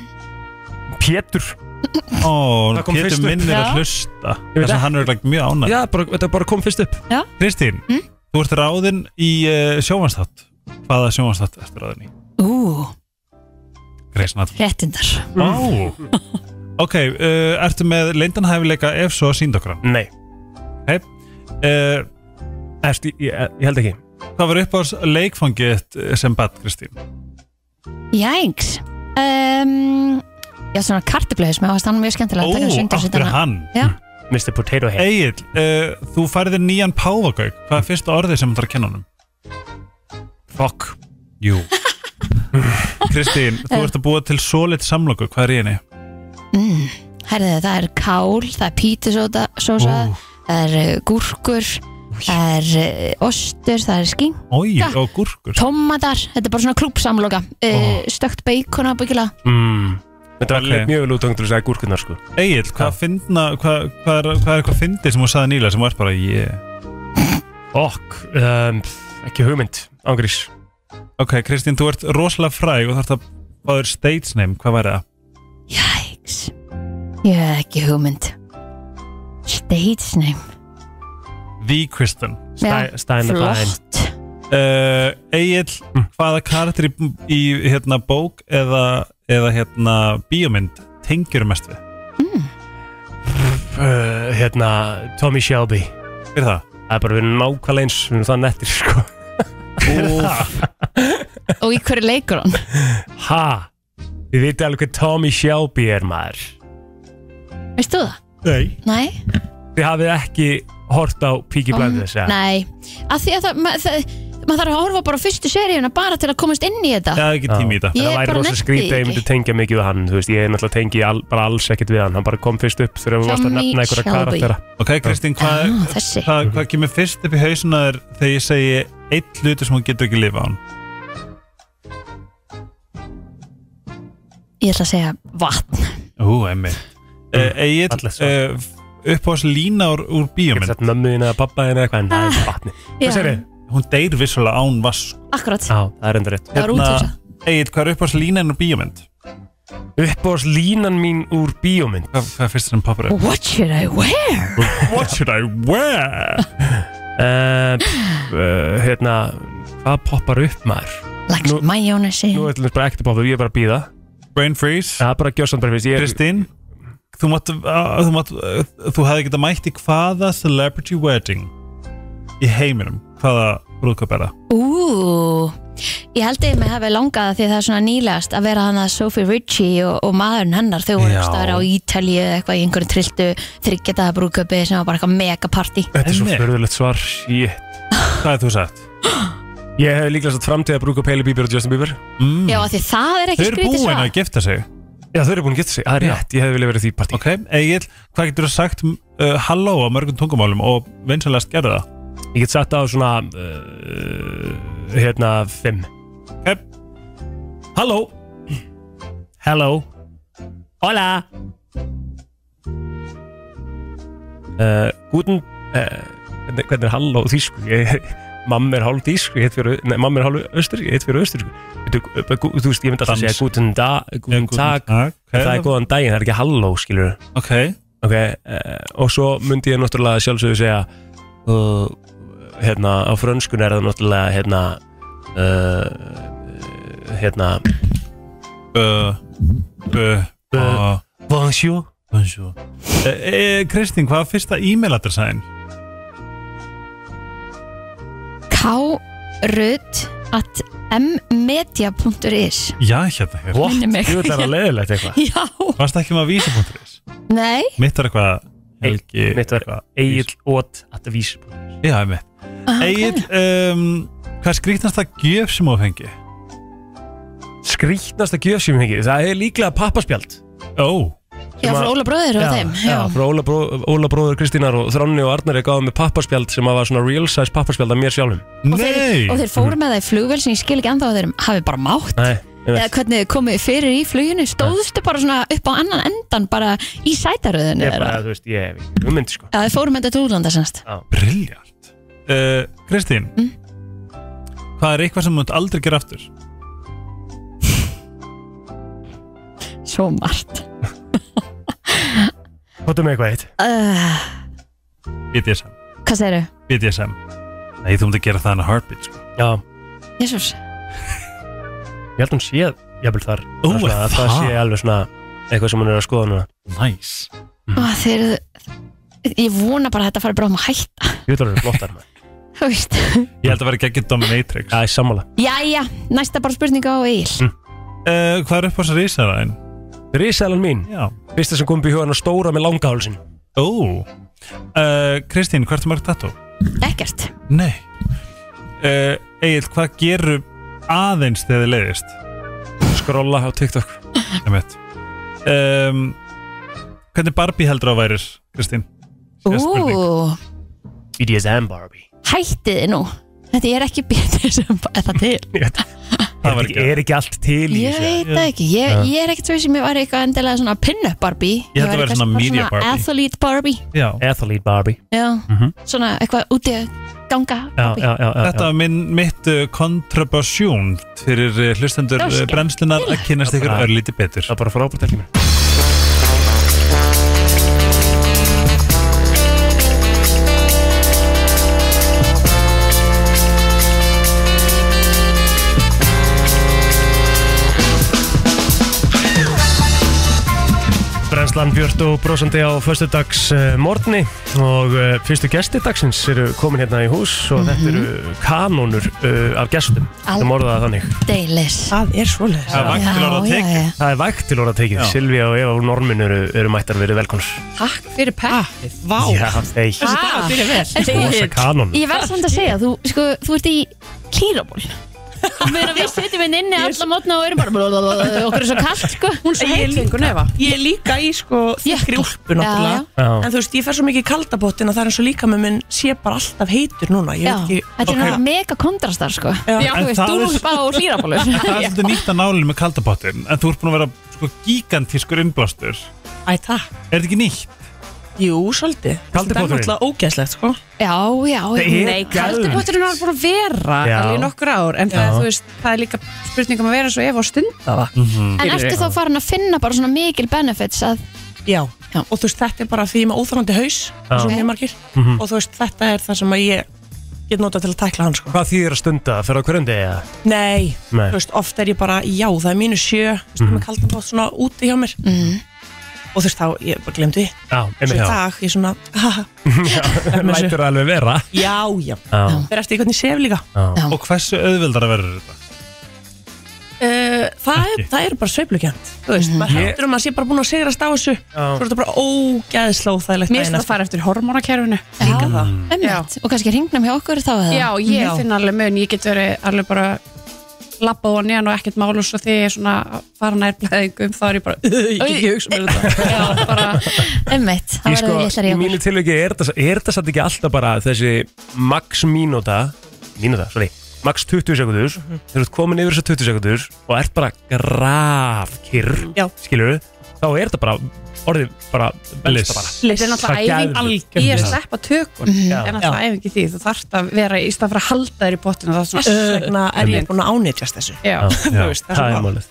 Speaker 2: Pétur.
Speaker 4: Ó,
Speaker 2: Það kom
Speaker 4: Pétur
Speaker 2: fyrst upp.
Speaker 4: minnir
Speaker 3: Já.
Speaker 4: að hlusta
Speaker 2: Ég veit
Speaker 4: Þess að hann er like, mjög ánægð
Speaker 2: Já, bara, þetta bara kom fyrst upp.
Speaker 4: Kristín,
Speaker 3: Hm?
Speaker 4: þú ert ráðinn í uh, sjómanstætt Hvaða sjómanstætt ertu ráðinn í?
Speaker 3: Ú,
Speaker 4: Greis nafn
Speaker 3: réttindar
Speaker 4: Ó Ok, uh, ertu með leindanhæfileika ef svo sínd okkur hann?
Speaker 2: Nei,
Speaker 4: Uh,
Speaker 2: eftir, ég, ég, ég held ekki.
Speaker 4: hvað var upp á leikfangið eh, sem bad, Kristín?
Speaker 3: Jængs um, Já, svona kartiblöðis Mér varst hann mjög skemmtilega
Speaker 4: Ó,
Speaker 3: að taka sundur
Speaker 4: áttur hann
Speaker 3: Já,
Speaker 2: Mr. Potato Head.
Speaker 4: Egil, uh, þú færðir nýjan páfagauk Hvað er fyrsta orðið sem þú þarf að kenna honum?
Speaker 2: Fuck.
Speaker 4: Jú Kristín, þú
Speaker 3: Eh.
Speaker 4: ert að búa til sólitt samloku, hvað er í henni?
Speaker 3: mm, herðið, það er kál Það er pítisóta, sósa
Speaker 4: Ú.
Speaker 3: Það er uh, gúrkur Það er uh, ostur, það er skink
Speaker 4: Ói,
Speaker 3: Ja.
Speaker 4: og gúrkur
Speaker 3: Tómatar, þetta er bara svona klúpsamloka uh,
Speaker 4: Ó.
Speaker 3: Stökt beikon ábyggilega
Speaker 2: Mm. Þetta var
Speaker 4: Ok.
Speaker 2: okay. mjög vel út til þess að gúrkunar, sko.
Speaker 4: Egil, hvað, finna, hvað, hvað, er, hvað er eitthvað fyndið sem þú saði nýlega sem var bara yeah.
Speaker 2: Okk, um, ekki hugmynd, ángrís.
Speaker 4: Ok, Kristín, þú ert rosalega fræg og þú ert að báður stage name, hvað væri það?
Speaker 3: Jæks Ég hef ekki hugmynd Stage name
Speaker 4: The Kristen
Speaker 3: Já,
Speaker 2: Stæ- Stein the Fine.
Speaker 3: Flott
Speaker 4: uh, Egil, hvaða karakter í, í hérna, bók eða, eða hérna, bíómynd tengjur mest við?
Speaker 2: uh, hérna, Tommy Shelby
Speaker 4: Hver er það?
Speaker 2: Það er bara verið nákvæmlega eins við erum það nettir sko
Speaker 4: Úff,
Speaker 3: Og í hverju leikur hann?
Speaker 2: Ha? Þið viti alveg hvað Tommy Shelby er maður
Speaker 3: Veist þú það?
Speaker 2: Nei
Speaker 3: Nei?
Speaker 2: Þið hafið ekki hort á Píki Blinders eða?
Speaker 3: Nei, að því að það, ma, það maður þarf að horfa bara á fyrstu seríuna bara til að komast inn í þetta
Speaker 4: Það er ekki tími í þetta
Speaker 3: Ég
Speaker 2: Það væri
Speaker 3: bara
Speaker 2: rosa
Speaker 3: nennti
Speaker 2: skrítið að ég myndi
Speaker 3: ekki.
Speaker 2: tengja mikið við hann Þú veist, ég er náttúrulega tengi all, bara alls ekkert við hann Hann bara kom fyrst upp þegar við varst að
Speaker 3: Tommy
Speaker 2: nefna einhverja
Speaker 3: Shelby.
Speaker 2: karaktera
Speaker 4: Ok, Kristín, hvað,
Speaker 3: ah, Þessi
Speaker 4: hvað, hvað kemur fyrst upp í hausuna þér þegar ég segi eitt hluti sem hún getur ekki lifa án?
Speaker 3: Ég ætla að segja vatn
Speaker 4: Ú, emmi uh, Egil,
Speaker 2: Mm. fallegt svar.
Speaker 4: uh, upp á þessu lína úr, úr
Speaker 2: Ég geti
Speaker 4: bíómynd
Speaker 2: sett mömmuðin eða pappaðin eða hvað En það er vatni
Speaker 3: Ah. Já.
Speaker 2: Hvað segir þið?
Speaker 4: Hún deyr vissulega án vask
Speaker 3: Akkurat,
Speaker 2: Já, það er enda rétt
Speaker 3: það var útfyrsa
Speaker 4: Egil, hvað er upp á þessu lína úr bíómynd?
Speaker 2: Uppbóðs línan mín úr bíómynd
Speaker 4: Hvað, hvað er
Speaker 2: um
Speaker 4: fyrst sem pappur upp?
Speaker 3: What should I wear?
Speaker 4: What should I wear?
Speaker 2: uh, uh, Hérna, hvað poppar upp maður?
Speaker 3: Like
Speaker 2: Nú-
Speaker 3: mayonnaise
Speaker 2: Nú ætlum við bara ekkert að poppa, ég er bara að býða
Speaker 4: Brain freeze
Speaker 2: Það er bara að gjósa hann bara fyrst ég,
Speaker 4: Kristín Þú, mátt, uh, þú, mátt, uh, þú hefði getað mætt í hvaða celebrity wedding í heiminum hvaða brúðkaup er það?
Speaker 3: Ú, ég held að ég mig hafi langað því að það er svona nýlegast að vera hann að Sophie Ritchie og, og maðurinn hennar þau voru
Speaker 4: Já.
Speaker 3: einhvers staðar á Ítalíu eða eitthvað í einhverju trilltu þryggjataða brúköpi sem var bara eitthvað megapartí
Speaker 2: Þetta er svo
Speaker 4: Einmitt.
Speaker 2: förðulegt svar Shit.
Speaker 4: Hvað er þú sagt?
Speaker 2: Ég hef líklega satt framtíð að brúka Peli Bieber og Justin Bieber
Speaker 4: Mm.
Speaker 3: Já, af því það er
Speaker 4: Þau
Speaker 3: ekki
Speaker 4: eru
Speaker 3: skrítið
Speaker 4: búin
Speaker 2: hérna
Speaker 4: að
Speaker 3: svar
Speaker 4: gifta sig
Speaker 2: Já þau eru búin að geta sig, það er
Speaker 4: Já.
Speaker 2: rétt Ég hef viljað verið því partí
Speaker 4: Ok, Egil, hvað getur þú sagt uh, halló á mörgum tungumálum og vinsanlegast gerða það?
Speaker 2: Ég get satt á svona uh, Hérna, fimm Halló Halló Hola uh, Guten uh, hvernig, hvernig er halló þýsku ég, Mamm er hálf þýsku ég heit fyrir- Nei, mamm er hálf östur Ég heit fyrir östur Þú þú veist, ég myndi alltaf að segja
Speaker 4: Dans.
Speaker 2: Guten dag, guten
Speaker 4: guten
Speaker 2: tag
Speaker 4: Tag,
Speaker 2: en Það
Speaker 4: hvað er
Speaker 2: er góðan daginn, það er ekki halló, skilur
Speaker 4: Ok,
Speaker 2: Ok, uh, og svo myndi ég náttúrulega sjálfsögðu segja uh, hérna, á frönskun er það náttúrulega hérna uh, hérna
Speaker 4: bö,
Speaker 2: Bö.
Speaker 4: bö, bö
Speaker 2: Bonjour
Speaker 4: Bonjour e, e, Kristín, hvað var fyrsta e-mailadressaðin?
Speaker 3: krut.mmedia.is
Speaker 4: Já, hérna, hérna
Speaker 2: What?
Speaker 3: Minni mig.
Speaker 2: Jú, það er að leiðilegt eitthvað
Speaker 3: Já
Speaker 4: Varst ekki með vísa.is?
Speaker 3: Nei,
Speaker 4: Mitt var eitthvað Helgi
Speaker 2: Mitt var
Speaker 4: eitthvað-
Speaker 2: Egil Ót að vísa
Speaker 4: Já, mitt
Speaker 3: Ah,
Speaker 4: Egil, um, hvað skrýtnast það gjöf sem þú fengi?
Speaker 2: Skrítnasta gjöf sem ég hengið, það er líklega pappaspjald
Speaker 4: Ó,
Speaker 3: já, frá Óla bróðir og þeim
Speaker 2: já, frá Óla, bró, Óla bróður Kristínar og Þránni og Arnari gáði með pappaspjald sem að var svona real size pappaspjald af mér sjálfum
Speaker 3: Og þeir,
Speaker 4: nei
Speaker 3: og þeir fóru með það í flugvél sem ég skil ekki enda á þeir hafi bara mátt
Speaker 2: Nei, ég
Speaker 3: eða
Speaker 2: veit
Speaker 3: hvernig þið komið fyrir í fluginu stóðustu bara svona upp á annan endan bara í sætaröðinu
Speaker 2: Ég
Speaker 3: þeirra
Speaker 2: bara, þú veist, ég hef ekki ummyndi sko
Speaker 3: Já, þið fórum þetta til útlanda semst
Speaker 4: Briljant uh, Kristín
Speaker 3: Mm.
Speaker 4: Hvað er eitthvað sem þú munt aldrei gera aftur?
Speaker 3: Svo margt
Speaker 2: Hóttum með eitthvað eitt
Speaker 3: uh,
Speaker 4: BDSM
Speaker 3: Hvað segirðu?
Speaker 4: BDSM Nei, þú munt að gera það en að heartbeat sko.
Speaker 2: Já,
Speaker 3: Jésús
Speaker 2: ég held hún sé jafnvel þar
Speaker 4: Ó,
Speaker 2: Það er svona-
Speaker 4: er
Speaker 2: Það
Speaker 4: það?
Speaker 2: sé alveg svona eitthvað sem hún er að skoða núna
Speaker 4: Nice
Speaker 3: Þeir Ég vona bara að þetta fari bara um að hætta
Speaker 2: Ég veit að hún er flottar maður.
Speaker 3: Þú veist
Speaker 4: Ég held að vera geggir dominatrix
Speaker 2: Já, ég sammála
Speaker 3: Jæja, næsta bara spurninga á Egil
Speaker 4: uh, Hvað er upp á þessar ísæðaðin?
Speaker 2: Rísælan mín,
Speaker 4: Já
Speaker 2: fyrsta sem kom upp í hugan að stóra með langa hálsin
Speaker 4: Ó uh, Kristín, hvað ertu mörg tattoo?
Speaker 3: Ekkert
Speaker 4: Nei uh, Egil, hvað gerur aðeins þegar þið leiðist?
Speaker 2: Skrolla á TikTok
Speaker 4: Emmett um, Hvernig Barbie heldur á værir, Kristín? Síðasta spurning.
Speaker 3: Ú,
Speaker 2: BDSM Barbie
Speaker 3: hættiði nú Þetta er ekki betur sem er það til
Speaker 4: Það
Speaker 2: er
Speaker 4: var
Speaker 2: ekki,
Speaker 4: ekki
Speaker 2: er ekki allt til í
Speaker 3: Ég
Speaker 2: þessu
Speaker 3: veit það ekki, ég, ég er ekkert svo sem ég var eitthvað endilega svona pin-up Barbie
Speaker 4: Ég held að
Speaker 3: væri
Speaker 4: vera
Speaker 3: kannski bara
Speaker 4: svona media Barbie.
Speaker 3: Athlete Barbie
Speaker 4: Já
Speaker 2: Athlete Barbie
Speaker 3: Já, svona eitthvað úti að ganga
Speaker 2: Mhm. já, já,
Speaker 3: Barbie
Speaker 2: já, já,
Speaker 4: Þetta
Speaker 2: já.
Speaker 4: var minn, mitt uh, kontrabasjón fyrir uh, hlustendur uh,
Speaker 3: Þroskaheftir.
Speaker 4: brennslunar að kynast ykkur
Speaker 2: Bara-
Speaker 4: örlíti betur
Speaker 2: Það er bara frábært ekki mér Brennslan Björn og brosandi á föstudags uh, morgni og uh, fyrstu gesti dagsins eru komin hérna í hús og þetta eru kanónur uh, af gestum
Speaker 3: Al-
Speaker 2: sem orðaða þannig
Speaker 3: Deilis
Speaker 9: Það er svoleiðis
Speaker 4: Það vakti til orða tekið
Speaker 2: Það er vægt til orða tekið,
Speaker 4: Já.
Speaker 2: Silvía og Eva og Normin eru, eru mættar verið velkons
Speaker 9: Takk fyrir peppið, vá
Speaker 2: Já, þeir,
Speaker 9: Þessi dag byrja vel
Speaker 2: rosa kanon
Speaker 3: Ah, Ég verð samt að segja, þú, sko, þú ert í klíraból Meina við setjum henni inni alla mótna og erum bara blablabla, okkur er svo kallt sko Hún
Speaker 9: Ég er líka, nefa, ég er líka í sko þykri
Speaker 3: Jökla.
Speaker 9: úlpu náttúrulega
Speaker 2: Já.
Speaker 9: En þú veist, ég fer svo mikið í kaldabottin að það er eins og líka með minn sé bara alltaf heitur núna Ég
Speaker 3: Já,
Speaker 9: veit ekki
Speaker 3: þetta er náttúrulega mega kontrastar sko
Speaker 9: Já.
Speaker 3: Já, þú
Speaker 4: En
Speaker 3: veist,
Speaker 4: það er-
Speaker 3: dúlpa og klírabólur
Speaker 4: Það er svolítið nýtt að nálinu með kaldabottin en þú ert búin að vera sko gigantískur innblástur Er
Speaker 9: Æ, takk
Speaker 4: þetta ekki nýtt?
Speaker 9: Jú, svolítið Þetta er
Speaker 2: Kaldibotturinn?
Speaker 9: náttúrulega ógæslegt, sko
Speaker 3: Já, já,
Speaker 2: er
Speaker 10: Nei,
Speaker 2: geðveikt.
Speaker 10: kaldibóturinn var búin að vera
Speaker 2: Já.
Speaker 10: alveg í nokkur ár, en það
Speaker 2: Já.
Speaker 10: er, þú veist, það er líka spurningum að vera svo ef á stund
Speaker 9: Það var
Speaker 3: En ertu þá farin að finna bara svona mikil benefits að
Speaker 9: Já,
Speaker 3: Já.
Speaker 9: og þú veist, þetta er bara því ég er með óþarfandi haus eins og
Speaker 2: Já.
Speaker 9: mjög margir og þú veist, þetta er það sem að ég get nota til að tækla hann, sko
Speaker 2: Hvað þýðir að stunda? Fyrir á hverjum degi? eða?
Speaker 9: Nei,
Speaker 2: Nei.
Speaker 9: þú veist, oft er ég bara, já, það er mínu sjö þú veist, mm -hmm. með kaldabott svona úti hjá mér og þú veist, þá, ég bara glemdi því
Speaker 2: Já,
Speaker 9: svo
Speaker 2: einmitt
Speaker 9: í dag, ég svona, haha,
Speaker 2: já. Lætur það alveg vera
Speaker 9: já, já
Speaker 2: Já,
Speaker 9: Fyrir eftir því hvernig ég sef líka
Speaker 2: já,
Speaker 4: Og hversu auðveldara verður þetta?
Speaker 9: uh, það, er,
Speaker 4: Ekki.
Speaker 9: það er bara sveiflugjönd Þú veist, maður heldur um að sé bara búin að sigrast á þessu Svo er þetta bara ógæðislega óþægilegt
Speaker 10: mér finnst það að fara eftir hormónakerfinu
Speaker 9: líka það
Speaker 3: ömmit og kannski hringnum hjá okkur þá eða
Speaker 10: Já, ég
Speaker 9: Já.
Speaker 10: finn alveg mun, ég get verið alveg bara labba á neðan og ekkert mál og svo þegar ég er svona fara nær blæðingum þá er ég bara, "Ugh, ég get ekki hugsa
Speaker 9: um
Speaker 10: mér þetta Já, bara,
Speaker 3: ömmit,
Speaker 2: Í
Speaker 3: það
Speaker 2: sko,
Speaker 3: verður litlar í
Speaker 2: í
Speaker 3: okkur
Speaker 2: mínu tilviki er þetta er þetta satt ekki alltaf bara þessi max mínúta mínúta, sorry, max 20 sekundur
Speaker 3: Mhm.
Speaker 2: þegar þú ert komin yfir þessar 20 sekundur og ert bara graf kyrr,
Speaker 9: Já.
Speaker 2: skilur þá þá er þetta bara orðið bara velsta bara
Speaker 10: Þetta er náttúrulega æfing í að sleppa tökun
Speaker 2: Mhm.
Speaker 10: Það er náttúrulega æfing í því Þú þarft að vera í stað fyrir að halda þér í bottina Það er
Speaker 9: Þess
Speaker 10: svona
Speaker 9: vegna er ég búin að ánýtjast þessu
Speaker 10: Já,
Speaker 2: Já,
Speaker 10: þú veist, það er
Speaker 2: það
Speaker 10: svona
Speaker 2: er málið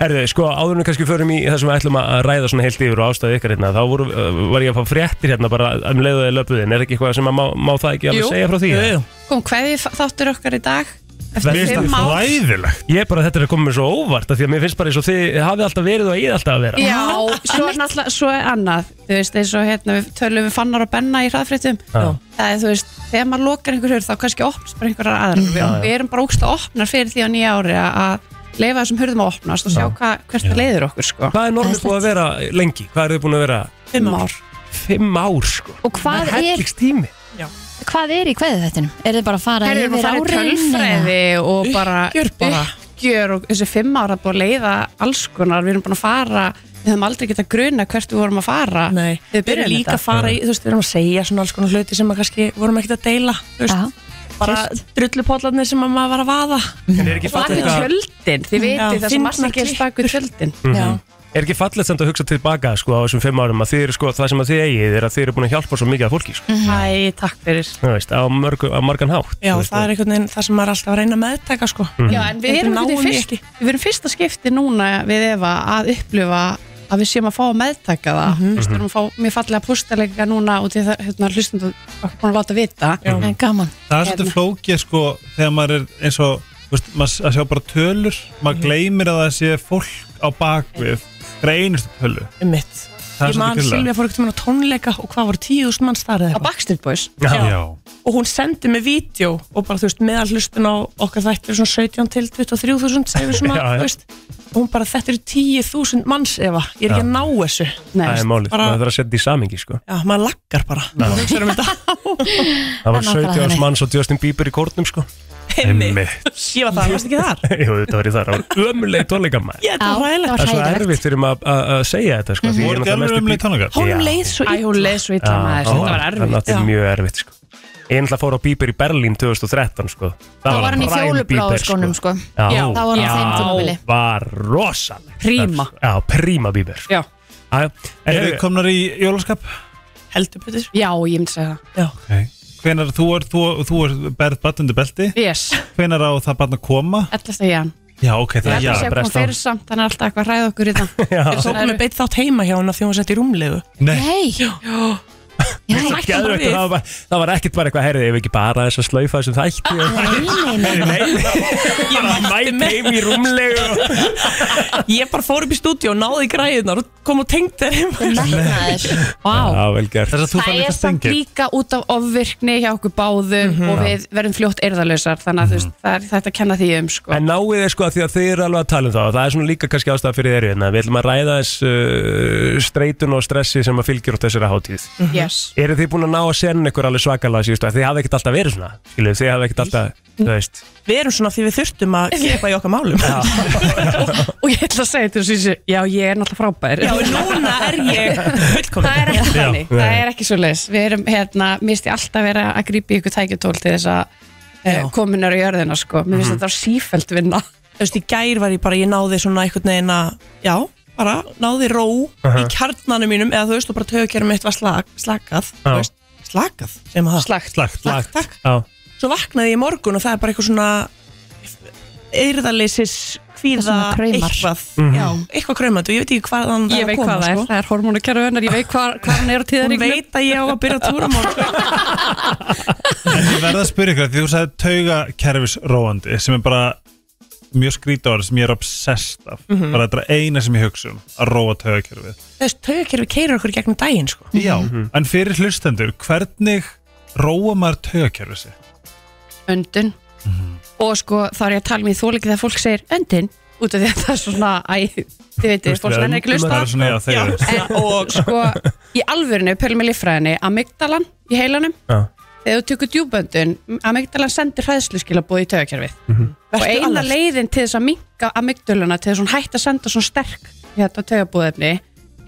Speaker 2: Herðu, sko, áður en við kannski förum í það sem við ætlum að ræða svona heilt yfir og ástæðu ykkar hérna þá voru, uh, var ég að fá fréttir hérna bara um leiðuði löpuðin, er ekki eitthvað sem að má, má það ekki alveg
Speaker 10: Jú.
Speaker 2: segja frá því?
Speaker 10: Jú, jú. Kom hverði þáttur okkar í dag
Speaker 2: Mér
Speaker 10: Eftir
Speaker 2: finnst
Speaker 10: fimm
Speaker 2: það
Speaker 10: ár
Speaker 2: hræðilegt. Ég er bara, þetta er að koma mér svo óvart af því að mér finnst bara eins og þið hafið alltaf verið og ég alltaf að vera
Speaker 10: Já, svo er náttúrulega, svo er annað Þú veist, eins og hérna, við tölum við fannar og benna í hraðfréttum
Speaker 2: Já.
Speaker 10: Það er, þú veist, þegar maður lokar einhver hurð þá kannski opnast bara einhverjar aðrar
Speaker 2: Mhm.
Speaker 10: við,
Speaker 2: Já, já.
Speaker 10: við erum bara ógsta opnar fyrir því á nýja ári að- að leifa þessum hurðum að opnast og sjá hva, hvert það leiðir okkur, sko
Speaker 2: Hvað er normið búið að vera lengi? Hvað eru þið búin að vera?
Speaker 9: Um
Speaker 10: Fimm ár
Speaker 2: Fimm ár, sko
Speaker 3: Og hvað er,
Speaker 2: tími
Speaker 3: hvað er í hverði þettinum? Er þið bara að fara
Speaker 10: Þeir eru bara að fara í
Speaker 3: árin, eða?
Speaker 10: tölfræði og bara
Speaker 9: Uppgjör bara.
Speaker 10: uppgjör og þessi fimm ára búið að leiða alls konar, við erum búin að fara við höfum aldrei getað gruna hvert við vorum að fara
Speaker 9: Nei,
Speaker 10: við
Speaker 9: við erum
Speaker 10: byrjum
Speaker 9: líka að fara í, þú veist, við erum að segja svona alls konar hluti sem að kannski vorum ekkert að deila, þú veist, bara drullupollarnir sem að maður var að vaða.
Speaker 2: En er ekki
Speaker 9: Bak
Speaker 2: fallegt
Speaker 9: við
Speaker 2: að-
Speaker 9: tjöldin, þið
Speaker 10: Já,
Speaker 9: veitir það sem
Speaker 10: fyndnar
Speaker 9: margir að gerst
Speaker 10: klippur.
Speaker 9: bak við tjöldin.
Speaker 2: Mhm. Er ekki fallegt samt að hugsa tilbaka sko, á þessum fimm árum að þið eru sko, það sem að þið eigið er að þið eru búin að hjálpa svo mikið að fólki sko.
Speaker 9: Mhm. Æ, takk fyrir.
Speaker 2: Þú veist, á, mörgu, á margan hátt
Speaker 9: Já, það er einhvern veginn það sem maður er alltaf að reyna að meðtaka, sko.
Speaker 2: Mhm.
Speaker 10: Já, en við erum,
Speaker 9: Þetta
Speaker 10: náum
Speaker 9: náum við
Speaker 10: fyrst, við erum fyrsta skipti núna við Eva að upplifa að við séum að fá að meðtaka það mm -hmm. við erum að fá mér fallega pústalega núna og til það hérna, hlustum okkur búin að láta vita
Speaker 3: En gaman
Speaker 4: Það er svolítið flókið sko þegar maður er eins og þú veist, maður að sjá bara tölur maður gleymir að það sé fólk á bakvið hver einustu tölu
Speaker 9: Mitt.
Speaker 4: Það er
Speaker 9: Ég man
Speaker 4: svolítið
Speaker 9: Silvja
Speaker 4: kjöla
Speaker 9: fór ekkert um á tónleika og hvað voru tíu þúsund manns þar eða eitthvað.
Speaker 10: Backstreet Boys
Speaker 4: Já,
Speaker 9: og hún sendi mig vídeo og bara þú veist meðal hlustun á okkar þættir svona 17 til 23.000 segir við svona,
Speaker 2: Já, já.
Speaker 9: þú veist og hún bara þetta eru 10.000 manns Eva ég er ekki að
Speaker 2: Já.
Speaker 9: ná þessu
Speaker 2: Það er málið,
Speaker 9: bara,
Speaker 2: maður þarf að setja í samingi sko.
Speaker 9: já, maður laggar bara
Speaker 2: Já.
Speaker 9: Þú hugsar um þetta.
Speaker 2: Það var
Speaker 9: Það er
Speaker 2: 17
Speaker 9: nákvæmlega
Speaker 2: árs
Speaker 9: þannig.
Speaker 2: manns og Justin Bieber í kórnum sko. Einmitt.
Speaker 9: ég var það, varst ekki þar
Speaker 2: Jú, þetta var í þar, það var ömuleg tónleika maður
Speaker 9: Ég, þetta var hræðilegt.
Speaker 2: Það er svo erfitt fyrir maður að- að segja þetta sko, því ég er
Speaker 4: Voru um þið
Speaker 2: náttúrulega
Speaker 4: alveg
Speaker 2: mesti
Speaker 4: ömuleg
Speaker 2: bí-
Speaker 4: tónleika?
Speaker 2: Já.
Speaker 9: hún leið sko, svo illa hún leið svo
Speaker 2: Já, Það er náttúrulega mjög erfitt sko. Ég ætla að fóra á Bieber í Berlín 2013 sko.
Speaker 3: Þá var hann í
Speaker 2: prime
Speaker 3: fjólubláu
Speaker 2: Bieber,
Speaker 3: skónum, sko.
Speaker 2: Já,
Speaker 3: Já, þá var hann á þeim tímabili.
Speaker 2: Já, var rosaleg
Speaker 9: Príma.
Speaker 2: Já, príma Bieber sko.
Speaker 9: Já.
Speaker 2: Já, En
Speaker 4: Eru
Speaker 2: hefur
Speaker 4: þið komnar í jólaskap?
Speaker 9: heldur betur
Speaker 10: Já, ég myndi segja það
Speaker 4: Hvenar þú er, þú, þú er berð batnundu belti?
Speaker 10: Yes,
Speaker 4: Hvenar á það barn að koma?
Speaker 10: 11. jan
Speaker 4: Já, ok, það
Speaker 10: Það er að koma fyrir samt, þannig er alltaf eitthvað að ræða okkur í það
Speaker 9: Við tókum með beitt þátt heima hjá hana því hún sett í rúmlegu
Speaker 4: Nei,
Speaker 3: Nei,
Speaker 9: Hún
Speaker 2: Svo
Speaker 9: hætti bara
Speaker 2: geðveikt
Speaker 9: við.
Speaker 2: að Það var- það var ekkert bara eitthvað Herðið, ef ekki bara þess að slaufa þessum þætti
Speaker 3: nei, nei, nei.
Speaker 2: Nei, bara mætt heim í rúmlegu
Speaker 9: Ég bara fór upp í stúdíu og náði í græðunar og kom og tengd þér heima
Speaker 3: Metnaður.
Speaker 10: Vá
Speaker 2: Já, vel gert
Speaker 4: þess að þú
Speaker 10: Það
Speaker 4: fann
Speaker 10: er
Speaker 4: eitthvað
Speaker 10: samt
Speaker 4: stengir
Speaker 10: líka út af ofvirkni hjá okkur báðum og við verðum fljótt erðalösar þannig að þú veist, það er þetta að kenna því um sko.
Speaker 2: En náið er sko að því að þið eru alveg að tala um það og það er svona líka kannski ástæða fyrir þeirri hérna. Við ætlum að ræða þess uh, streitun og stressi sem að fylgjur á þessari hátíð
Speaker 10: yes.
Speaker 2: Eru þið búin að ná að senna ykkur alveg svakalega síðustu að þið hafði ekkert alltaf verið svona Skilu, þið hafði ekkert alltaf, þú veist
Speaker 9: Við erum svona því við þurftum að kepa í okkar málum
Speaker 10: Og ég ætla að segja til þessu, já ég er náttúrulega frábær
Speaker 9: Já, núna er ég fullkomin
Speaker 10: Það er ekki þannig,
Speaker 2: Já.
Speaker 10: það er ekki svo leis Við erum hérna, mér finnst ég alltaf vera að grípa í ykkur tækjutól til þess að
Speaker 9: Já.
Speaker 10: eh, kominar í jörðina sko Mér finnst þetta sífælt vinna
Speaker 9: Þú veist, í gær var ég bara, ég náði svona einhvern veginn að Já, bara, náði ró í kjarnanum mínum Eða þú veist, og bara tögurkerfið mitt var slag, slakað
Speaker 2: Já.
Speaker 9: þú veist, Slakað, segjum maður það
Speaker 10: Slagt
Speaker 4: Slagt, slagt
Speaker 9: Slakt, takk
Speaker 2: Já,
Speaker 9: Svo vaknaði ég í morgun og það er bara eitthvað svona Eyrðaleysis, kvíða,
Speaker 3: Svona kraumar.
Speaker 9: eitthvað Já, eitthvað kraumandi og ég veit ekki hvað hann
Speaker 10: Ég veit hvað það er, það er hormónukerfi hennar, ég veit hvað, hvað hann er á
Speaker 9: sko. Hún
Speaker 10: tíðaríknum
Speaker 9: veit að ég á að byrja að túra á morgun
Speaker 4: En ég verða að spyrja ykkur, því þú sagði taugakerfisróandi sem er bara mjög skrítið orð sem ég er obsessed af
Speaker 10: Mhm.
Speaker 4: bara þetta er eina sem ég hugsa um að róa taugakerfið
Speaker 9: Þess tögurkerfi keirir okkur í gegnum daginn, sko
Speaker 4: Já,
Speaker 10: Mhm.
Speaker 4: en fyrir hlustendur, hvernig róa maður taugakerfið sig?
Speaker 10: öndun og sko þá er ég að tala mér þóleikið þegar fólk segir öndun út af því að það er svona æ, þið veitir, fólk er ekki
Speaker 2: öndum
Speaker 10: hlusta
Speaker 4: Það er svona, já,
Speaker 9: Já,
Speaker 4: þegar
Speaker 10: en, og sko í alvörinu, pölum í líffræðinni amygdalan í heilanum
Speaker 2: já,
Speaker 10: þegar þú tökur djúböndun, amygdalan sendir hræðsluskilabóð í taugakerfið og
Speaker 9: Vertu
Speaker 10: eina
Speaker 9: alert.
Speaker 10: leiðin til þess að minka amygdaluna til þess að hún hætti að senda svona sterk hérna taugabóðefni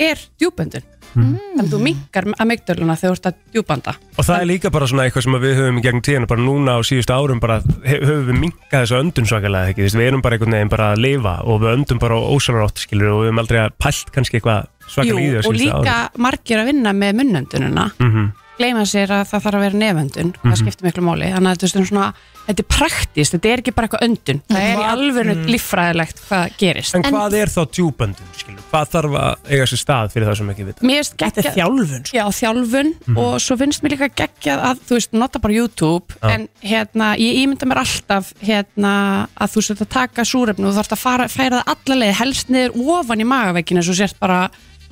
Speaker 10: er djúböndun þannig að þú minkar amygdaluna þegar þú ert að djúbanda
Speaker 2: Og það er líka bara svona eitthvað sem að við höfum í gegnum tíðan bara núna á síðustu árum bara he- höfum við minkað þessu öndun svakalega ekki þú veist, við erum bara einhvern veginn bara að lifa og við öndum bara ósalátt skilur og við höfum aldrei að pælt kannski eitthvað svakalega í því á
Speaker 10: og
Speaker 2: síðustu
Speaker 10: líka margir að vinna með munnöndununa
Speaker 2: Mhm.
Speaker 10: gleyma sér að það þarf að vera neföndun það
Speaker 2: Mhm.
Speaker 10: skiptir miklu máli þannig að þetta er svona þetta er praktist, þetta er ekki bara eitthvað öndun það er í alvöru mm. líffræðilegt hvað gerist
Speaker 2: En hvað er þá djúböndun, skilur? Hvað þarf að eiga sér stað fyrir það sem ekki vita?
Speaker 10: Mér finnst geggjað Þetta er
Speaker 9: þjálfun
Speaker 10: Já, þjálfun sko. og svo finnst mér líka geggjað að þú veist, nota bara YouTube
Speaker 2: Já.
Speaker 10: en hérna, ég ímynda mér alltaf hérna, að þú sért að taka súrefni og þú þarft að fara, færa það alla leið helst niður ofan í magaveikinu svo sért bara,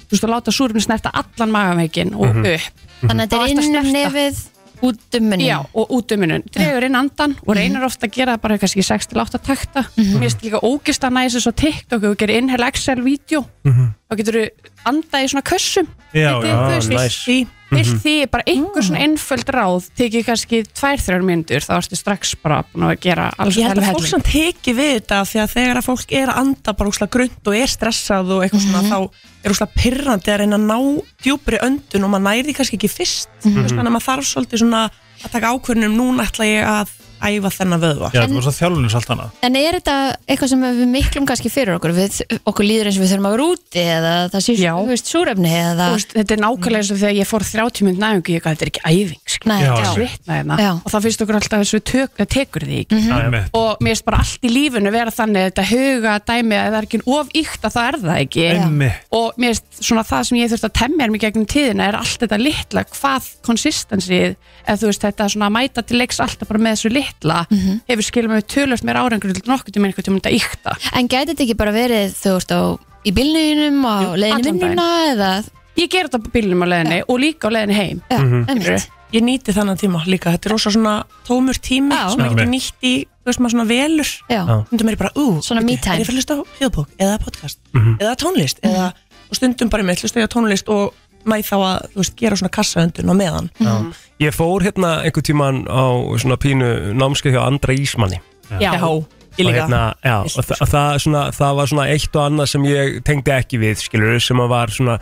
Speaker 10: þú veist, að láta súrefni snerta allan magaveikin og
Speaker 3: Mhm.
Speaker 10: upp
Speaker 3: Þannig að þetta er inn um nefið út um munnin
Speaker 10: Já, og út um munnin Dregur inn andan og reynir ofta að gera það bara kannski 6-8 takta Mér finnst líka ógist að næsa svo TikTok og gerir inhale Excel vídeo þá getur þú andað í svona kössum
Speaker 2: Já,
Speaker 10: Þetta er,
Speaker 2: já,
Speaker 10: þú veist,
Speaker 2: næs.
Speaker 10: vilt því- vilt því er bara einhver
Speaker 9: Mm.
Speaker 10: svona einföld ráð tekið kannski 2-3 myndur þá ertu strax bara búin að gera alls
Speaker 9: Ég held að
Speaker 10: helling.
Speaker 9: fólk sem teki við þetta því að þegar að fólk er að anda bara úsla grönt og er stressað og eitthvað
Speaker 10: Mhm.
Speaker 9: svona þá er úsla pirrandi að reyna að ná djúpri öndun og maður næri því kannski ekki fyrst mm
Speaker 2: Mhm.
Speaker 9: -hmm. þannig að maður þarf svolítið svona að taka ákvörnum núna ætla ég að æfa þennan vöðva
Speaker 4: Já, þú veist að þjálfinu salt hana
Speaker 3: En er þetta eitthvað sem við miklum kannski fyrir okkur? Við, okkur líður eins og við þurfum að vera úti eða það sé, þú veist, súrefni eða
Speaker 10: Þú veist, þetta er nákvæmlega eins og þegar ég fór 30 mynd næfingu, ég gaf þetta er ekki æfing skilur.
Speaker 3: Nei, Já,
Speaker 10: þetta er
Speaker 3: já.
Speaker 10: svitna hérna
Speaker 3: Já.
Speaker 10: og þá finnst okkur alltaf þessu tök, það tekur því ekki
Speaker 4: Já, einmitt.
Speaker 10: og mér finnst bara allt í lífinu vera þannig þetta huga dæmi að það er ekki of ykt að það er það ekki
Speaker 4: Einmitt.
Speaker 10: og mér finnst svona það sem ég þurft að temja mér gegnum tíðina er allt þetta litla hvað konsistensið, eða þú veist þetta svona að mæta til leiks alltaf bara með þessu litla
Speaker 3: Mhm.
Speaker 10: hefur skilum við tölvöld meira árangur til nokkuð til einhvern tímann þetta ykta
Speaker 3: En gæti þetta ekki bara verið þú veist á, í bílnuginum á leiðinu
Speaker 10: allan
Speaker 3: vinnuna eða
Speaker 10: Ég ger þetta á bílnum á leiðinni og líka á leiðinni heim
Speaker 3: Já,
Speaker 9: Mhm.
Speaker 3: einmitt.
Speaker 9: Ég nýti þannan tíma líka, þetta er rosa svona tómur tími
Speaker 10: Já.
Speaker 9: sem maður getur
Speaker 4: Einmitt.
Speaker 9: nýtt í, þú veist maður svona velur
Speaker 3: Já.
Speaker 9: Stundum er ég bara, ú,
Speaker 3: Svona me time.
Speaker 9: er ég fyrir að hlusta á hljóðbók eða podcast eða tónlist eða, og stundum bara með hlusta ég á tónlist og mæ þá að, þú veist, gera svona kassaöndun á meðan
Speaker 2: Já. Ég fór hérna einhver tíman á svona pínu námskeið hjá Andra Ísmanni
Speaker 9: Já, ég líka
Speaker 2: og, hérna, já, og þa það, svona, það var svona eitt og annað sem ég tengdi ekki við skilur, sem að var svona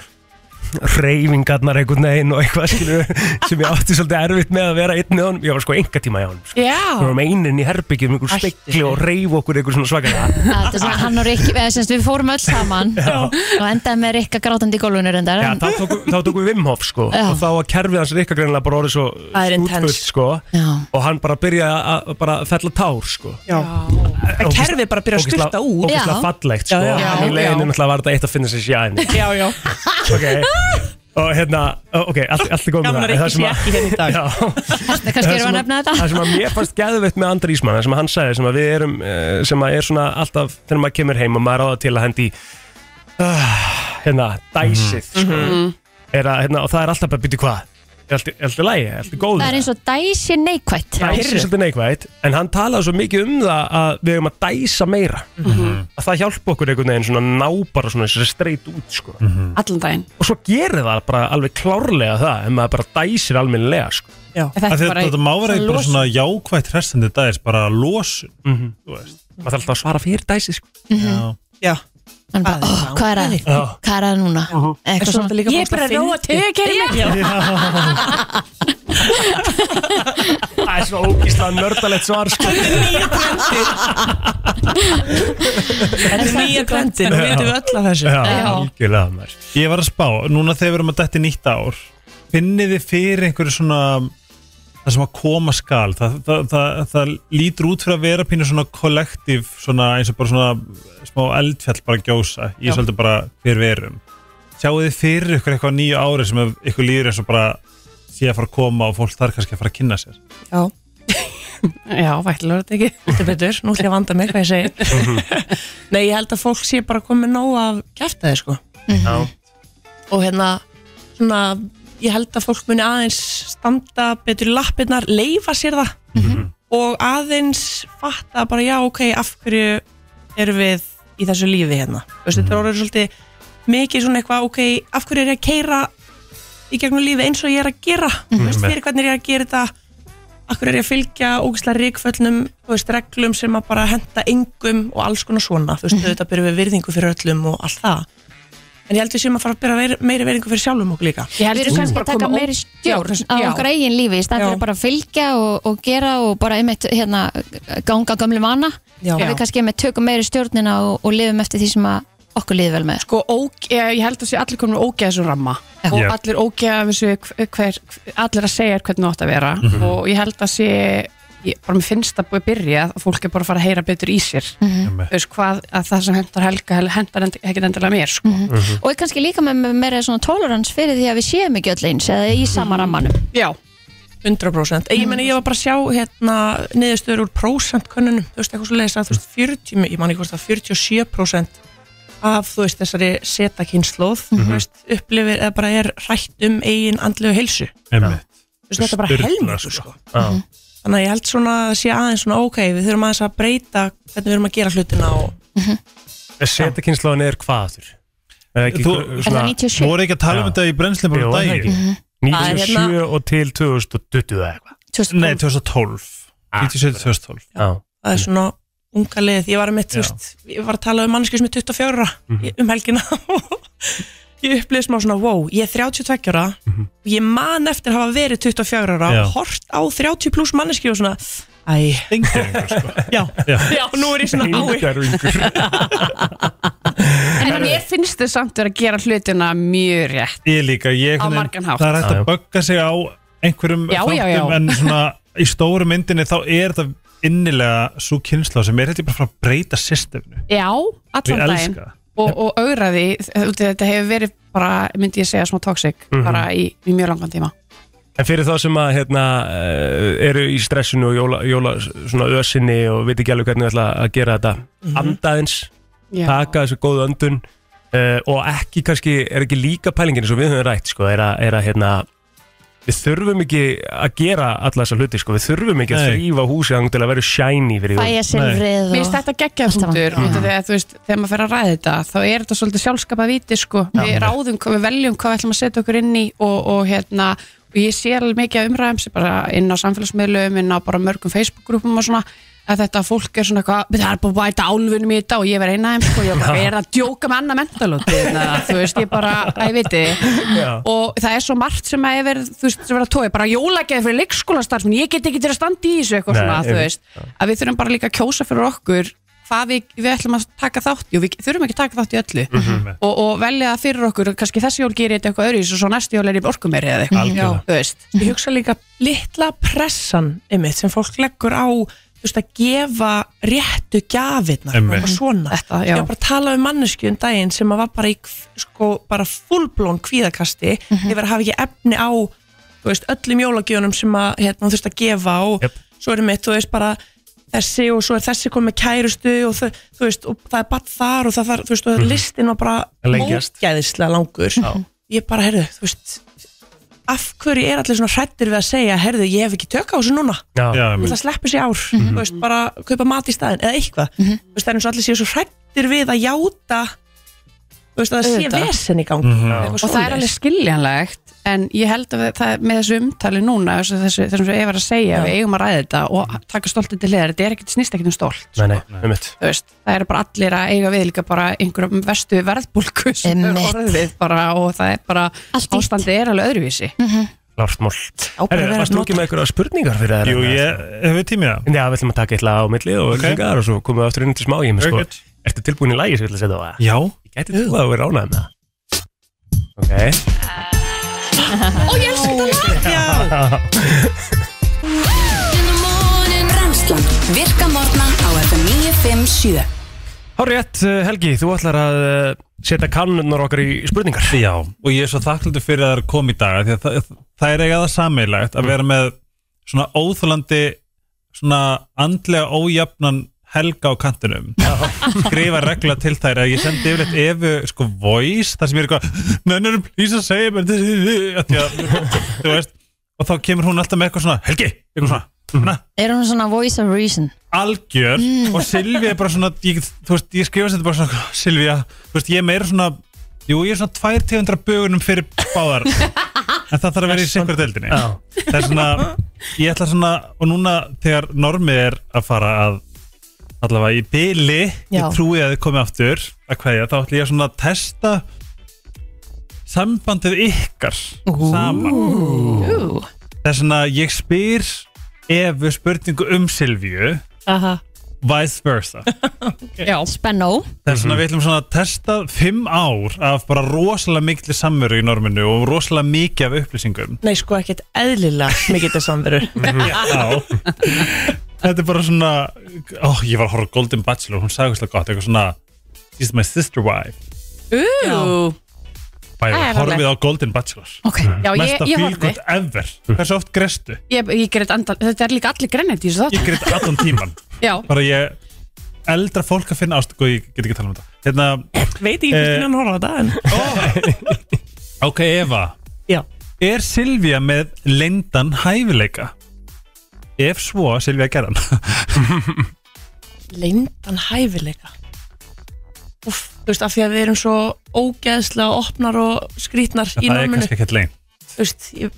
Speaker 2: reyfingarnar einhvern veginn og eitthvað skilur, sem ég átti svolítið erfitt með að vera einn með honum, ég var sko enga tíma hjá honum sko.
Speaker 10: Já.
Speaker 2: við varum eininn í herbyggjum, einhver spekli og reyf okkur einhver svona svakalega
Speaker 3: Að Þetta er svona hann og Rikki, eða semst við fórum öll saman og endaði með Rikka grátandi í gólfinu reyndar.
Speaker 2: Já,
Speaker 3: en-
Speaker 2: þá tókum þá tókum við Wim Hof sko
Speaker 3: Já.
Speaker 2: og þá var kerfið hans Rikka greinilega bara orðið svo
Speaker 3: Það er
Speaker 2: stútfull
Speaker 3: intense.
Speaker 2: sko
Speaker 3: Já.
Speaker 2: og hann bara byrjaði að bara fella tár sko
Speaker 9: Já. Að kerfið bara byrja að
Speaker 2: Ógeðslega-
Speaker 9: styrta út
Speaker 2: Ógeðslega fallegt sko
Speaker 9: Já, já.
Speaker 2: og hann í
Speaker 9: Já,
Speaker 2: leiðinu
Speaker 9: já.
Speaker 2: náttúrulega var þetta eitt að finna sér sjæðin
Speaker 9: Já, já
Speaker 2: Ok Og hérna, ok, allt, allt er góð
Speaker 9: Gaman
Speaker 2: með
Speaker 9: að
Speaker 2: það Það sem
Speaker 9: Rikki sé ekki hérna í dag.
Speaker 2: Já.
Speaker 3: kannski
Speaker 2: Það
Speaker 3: erum við
Speaker 2: sem
Speaker 3: að nefna þetta.
Speaker 2: Það sem að mér fannst geðveitt með Andri Ísmann það sem að hann sagði, sem að við erum eh, sem að er svona alltaf, þegar maður kemur heim og maður ráða til að hendi í, ah, hérna, dæsið sko,
Speaker 3: Mhm.
Speaker 2: er að, hérna, og það er alltaf bara, byrju hvað er allt, í- er allt í lægi, er allt í góðu
Speaker 3: Það er eins og dæsi neikvætt.
Speaker 2: Það er svolítið neikvægt, en hann talaði svo mikið um það að við erum að dæsa meira
Speaker 3: Mhm.
Speaker 2: að það hjálpa okkur einhvern veginn svona ná bara svona þessi streit út sko.
Speaker 3: Mhm. Mm.
Speaker 10: allan daginn
Speaker 2: og svo gerir það bara alveg klárlega það en maður bara dæsir almennilega sko.
Speaker 10: Þetta er
Speaker 4: Af því að
Speaker 10: bara-
Speaker 4: Þetta má vera
Speaker 10: svona
Speaker 4: eitthvað bara
Speaker 10: losun.
Speaker 4: svona jákvætt hressandi dagis bara losun
Speaker 2: Þú veist, maður þarf alltaf að svara fyrir dæsi sko.
Speaker 4: Já.
Speaker 9: Já
Speaker 3: Hann bara, oh, hvað er það?
Speaker 2: Já.
Speaker 3: Hvað er það núna? Eitthvað
Speaker 9: Mhm. Svo er þetta
Speaker 3: svona,
Speaker 9: líka
Speaker 3: ég
Speaker 9: bara
Speaker 3: er bara að
Speaker 9: svona
Speaker 3: róa
Speaker 9: fyndið.
Speaker 3: tökir
Speaker 2: Það er svo ógíslega nördalegt svar sko.
Speaker 9: Þetta er nýja trendin, við veitum við öll að þessu
Speaker 2: Já, algjörlega maður.
Speaker 4: Ég var að spá, núna þegar við erum að detti nýtt ár finnið þið fyrir einhverju svona það sem að koma skal það, það, það, það lítur út fyrir að vera pínu svona kollektív, svona eins og bara svona smá eldfjall bara gjósa ég
Speaker 9: Já.
Speaker 4: er svolítið bara hver við erum sjáu þið fyrir ykkur eitthvað nýju ári sem ef ykkur líður eins og bara sé að fara að koma og fólk þar kannski að fara að kynna sér
Speaker 9: Já Já, vættilega þetta ekki Þetta er betur, Mhm. nú ætlum ég að vanda mig hvað ég segi Nei, ég held að fólk sé bara komið nóg af kæftæði sko
Speaker 2: Já.
Speaker 9: Og hérna, svona Ég held að fólk muni aðeins standa betur í lappirnar, leifa sér það Og aðeins fatta bara já, ok, af hverju erum við í þessu lífi hérna Þú veist, Þetta er orðið svolítið mikið svona eitthvað, ok, af hverju er ég að keira í gegnum lífi eins og ég er að gera Þú veist, fyrir hvernig er ég að gera þetta akkur er ég að fylgja ógislega ríkföllnum þú veist, reglum sem að bara henda engum og alls konar svona, þú veist, auðvitað byrjum við virðingu fyrir öllum og allt það en ég held við séum að fara að byrja ver- meiri virðingu fyrir sjálfum okkur líka
Speaker 10: Ég held
Speaker 3: Við
Speaker 10: þú
Speaker 3: erum kannski
Speaker 9: bara
Speaker 3: að taka
Speaker 9: koma
Speaker 3: meiri
Speaker 9: ó-
Speaker 3: stjórn
Speaker 9: Já,
Speaker 3: á
Speaker 9: já.
Speaker 3: okkar eigin lífi í stað
Speaker 9: Já.
Speaker 3: fyrir bara að fylgja og, og gera og bara einmitt hérna, ganga gömlu vana
Speaker 9: Já.
Speaker 3: og við kannski einmitt tökum meiri stjórnina og, og lifum eftir því sem að okkur líði vel með
Speaker 10: sko, óg, ég, ég held að sé allir komin ógeðsum ramma og
Speaker 3: Já.
Speaker 10: allir ógeðs hver, hver, allir að segja þér hvernig þú átt að vera
Speaker 3: Mhm.
Speaker 10: og ég held að sé ég, bara mér finnst að búið byrja að fólk er bara að fara að heyra betur í sér mm
Speaker 3: Mhm.
Speaker 10: veist hvað, að það sem hendar helga hendar end, ekki endilega mér sko.
Speaker 3: Mhm. og ég kannski líka með, með meira svona tolerance fyrir því að við séum ekki öll eins eða í sama rammanum
Speaker 10: Já,
Speaker 9: 100% Ég meni, ég var bara að sjá hérna niðurstöður úr prósentkönnunum, þú veist, eitthvað svo leiðis að þú veist, 40, ég man ekki hvort að 47% af, þú veist, þessari setakynslóð,
Speaker 4: Mhm.
Speaker 9: þú veist, upplifir eða bara er rætt um eigin andlegu heilsu
Speaker 4: Einmitt.
Speaker 9: Þú veist, þetta er bara
Speaker 4: Sturla,
Speaker 9: helmingur,
Speaker 4: sko.
Speaker 9: sko
Speaker 2: Já.
Speaker 9: Þannig að ég held svona að sé aðeins svona, ok, við þurfum aðeins að breyta hvernig við erum að gera hlutina og
Speaker 2: Setakynnslóðin er hvað aftur? Er ekki
Speaker 4: Þú-
Speaker 2: einhver-
Speaker 4: Er það 97? voru ekki að tala um
Speaker 2: Já.
Speaker 4: þetta í brennslunni bara um
Speaker 2: Jú, er hérna- það
Speaker 4: daginn?
Speaker 2: ekki?
Speaker 4: Mhm.
Speaker 3: Það er
Speaker 2: 97 og til 2020 eða eitthvað
Speaker 4: Nei, 2012 97, 2012
Speaker 2: Já.
Speaker 9: það er svona unga lið ég var að mitt,
Speaker 4: Já.
Speaker 9: þú veist, ég var að tala um mannesku sem er 24 ára ég- um helgina og ég upplifði smá svona, wow, ég er 32 ára og ég man eftir að hafa verið 24 ára
Speaker 4: Já.
Speaker 9: og hort á 30 pluss manneski og svona, æ já,
Speaker 4: já.
Speaker 9: nú er ég svona ái
Speaker 10: en mér finnst þið samt vera að gera hlutina mjög rétt
Speaker 4: Ég líka, ég,
Speaker 10: Á margan hátt.
Speaker 4: það er hægt
Speaker 10: Já,
Speaker 4: að
Speaker 10: já.
Speaker 4: bögga sig á einhverjum
Speaker 10: Já, já, já.
Speaker 4: en svona í stóru myndinni þá er þetta innilega svo kynsla sem er hægt bara að fara að breyta systeminu
Speaker 10: Já, allan
Speaker 4: Ég
Speaker 10: daginn
Speaker 4: elska það.
Speaker 10: og, og augraði, þetta hefur verið bara, myndi ég segja, smá toxic
Speaker 2: Mhm.
Speaker 10: bara í, í mjög langan tíma
Speaker 2: En fyrir þá sem að hérna, eh, eru í stressinu og jóla, jóla svona ösinni og veit ekki alveg hvernig við ætla að gera þetta andaðins,
Speaker 10: Já.
Speaker 2: taka þessu góðu öndun uh, og ekki kannski, er ekki líka pælingin eins og við höfum rætt sko, er að, er að hérna, við þurfum ekki að gera alla þessa hluti sko, við þurfum ekki að
Speaker 4: Nei.
Speaker 2: þrýfa húsið þangað til að vera shiny fyrir jól.
Speaker 10: Mér finnst þetta geggjað punktur
Speaker 2: Mhm.
Speaker 10: út af því að, þú veist, þegar maður fer að ræða þetta þá er þetta svolítið sjálfskapað viti sko. við ráðum, hvað- við veljum hvað við ætlum að setja okkur inn í og, og hérna og ég sé alveg mikið af umræðum sem bara inn á samfélagsmiðlum, inn á bara mörgum Facebook-grúpum og svona að þetta fólk er svona eitthvað, það er bara bæta álfunum í þetta og ég verð eina þeim sko, ég bara,
Speaker 7: Já.
Speaker 10: ég er að djóka með annað mentalótt þú veist, ég bara, að ég viti
Speaker 7: Já.
Speaker 10: og það er svo margt sem að ég verið þú veist, sem verið að tói, bara jólageði fyrir leikskólastarfin ég get ekki til að standa í þessu eitthvað
Speaker 7: Nei,
Speaker 10: svona, þú
Speaker 7: einmitt.
Speaker 10: veist, að við þurfum bara líka að kjósa fyrir okkur hvað við, við ætlum að taka þátt í og við þurfum ekki að taka þátt í öllu
Speaker 7: Mhm.
Speaker 10: og, og velja það fyrir okkur, kannski þessi jól gerir ég þetta eitthvað öðru og svo næstu jól er ég orku meiri eða
Speaker 9: Algjörlega.
Speaker 10: eitthvað Já, þú veist,
Speaker 9: ég hugsa líka litla pressan einmitt, sem fólk leggur á þú veist, að gefa réttu gjafirnar og
Speaker 10: Einmitt.
Speaker 9: eitthvað svona
Speaker 10: Þetta, já.
Speaker 9: ég var bara að tala um mannesku um daginn sem að var bara í kv- sko, bara fullblón kvíðakasti
Speaker 10: Mhm.
Speaker 9: yfir að hafa ekki efni á þú veist, öllum jólagjöfunum sem að hérna, hún þurfti að gefa og svo er mitt, þú veist, bara þessi og svo er þessi komið með kærustu og, þau, þú veist, og það er bara þar og það þar, þú veist, og
Speaker 2: Mhm.
Speaker 9: listin var bara
Speaker 2: Að lengjast.
Speaker 9: ógæðislega langur
Speaker 2: Já.
Speaker 9: ég bara, heyrðu, þú veist af hverju er allir svona hrættir við að segja herðu, ég hef ekki tök á þessu núna
Speaker 2: Já. Já,
Speaker 9: ég
Speaker 2: einmitt.
Speaker 9: ætla að sleppa sér ár
Speaker 7: Mhm.
Speaker 9: mm veist, bara kaupa mat í staðin eða eitthvað mm veist, það er eins og allir séu svo hrættir við að játa þú veist, að það sé
Speaker 10: Auðvitað.
Speaker 9: vesen í gangi
Speaker 7: Mhm.
Speaker 10: og það er alveg skiljanlegt en ég held að við- það, með þessu umtali núna þessu, þessu, þessu sem ég var að segja,
Speaker 2: Já.
Speaker 10: við eigum að ræða þetta og taka stoltið til hliðar, þetta er ekkert snýst ekkert um stolt
Speaker 2: Nei, nei, um mitt.
Speaker 10: þú veist, það eru bara allir að eiga við líka bara einhverjum vestu verðbólku sem er orðið bara og það er bara ástandið er alveg öðruvísi
Speaker 2: Lársmól.
Speaker 10: bara
Speaker 2: Herri,
Speaker 10: vera
Speaker 2: varst þú ekki með einhverja spurningar fyrir það?
Speaker 4: Jú,
Speaker 2: ég
Speaker 4: hefur tímið það.
Speaker 2: Já, við ætlum að taka eitthvað á milli og
Speaker 4: Ok.
Speaker 2: öllingar og svo komum við aftur inn til smá ég með
Speaker 4: Very
Speaker 2: sko.
Speaker 4: good.
Speaker 2: Ertu tilbúin í lagi sem ég ætla að setja á það?
Speaker 4: Já.
Speaker 2: Ég gæti þú að vera ánægð með það. Ok.
Speaker 7: Ó, ég elska þetta lag!
Speaker 11: Brennslan Virka morgna á FM 957
Speaker 2: Hár rétt, eh, Helgi, þú ætlar að eh, setja kannunar okkar í spurningar
Speaker 4: Já, og ég er svo þakkláttur fyrir að það er komið í dag af því að það, það er eiga það sameilagt að vera með svona óþólandi svona andlega ójafnan helga á kantinum skrifa regla til þær að ég sendi yfirleitt efu sko voice þar sem ég er eitthvað mennurum please að segja mér þetta af því að, þú veist og þá kemur hún alltaf með eitthvað svona Helgi, eitthvað svona
Speaker 2: Mm.
Speaker 3: er hún svona voice of reason
Speaker 4: algjör
Speaker 3: Mm.
Speaker 4: og Silvi er bara svona ég, þú veist, ég skrifast þetta bara svona Silvi, þú veist, ég er meira svona jú, ég er svona tvær tegundra bögunum fyrir báðar en það þarf að vera í sikkur deildinni það er svona, ég ætla svona og núna þegar normið er að fara að allavega í byli
Speaker 7: Já.
Speaker 4: ég trúi að þið komið aftur að hverja, þá ætla ég svona að testa sambandið ykkar saman
Speaker 7: Ú.
Speaker 4: það er svona, ég spyr ef við spurningu um Silvíu
Speaker 9: Aha.
Speaker 4: vice versa
Speaker 3: Já. Spennó
Speaker 4: Þess vegna við ætlum svona að testa fimm ár af bara rosalega mikli samveru í norminu og rosalega mikið af upplýsingum
Speaker 9: Nei, sko ekkert eðlilega mikið til samveru
Speaker 4: Já Þetta er bara svona ó, Ég var að horfa á Golden Bachelor, hún sagði hverslega gott eitthvað svona She's my sister wife
Speaker 10: Ú, Það
Speaker 4: Bæði,
Speaker 10: er
Speaker 4: horfið á
Speaker 10: alveg.
Speaker 4: Golden Bachelor
Speaker 10: Ok. Já, ég-
Speaker 4: Mesta
Speaker 10: ég horfði.
Speaker 4: fílgótt ever Hversu oft grestu?
Speaker 10: ég, ég greit andal, þetta er líka allir grennit í þessu þáttu.
Speaker 4: Ég greit allan tíman
Speaker 10: Já,
Speaker 4: Bara ég eldra fólk að finna ást Góð, ég get ekki að tala um þetta hérna,
Speaker 9: Veit
Speaker 7: Eh.
Speaker 9: ekki hvernig hann horfa á þetta en
Speaker 4: Ok, Eva
Speaker 9: Já.
Speaker 4: Er Silvía með lendan hæfileika? Ef svo, Silvía gerðan
Speaker 9: Leindan hæfileika Úff, þú veist, af því að við erum svo ógeðslega opnar og skrítnar í
Speaker 4: Það er
Speaker 9: norminu
Speaker 4: kannski ekkert lein
Speaker 9: Þú veist, ég,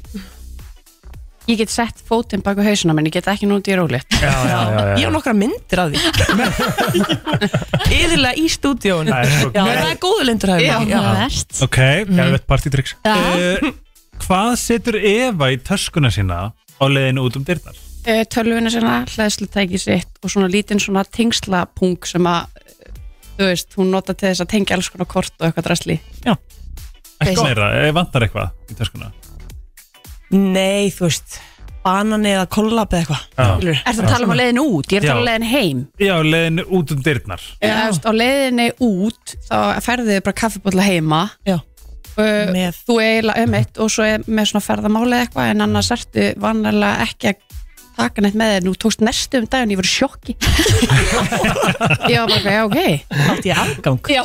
Speaker 10: ég get sett fótinn baku hausuna menn ég get ekki núti í rólið
Speaker 4: Já, já, já, já.
Speaker 9: ég á nokkra myndir af því Yðurlega í stúdíónu
Speaker 4: Það er
Speaker 9: Já,
Speaker 4: svo gott. Mhm.
Speaker 9: það er góðu leindur hæfileika
Speaker 4: Ok, gerðvett partytricks
Speaker 9: Já.
Speaker 4: uh, Hvað setur Eva í töskuna sína á leiðinu út um dyrnar?
Speaker 10: uh, tölvuna sinna, hlæðslutæki sitt og svona lítinn svona tengslapung sem að, eh, þú veist, hún nota til þess að tengja alls konar kort og eitthvað drasli
Speaker 4: Já, Eitthvað meira, eh, vantar eitthvað í töskuna?
Speaker 9: Nei, þú veist, banani eða kollab eða
Speaker 4: Já.
Speaker 9: eitthvað
Speaker 10: Er það að tala um á leiðin út? Ég er að tala um á
Speaker 4: Já.
Speaker 10: leiðin heim
Speaker 4: Já, leiðinu út um dyrnar
Speaker 10: Já. Efst, á leiðinni út þá ferðu þið bara kaffibólla heima
Speaker 9: Já.
Speaker 10: Uh, þú eiginlega um eitt og svo er með svona ferðamáli eða eitthvað en annars ertu vanlega ekki að taka neitt með þér nú tókst næstu um daginn, ég var í sjokki ég var bara, eitthvað, já ok
Speaker 9: Þátt ég afgang
Speaker 10: já.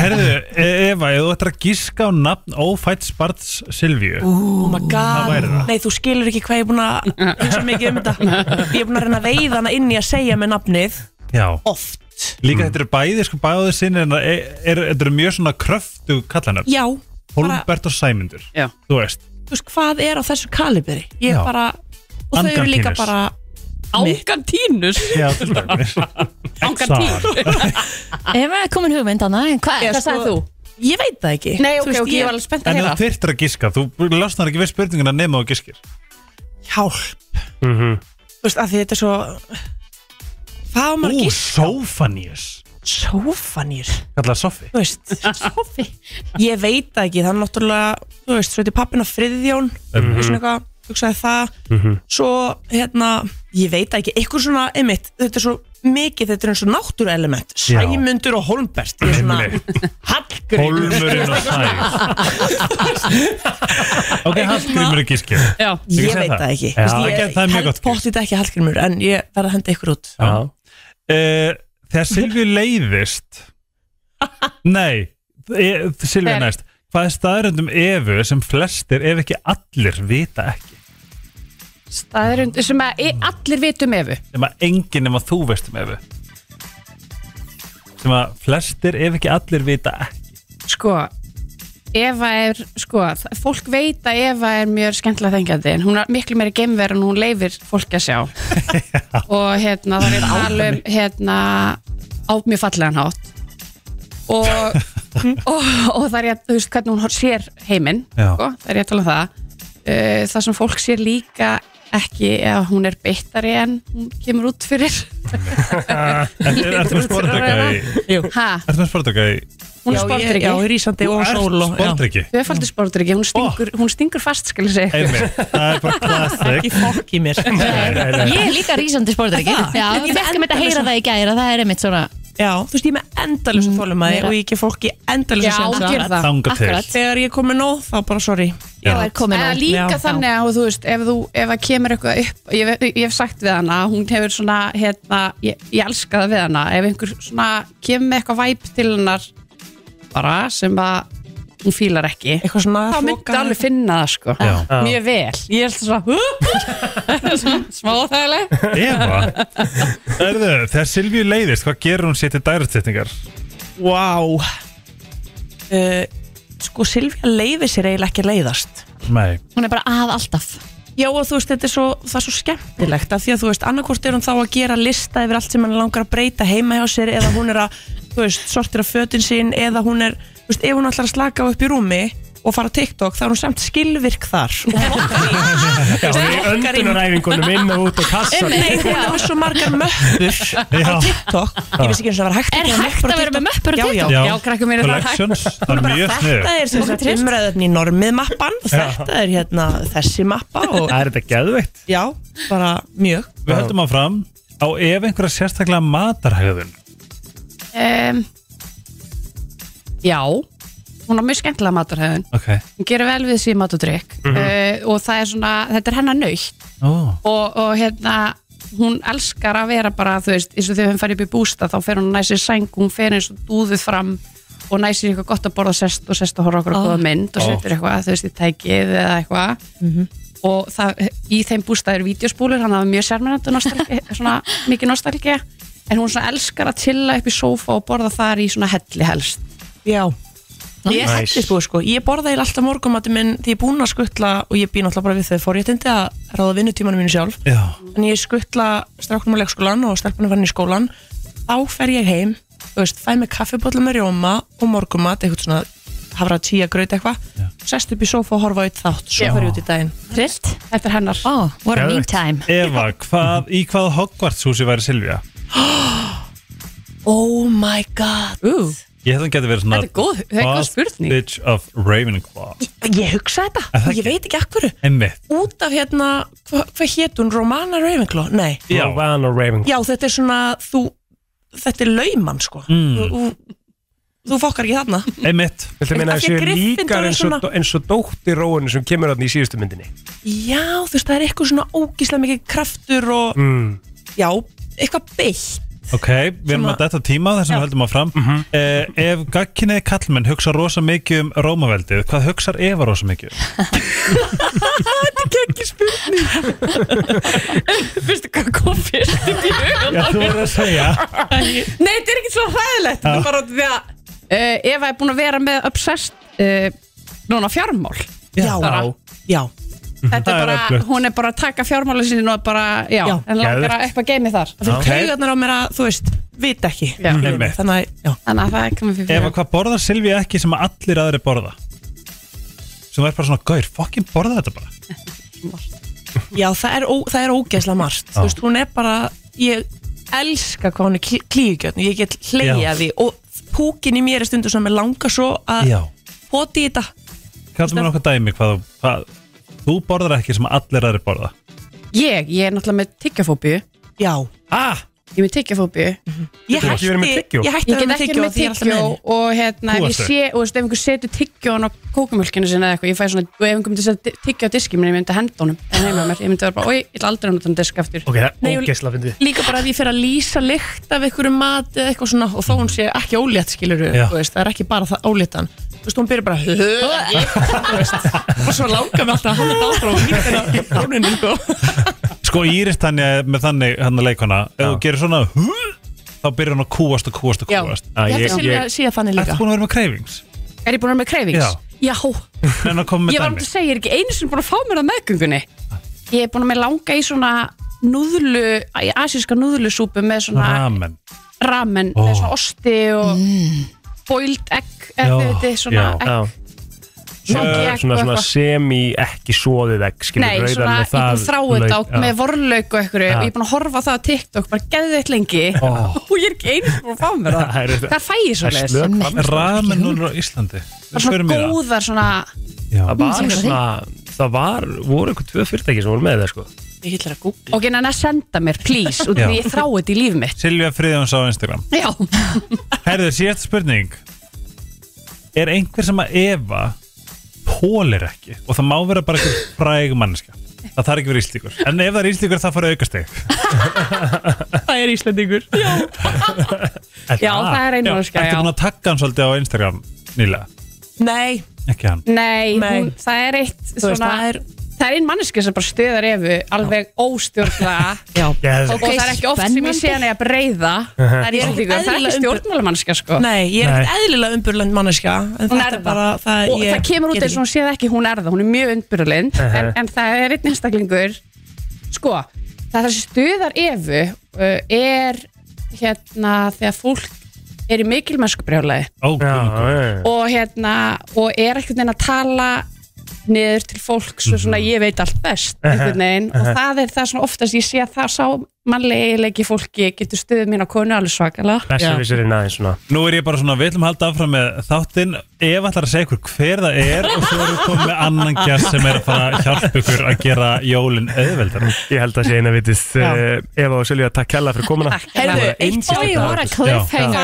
Speaker 4: Herðu, eh, Eva, ef þú ættir að gíska á nafn ófætt sparts Silvíu
Speaker 9: Oh my
Speaker 4: Það
Speaker 9: god,
Speaker 4: væri það.
Speaker 9: nei þú skilur ekki hvað ég er búin að hugsa mikið um þetta Ég er búin að reyna að veiða hana inn í að segja með nafnið
Speaker 4: Já
Speaker 9: Oft
Speaker 4: Líka þetta eru bæði, sko báðu sinni en það er, er, þetta eru mjög svona kröftu kallanöfn
Speaker 9: Já, bara,
Speaker 4: Holmbert og Sæmundur
Speaker 10: Já.
Speaker 4: Þú veist
Speaker 9: þú veist hvað er á þessu kalibri Ég
Speaker 4: Já.
Speaker 9: er bara, og þau eru líka
Speaker 4: Angantínus.
Speaker 9: bara
Speaker 10: Ángantínus
Speaker 4: Já, til dæmis
Speaker 3: Ef er komin hugmynd hana, en hva,
Speaker 9: Ég,
Speaker 3: hvað
Speaker 9: sko,
Speaker 3: sagði þú?
Speaker 9: Ég veit það ekki
Speaker 10: Nei,
Speaker 9: Þú
Speaker 10: ok, ok, ég var alveg spennt að
Speaker 4: En
Speaker 10: heyra.
Speaker 4: þú þyrftir að giska, þú losnar ekki við spurninguna nema og giskir
Speaker 9: Hjálp,
Speaker 2: mm -hmm.
Speaker 9: þú veist að því þetta er svo Hvað á maður
Speaker 4: Ú,
Speaker 9: að gíska?
Speaker 4: Sófaníus
Speaker 9: Sófanýr
Speaker 4: Kallar Soffi
Speaker 9: Þú veist Sofi Ég veit það ekki, það er náttúrulega Þú veist, svo þetta er pappina Friðjón mm
Speaker 4: Mhm.
Speaker 9: -hmm. Svona eitthvað, hugsaði það
Speaker 4: Mhm.
Speaker 9: Svo, hérna, ég veit það ekki Eitthvað svona, einmitt, þetta er svo mikið Þetta er eins og náttúruelement
Speaker 4: Já.
Speaker 9: Sæmundur og Holmbert Ég er svona, Hallgrímur
Speaker 4: Hólmurinn og Sæs Ok, Hallgrímur og giskir
Speaker 10: Já,
Speaker 4: Þú
Speaker 9: Ég
Speaker 4: segir
Speaker 9: veit
Speaker 4: það?
Speaker 9: það ekki
Speaker 4: Já, ekki, það er mjög gott sko.
Speaker 9: Pottið ekki Hallgrímur, en ég verð að henda ykkur út
Speaker 4: Já. Eh, Þegar Silvi leiðist Nei e, Silvi
Speaker 9: Þegar-
Speaker 4: næst Hvað er staðröndum efu sem flestir ef ekki allir vita ekki
Speaker 10: staðurund sem að e- allir vitum efu
Speaker 4: sem að enginn nema þú veist um efu sem að flestir ef ekki allir vita ekki
Speaker 10: sko Eva er, sko, þ- fólk veit að Eva er mjög skemmtilega þengjandi en hún er miklu meiri geimverð en hún leifir fólki að sjá og hérna það er að tala um hérna á mjög fallegan hátt og, og, og það er að, þú veist, hvernig hún hor- sér heiminn,
Speaker 7: Já.
Speaker 10: sko, það er að tala um það uh, það sem fólk sér líka ekki eða hún er beittari en hún kemur út fyrir
Speaker 4: Ertu ertu með sporðdöka í
Speaker 10: ha,
Speaker 4: Ertu með sporðdöka í
Speaker 10: hún er sportryggi
Speaker 4: Sporðdöki
Speaker 10: Tvöfaldur sportryggi, hún stingur, hún stingur fast skal ég segja ykkur.
Speaker 4: Einmitt, það er bara classic
Speaker 9: Ekki fokk í mér
Speaker 3: Ég er líka rísandi sportur, ekki? Já, ég fekk með að heyra það í gæra, það er einmitt svona
Speaker 9: Já, þú veist, ég er með endalösa þólumæði
Speaker 3: meira.
Speaker 9: og ég gef fólki endalösa
Speaker 10: Já, gerðu það. Þangað til. Akkurat.
Speaker 9: Þegar ég er komin nóg, þá bara sorry
Speaker 10: Já, Eða líka
Speaker 9: Já.
Speaker 10: þannig að þú veist ef, þú, ef það kemur eitthvað upp ég, ve- ég hef sagt við hana, hún hefur svona hérna, ég, ég elska það við hana ef einhver svona kemur með eitthvað væp til hennar bara sem að hún fílar ekki
Speaker 9: eitthvað svona
Speaker 10: þá myndi
Speaker 9: hroka-
Speaker 10: alveg finna það sko
Speaker 4: Já.
Speaker 10: mjög vel, ég held svona smá þægileg
Speaker 4: Eva Erðu, þegar Silvi leiðist, hvað gerur hún sér til dærastyttingar?
Speaker 9: Vá wow. uh, Sko, Silvía leiði sér eiginlega ekki að leiðast
Speaker 4: Nei
Speaker 3: Hún er bara að alltaf
Speaker 9: Já, og þú veist, þetta er svo, það er svo skemmtilegt af því að þú veist, annarkvort er hún þá að gera lista yfir allt sem hann langar að breyta heima hjá sér eða hún er að, þú veist, sortira fötin sín eða hún er, þú veist, ef hún ætlar að slaka á upp í rúmi og fara á TikTok þá er hún samt skilvirk þar
Speaker 2: Já, hún er í öndunaræfingunum inn og út á kassan
Speaker 9: Nei, hún er með svo margar möppur á TikTok Ég vissi ekki eins og það var hægt
Speaker 3: Er hægt að vera með möppur á
Speaker 9: Já,
Speaker 3: TikTok?
Speaker 9: já,
Speaker 3: Já, krakkum mínu, það er hægt. Collections,
Speaker 4: það er mjög
Speaker 9: Þetta er sem sagt umræðöfni í normið mappan Þetta er hérna þessi mappa og,
Speaker 4: er þetta geðveitt?
Speaker 9: Já, bara mjög
Speaker 4: Við höldum áfram á ef einhverja sérstaklega matarhegðun
Speaker 10: um, Já Hún er mjög skemmtilega maturhauðin
Speaker 4: Ok
Speaker 10: Hún gerir vel við síð mat og drikk
Speaker 4: Mhm.
Speaker 10: uh, og það er svona, þetta er hennar nöytt
Speaker 4: Ó,
Speaker 10: og, og hérna hún elskar að vera bara, þú veist eins og þegar hún fær upp í bústa þá fer hún að næsi sæng hún fer eins og dúðu fram og næsi eitthvað gott að borða sest og sest að horfa okkur
Speaker 9: Ó.
Speaker 10: að góða mynd og
Speaker 9: Ó.
Speaker 10: setur eitthvað, þú veist, í tækið eða eitthvað
Speaker 9: Mhm.
Speaker 10: og það, í þeim bústa er vídeospúlur, hann hafði mjög sérmennandi nostalgi, svona mikið nostalgi en hún svona elskar að tilla upp í sófa og borða þar í svona helli helst
Speaker 9: Já Ég er
Speaker 10: Nice.
Speaker 9: hættið búið sko, ég borða eiginlega alltaf morgumati minn því ég er búin að skuttla og ég býn alltaf bara við þau fórréttindi að ráða vinnutímanum mínu sjálf
Speaker 4: Já.
Speaker 9: en ég skuttla stráknum á leikskólan og stelpunum farin í skólan þá fer ég heim, þú veist, fæ mig kaffibotla með rjóma og morgumat eitthvað svona hafra tíja gröð eitthvað sest upp í sófa og horfa á eitt þátt svo
Speaker 10: Já.
Speaker 9: fer ég út í daginn
Speaker 3: Trillt,
Speaker 10: þetta er hennar
Speaker 3: oh,
Speaker 4: geðveitt. Eva, hvað, í hvað Hogwarts húsi væri Silvja?
Speaker 9: Oh my god
Speaker 10: Ooh.
Speaker 4: Ég hefði hann geti verið svona
Speaker 9: Þetta er góð- þetta er góð
Speaker 4: Boss
Speaker 9: spurning.
Speaker 4: Bitch of Ravenclaw
Speaker 9: Ég hugsa þetta, ég veit ekki akkur
Speaker 4: Einmitt
Speaker 9: út af hérna, hva- hvað hét hún, Romana Ravenclaw? Nei
Speaker 2: Já, Van og Ravenclaw
Speaker 9: Já, þetta er svona, þú, þetta er lauman sko
Speaker 2: Mm.
Speaker 9: þú, þú, þú fokkar ekki þarna
Speaker 4: Einmitt
Speaker 2: Viltu meina
Speaker 9: Af
Speaker 2: að
Speaker 9: því að
Speaker 2: séu
Speaker 9: Gryffindor
Speaker 2: líkar
Speaker 9: er
Speaker 2: eins og,
Speaker 9: svona-
Speaker 2: eins og dóttir róinu sem kemur hann í síðustu myndinni
Speaker 9: Já, þú veist, það er eitthvað svona ógíslega mikið kraftur og
Speaker 2: mm.
Speaker 9: já, eitthvað beitt
Speaker 4: Ok, við erum
Speaker 9: Svona-
Speaker 4: að detta tíma þess að höldum að fram mm Ef gagkinniði kallmenn hugsa rosa mikið um Rómaveldið Hvað hugsar Eva rosa mikið? um?
Speaker 9: Þetta er ekki
Speaker 10: spurning Veistu hvað kom fyrst upp í hugan
Speaker 4: Já, þú verður að segja.
Speaker 10: Nei, þetta er ekki svo hræðilegt Þetta
Speaker 4: Já.
Speaker 10: er bara því að uh, Eva er búin að vera með obsessed uh, núna fjármál
Speaker 9: Já,
Speaker 10: bara,
Speaker 9: já Mhm.
Speaker 10: Þetta er bara, hún er bara að taka fjármála sín og bara, já,
Speaker 9: Já.
Speaker 10: en langar að
Speaker 9: Geðveikt.
Speaker 10: eitthvað geimi þar
Speaker 9: Það fyrir taugarnar á mér að, þú veist, vita ekki
Speaker 10: Já.
Speaker 9: Skilurðu
Speaker 4: Mhm.
Speaker 9: mig,
Speaker 4: Einmitt.
Speaker 9: Þannig að, já
Speaker 10: Þannig að það er komið fyrir
Speaker 4: Eva, hvað borðar Silvja ekki sem að allir aðri borða? Sem er bara svona gaur, fokkin borða þetta bara
Speaker 9: Já, það er, ó, það er ógeðslega margt Þú veist, hún er bara, ég elska hvað hún er klí- klíugjörn Ég get
Speaker 4: Já.
Speaker 9: hleyja því og púkin í mér er stundu sem er langa svo að
Speaker 4: Já.
Speaker 9: poti í þetta
Speaker 4: Kallum mér okkur dæmi hvað, þú- hvað Þú borðar ekki sem að allir aðri borða
Speaker 10: Ég, ég er náttúrulega með tyggjafóbíu
Speaker 9: Já
Speaker 4: ah.
Speaker 10: Ég er með tyggjafóbíu
Speaker 4: Ég Þú hefur ekki hætti- verið með tyggjó?
Speaker 9: ég hætti að vera
Speaker 10: Ég get
Speaker 9: með
Speaker 10: ekki
Speaker 9: tyggjó
Speaker 10: verið
Speaker 9: því ég er
Speaker 10: með
Speaker 9: alltaf
Speaker 10: tyggjó
Speaker 9: með henni.
Speaker 10: og hérna,
Speaker 9: Þú
Speaker 10: ef ég
Speaker 9: varst þau.
Speaker 10: sé, og þú veist, ef einhver setur tyggjóðan á kókumjölkinu sinna eða eitthvað, ég fæ svona, og ef einhver myndi setja tyggjóð á diskið minn, ég myndi henda honum, en heima mér, ég myndi vera bara, oi, ég ætla aldrei að nota hann disk aftur.
Speaker 2: Ok, það er
Speaker 9: Nei, ég-
Speaker 2: ógeðsla fyndið
Speaker 9: líka bara ef ég fer að lýsa lykt af einhverju mat eða eitthvað svona og þó hún sé ekki ólétt skilur
Speaker 2: Já.
Speaker 9: veist, það er ekki bara það óléttan þú veist, hún byrjar bara "Hö, ég", þú veist, og svo langar mig alltaf að hann er dátrá og líka hérna sko.
Speaker 4: Sko Íris Tanja er með þannig hann að leikona Ef þú gerir svona "Hú", Þá byrjar hann að kúast og kúast og
Speaker 9: Já.
Speaker 4: kúast
Speaker 9: Ég held að Silvía sé að þannig líka.
Speaker 4: Ertu búin að vera með cravings?
Speaker 10: Er ég búin að vera með
Speaker 4: Já.
Speaker 10: cravings? Já.
Speaker 4: En að koma með
Speaker 10: Ég var um
Speaker 4: dæmi
Speaker 10: til að segja, ég er ekki einu sinni búin að fá mér það meðgöngunni. Ég er búin að með langa í svona núðlu, í asíska núðlusúpu með svona
Speaker 4: Ramen
Speaker 10: ramen,
Speaker 4: Ó.
Speaker 10: með svona osti og Mm. boiled egg, eða
Speaker 2: Já,
Speaker 10: þið veitir, svona
Speaker 2: já.
Speaker 10: egg.
Speaker 2: Já.
Speaker 10: Svona
Speaker 2: Svona,
Speaker 10: egg
Speaker 2: svona,
Speaker 10: og
Speaker 2: svona
Speaker 10: eitthvað.
Speaker 2: semi ekki soðið egg skilur,
Speaker 10: Nei,
Speaker 2: rauðan
Speaker 10: svona,
Speaker 2: með
Speaker 10: ég er búin að þrá þetta
Speaker 2: lauk,
Speaker 10: á með vorlauk og einhverju
Speaker 2: Já.
Speaker 10: og ég er búin að horfa á það á TikTok, bara geðið eitt lengi
Speaker 2: Ó.
Speaker 10: og ég er ekki einu sinni búin að fá mér það.
Speaker 2: Það er-
Speaker 10: Hvað fæ ég svo
Speaker 2: Það er slök ramen.
Speaker 4: Ramen núna á Íslandi
Speaker 10: Bara svona góðar svona,
Speaker 2: það var
Speaker 10: Mm,
Speaker 2: svona það var, voru einhver tvö fyrirtæki sem voru með það sko.
Speaker 9: ég ætla að googla.
Speaker 10: ok, en að senda mér, please, út af
Speaker 4: Já.
Speaker 10: því ég þrá þetta í líf mitt.
Speaker 4: Silvja Friðjóns á Instagram
Speaker 10: Já.
Speaker 4: Herðu, síðast spurning Er einhver sem að Eva Pólir ekki Og það má vera bara einhver fræg manneska Það þarf ekki verið íslíkur En ef það er íslíkur það fara aukast þig
Speaker 9: það er Íslandingur já,
Speaker 10: Já, það er einu manneskja, já.
Speaker 4: Ertu búin að taka hann svolítið á Instagram nýlega?
Speaker 9: nei,
Speaker 4: Ekki hann
Speaker 10: Nei, Hún,
Speaker 9: Nei.
Speaker 10: það er eitt
Speaker 9: Þú
Speaker 10: svona,
Speaker 9: veist, það
Speaker 10: það er, ein manneski sem bara stöðar efu alveg óstjórnlega
Speaker 9: Geðveikt.
Speaker 10: og það er ekki oft sem ég sé hann að breyða
Speaker 2: Uh-huh.
Speaker 9: Ég
Speaker 10: það er,
Speaker 9: er
Speaker 10: ekki,
Speaker 9: ekkert
Speaker 10: það er
Speaker 9: eðlilega
Speaker 10: ekki stjórnmálamannska sko
Speaker 9: nei, ég er ekkert
Speaker 10: Nei.
Speaker 9: eðlilega umbyrland manneska en
Speaker 10: Hún
Speaker 9: þetta
Speaker 10: er
Speaker 9: er bara það,
Speaker 10: og
Speaker 9: ég
Speaker 10: það kemur út
Speaker 9: get
Speaker 10: eins og hún séð ekki hún er það hún er mjög undbyrlind
Speaker 9: Mhm.
Speaker 10: en, en það er einn einstaklingur sko, það er þessi stuðar efu uh, er hérna þegar fólk er í mikilmennskubrjálæði
Speaker 2: okay.
Speaker 10: og hérna, og er einhvern veginn að tala niður til fólk svo
Speaker 9: Mhm.
Speaker 10: svona ég veit allt best einhvern veginn og
Speaker 2: Mhm.
Speaker 10: það er það svona oftast ég sé að það sá mannlegilegi fólki getur stuðið mín á konu alveg svakalega
Speaker 2: Þessi vissirinn aðeins svona
Speaker 4: Nú er ég bara svona, við ætlum að halda áfram með þáttinn Ef ætlar að segja ykkur hver það er Og svo erum við komið með annan gæst sem er að fara að hjálpa ykkur að gera jólin auðveldar
Speaker 2: Ég held að sé eina vitið
Speaker 4: Já.
Speaker 2: uh, Eva og Silja, takk kella fyrir komuna
Speaker 9: Heyrðu,
Speaker 2: Bara
Speaker 9: eitt bói
Speaker 2: einstakt atriði.
Speaker 9: voru að
Speaker 2: Já.
Speaker 9: cliffhanga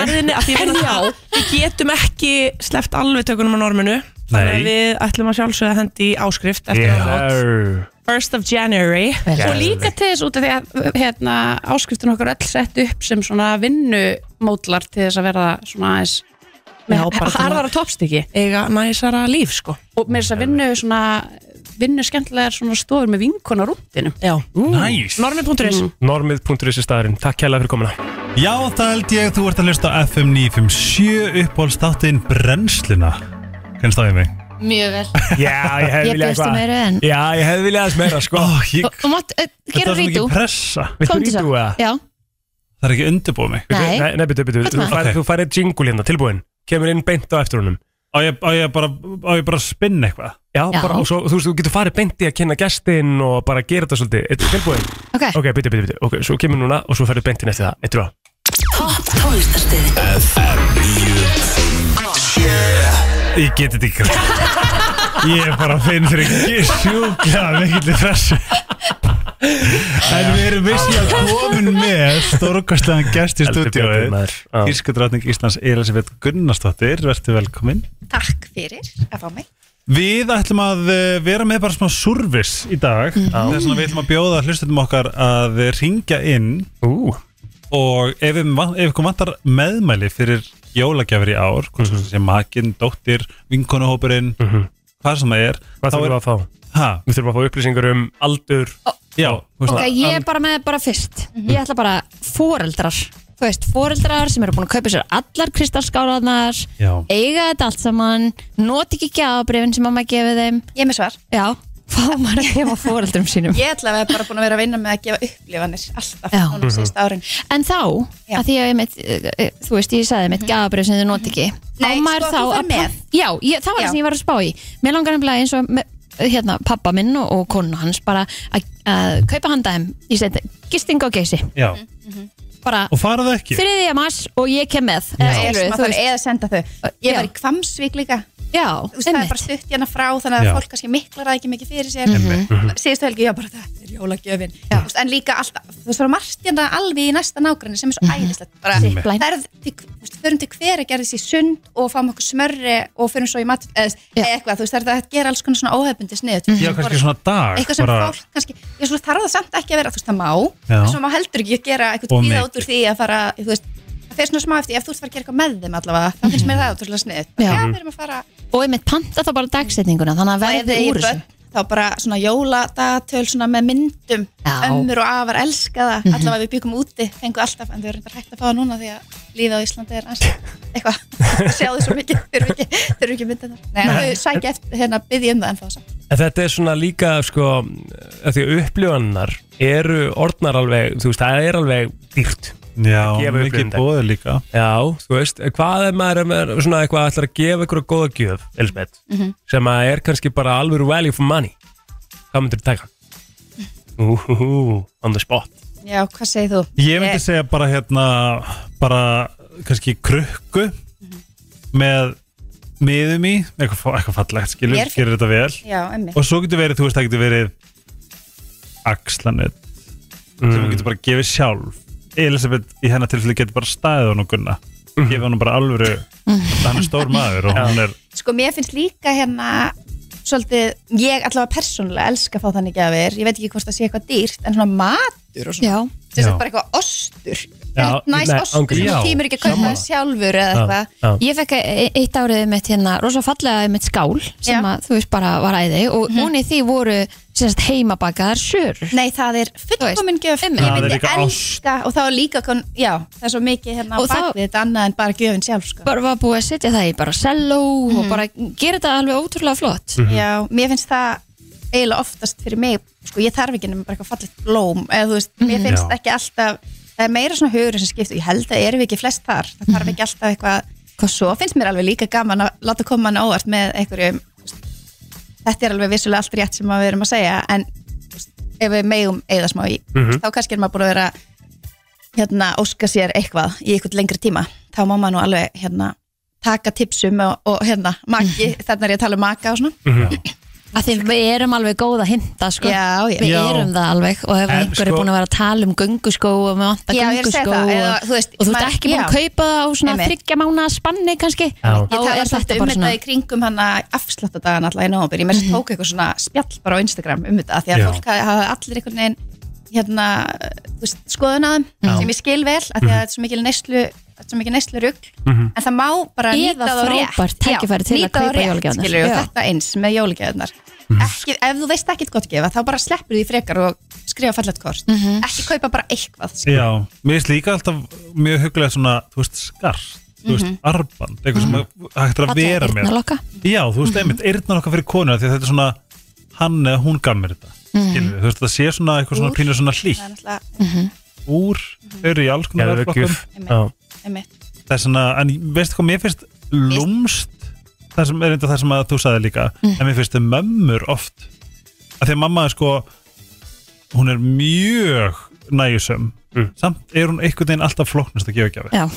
Speaker 9: Herðu, við getum ekki sleppt alveg tökunum á norminu Þannig
Speaker 2: Nei.
Speaker 9: að við ætlum að sjálfsögða hendi í áskrift eftir áramót.
Speaker 2: Yeah.
Speaker 9: 1st of January
Speaker 10: og líka til þess út af því að hérna, áskriftin okkar öll sett upp sem svona vinnumódlar til þess að verða svona aðeins með harðara toppstykki
Speaker 9: eiga næsara líf sko
Speaker 10: og með þess að vinnu svona vinnu skemmtilegar svona stofur með vinkona rúndinu
Speaker 9: já,
Speaker 2: Næs.
Speaker 9: normið.is
Speaker 2: Mm. Normið.is er staðurinn, takk kella fyrir komuna
Speaker 4: Já, það held ég, þú ert að hlusta á FM 957 uppbólstáttinn Brennsluna Hvernig stáðið mig?
Speaker 3: Mjög vel
Speaker 2: Já, ég
Speaker 3: Ég
Speaker 2: hefði viljað
Speaker 3: bjóst þú meira en.
Speaker 2: Já, ég hefði viljað aðeins meira, sko
Speaker 4: ég...
Speaker 3: Þú mátt uh, gera rítú
Speaker 4: pressa
Speaker 2: Viltu
Speaker 3: Komdu
Speaker 2: rítú
Speaker 3: svo.
Speaker 2: eða?
Speaker 3: Já,
Speaker 4: Það er ekki undirbúið mig
Speaker 3: Nei.
Speaker 2: Nei, nei, bitu, bitu,
Speaker 3: Hvað er
Speaker 2: þú færið
Speaker 3: það?
Speaker 4: Ok.
Speaker 2: okay. færi jingle hérna, tilbúin Kemur inn beint á eftir honum
Speaker 4: Á ég, á ég, bara, á ég bara að spinna eitthvað
Speaker 2: Já,
Speaker 3: Já.
Speaker 2: bara, og svo, þú veist, þú getur farið beint í að kynna gestin og bara gera þetta svolítið Er tilbúin?
Speaker 3: Ok.
Speaker 2: Ok, bitu, bitu, bitu, ok, svo kemur núna og svo færið beint inn eftir það Eittu á
Speaker 11: Topp tónlistarstöð
Speaker 4: Ég get þetta ekki Ég er bara að finna fyrir ekki sjúklega mikill pressu En við erum visslega komin með stórkastlegan gest í
Speaker 2: Heldur betur,
Speaker 4: stúdíóið
Speaker 2: maður. Já.
Speaker 4: Ískudrátning Íslands Elisabeth Gunnarsdóttir, verður velkomin
Speaker 12: Takk fyrir að fá mig
Speaker 4: Við ætlum að eh, vera með bara smá survis í dag mm -hmm. Þess vegna við ætlum að bjóða hlustutum okkar að ringja inn
Speaker 2: Ú.
Speaker 4: Og ef við van- ef ykkur vantar meðmæli fyrir jólagjafir í ár Hvort mm -hmm. sem makinn, dóttir, vinkonuhópurinn Hvað sem það er
Speaker 2: Hvað þurfum við að fá?
Speaker 4: Ha?
Speaker 2: Við þurfum að fá upplýsingar um aldur
Speaker 4: Já, þú
Speaker 3: ok, Sko, ég er bara með bara fyrst
Speaker 12: Mhm.
Speaker 3: Ég ætla bara foreldrar Þú veist, foreldrar sem eru búin að kaupa sér allar kristalskálanar
Speaker 4: Já.
Speaker 3: Eiga þetta allt saman Noti ekki gjafabrifin sem mamma gefið þeim
Speaker 12: Ég er með svar
Speaker 3: Já, fá maður að gefa foreldrum sínum
Speaker 12: Ég ætla að vera bara búin að vera að vinna með að gefa upplifanir alltaf
Speaker 3: Já.
Speaker 12: núna síðust árin
Speaker 3: En þá, að því að ég mitt, eh, þú veist, ég sagði mitt gafabrif sem þau noti ekki
Speaker 12: Mhm. Nei,
Speaker 3: Á maður
Speaker 12: sko,
Speaker 3: þá
Speaker 12: þú
Speaker 3: að
Speaker 12: ferð með.
Speaker 3: pant- Já, ég, það var
Speaker 12: Já.
Speaker 3: það sem ég var að spá í Mér langar nefnilega eins og með, hérna, pappa minn og, og konu hans bara að að kaupa handa þeim í stein gisting og geysi
Speaker 4: Já,
Speaker 3: bara
Speaker 4: og fara það ekki
Speaker 3: þriðja mars og ég kem með
Speaker 12: Já.
Speaker 3: Eða skilurðu,
Speaker 12: Eða
Speaker 3: þú
Speaker 12: sma-
Speaker 3: veist.
Speaker 12: eða senda þau Ég var í Kvamsvík líka
Speaker 3: Já,
Speaker 12: veist, Það er bara stutt hérna frá þannig að
Speaker 3: Já.
Speaker 12: fólk kannski miklar það ekki mikið fyrir sér
Speaker 3: Einmitt.
Speaker 4: Mhm.
Speaker 12: Þannig- Síðustu helgi, já bara þetta er jólagjöfin Þú veist, En líka alltaf, þú veist, það var margt hérna alveg í næsta nágranni sem er svo æðislegt bara,
Speaker 3: Einmitt.
Speaker 12: Það er, til- þú veist, förum til hver að gera þessi sund og fáum okkur smörri og förum svo í mat eða eða eitthvað, þú veist, það er þetta að gera alls konar svona óhefbundi snið
Speaker 4: Já, kannski svona dag
Speaker 12: eitthvað sem
Speaker 4: bara-
Speaker 12: fólk kannski ég svo þarf það samt ekki að vera, þú veist, það má
Speaker 4: Já.
Speaker 12: en svo má heldur ekki að gera
Speaker 4: Og
Speaker 12: eitthvað kvíða
Speaker 4: mikið.
Speaker 12: út úr því að fara, þú veist það fer svona smá eftir, ef þú ert að fara að gera eitthvað með þeim allavega þá finnst mér það útrúlega snið
Speaker 3: Já.
Speaker 12: við erum að fara
Speaker 3: og ég mitt panta þá bara dagsetninguna þannig að
Speaker 12: og ef
Speaker 3: verði
Speaker 12: þið
Speaker 3: úr
Speaker 12: eru börn, þá bara svona jóladatöl svona með myndum
Speaker 3: Já.
Speaker 12: ömmur og afar elska það
Speaker 3: Mhm.
Speaker 12: allavega við byggum úti, fengu alltaf en þau eru reyndar hægt að fá það núna því að líða á Íslandi er aðeins eitthvað, sjáðu svo mikið þau eru ekki, þau eru ekki myndið það Nei,
Speaker 2: Nei.
Speaker 12: þau sækja eftir, hérna, byggja um það en þá samt
Speaker 2: En þetta er svona líka sko, að því að upplifannar eru orðnar alveg, þú veist, það er alveg dýrt
Speaker 4: Já,
Speaker 2: Að gefa
Speaker 4: mikið
Speaker 2: upplifun þetta.
Speaker 4: boðið líka.
Speaker 2: Já, þú veist, hvað er maður, ef maður svona eitthvað ætlar að gefa ykkur góða gjöf, Elisabeth,
Speaker 12: Mhm.
Speaker 2: sem að er kannski bara alveg value for money hvað myndir þú taka? Úhú, on the spot
Speaker 12: Já, hvað segir þú?
Speaker 4: Ég myndi segja bara hérna bara kannski krukku með miðum í eitthvað, fa- eitthvað fallegt skilur,
Speaker 12: Mér
Speaker 4: gerir þetta vel
Speaker 12: Já, emmi
Speaker 4: og svo getur verið, þú veist, það getur verið axlanett sem hún getur bara gefið sjálf Elisabeth í hennar tilfelli getur bara staðið hún og gunna gefið hún bara alvöru
Speaker 12: Mhm.
Speaker 4: hann er stór maður og hann er
Speaker 12: Sko, mér finnst líka hérna svolítið, ég allavega persónulega elska að fá þannig gafir, ég veit ekki hvort það sé eitthvað dýrt en svona matur og svona sem sagt
Speaker 3: Já.
Speaker 12: bara eitthvað ostur
Speaker 3: Já,
Speaker 12: næs
Speaker 3: nei,
Speaker 12: ostur
Speaker 3: ángríns.
Speaker 12: sem þú
Speaker 3: Já,
Speaker 12: tímur ekki að kaupa það sjálfur eða
Speaker 3: Já,
Speaker 12: eitthvað
Speaker 3: Ég fekk e- eitt árið mitt hérna rosa fallega mitt skál sem að þú veist bara var æði og mm í því voru sem sagt, heimabakaðar sör
Speaker 12: Mhm. Nei, það er fullkomin gjöf
Speaker 3: Einmitt.
Speaker 12: ég
Speaker 3: Það er
Speaker 12: myndi
Speaker 3: líka
Speaker 12: elska og þá er líka kon, já, það er svo mikið hérna á
Speaker 3: Og þá-
Speaker 12: bakvið þetta annað en bara gjöfin sjálf sko.
Speaker 3: bara var búið að setja það í bara selló og bara gera þetta alveg ótrúlega flott
Speaker 12: Mhm. Já, mér finnst það eiginlega oftast fyrir mig, sko, ég þarf ekki nema bara eitthvað fallegt blóm, eða þú veist, mér
Speaker 3: Mhm.
Speaker 12: finnst
Speaker 3: Já.
Speaker 12: ekki alltaf
Speaker 10: það er meira svona hugur sem skiptir, ég held að erum við ekki flest þar það
Speaker 12: Mhm.
Speaker 10: þarf ekki alltaf eitthvað hvað svo finnst mér alveg líka gaman að láta koma hann á óvart með einhverjum þú veist, þetta er alveg vissulega allt rétt sem að við erum að segja en þú veist, ef við megum eða smá í, mm
Speaker 13: Mhm.
Speaker 10: þá kannski er maður búin að vera hérna óska sér eitthvað í eitthvað lengri tíma, þá má maður nú alveg hérna taka tipsum og, og hérna maki, þarna er ég að tala um maka og svona
Speaker 3: að því við erum alveg góð að hinta sko.
Speaker 10: Já, já.
Speaker 3: við
Speaker 10: Já.
Speaker 3: erum það alveg og ef
Speaker 10: En,
Speaker 3: einhver er
Speaker 10: sko-
Speaker 3: búin að vera að tala um gunguskó og með vanta
Speaker 10: Já, ég er að segja
Speaker 3: gunguskó
Speaker 10: það,
Speaker 3: og,
Speaker 10: eða, þú veist,
Speaker 3: og þú
Speaker 10: maður-
Speaker 3: ert ekki búin að
Speaker 10: já.
Speaker 3: kaupa það á svona
Speaker 10: Einmitt.
Speaker 3: þryggja mánu spanni kannski
Speaker 10: Ég tala svolítið um þetta í kringum hann að afsláttadagan alltaf í nógumbyr. Ég mest
Speaker 3: Mhm.
Speaker 10: mm tók eitthvað svona spjall bara á Instagram um þetta því að
Speaker 3: Já.
Speaker 10: fólk hafði- hafði allir einhvern veginn hérna, þú veist, skoðun að þeim
Speaker 3: Já.
Speaker 10: sem ég skil vel af því að þetta er svo mikil neyslu þetta er svo mikil neyslu rugg
Speaker 3: Mhm.
Speaker 10: en það má bara
Speaker 3: Eða
Speaker 10: nýta það á rétt
Speaker 3: frábært tækifæri
Speaker 10: Já,
Speaker 3: til að
Speaker 10: nýta það á
Speaker 3: kaupa
Speaker 10: rétt,
Speaker 3: jólagjafirnar.
Speaker 10: skilurðu, og
Speaker 3: Já.
Speaker 10: þetta eins með jólagjafnar
Speaker 3: Mhm.
Speaker 10: ekki, ef þú veist ekkit gott gefa þá bara sleppur því frekar og skrifa fallet kort
Speaker 3: Mhm.
Speaker 10: ekki kaupa bara eitthvað skilurðu.
Speaker 4: Já, mér finnst líka alltaf mjög huglega svona, þú veist, skarst þú veist,
Speaker 10: Mhm.
Speaker 4: arband, eitthvað sem er hægt er að
Speaker 10: Fallega
Speaker 4: vera með
Speaker 10: eyrnalokka.
Speaker 4: Já, þú
Speaker 10: Mhm.
Speaker 4: veist, einmitt, eyrnalokka fyrir konuna því að þetta er svona, hann eða hún gaf mér þetta
Speaker 10: Mhm.
Speaker 4: skilur við, þú veist, það sé svona eitthvað svona
Speaker 10: Úr.
Speaker 4: pínur svona hlýtt
Speaker 10: Það er náttúrulega Mhm.
Speaker 4: úr, eru í alls konar
Speaker 2: Geðveik
Speaker 4: örflokkum.
Speaker 2: gjöf. Já.
Speaker 10: einmitt.
Speaker 4: það er svona, en veistu hvað mér finnst lúmst það sem er eitthvað það sem að þú sagði líka
Speaker 2: Mm.
Speaker 4: en mér finnst þið mömmur oft af því að mamma er sko hún er mjög nægjusum samt er hún einhvern veginn alltaf flóknast að gefa gjafi
Speaker 3: Já.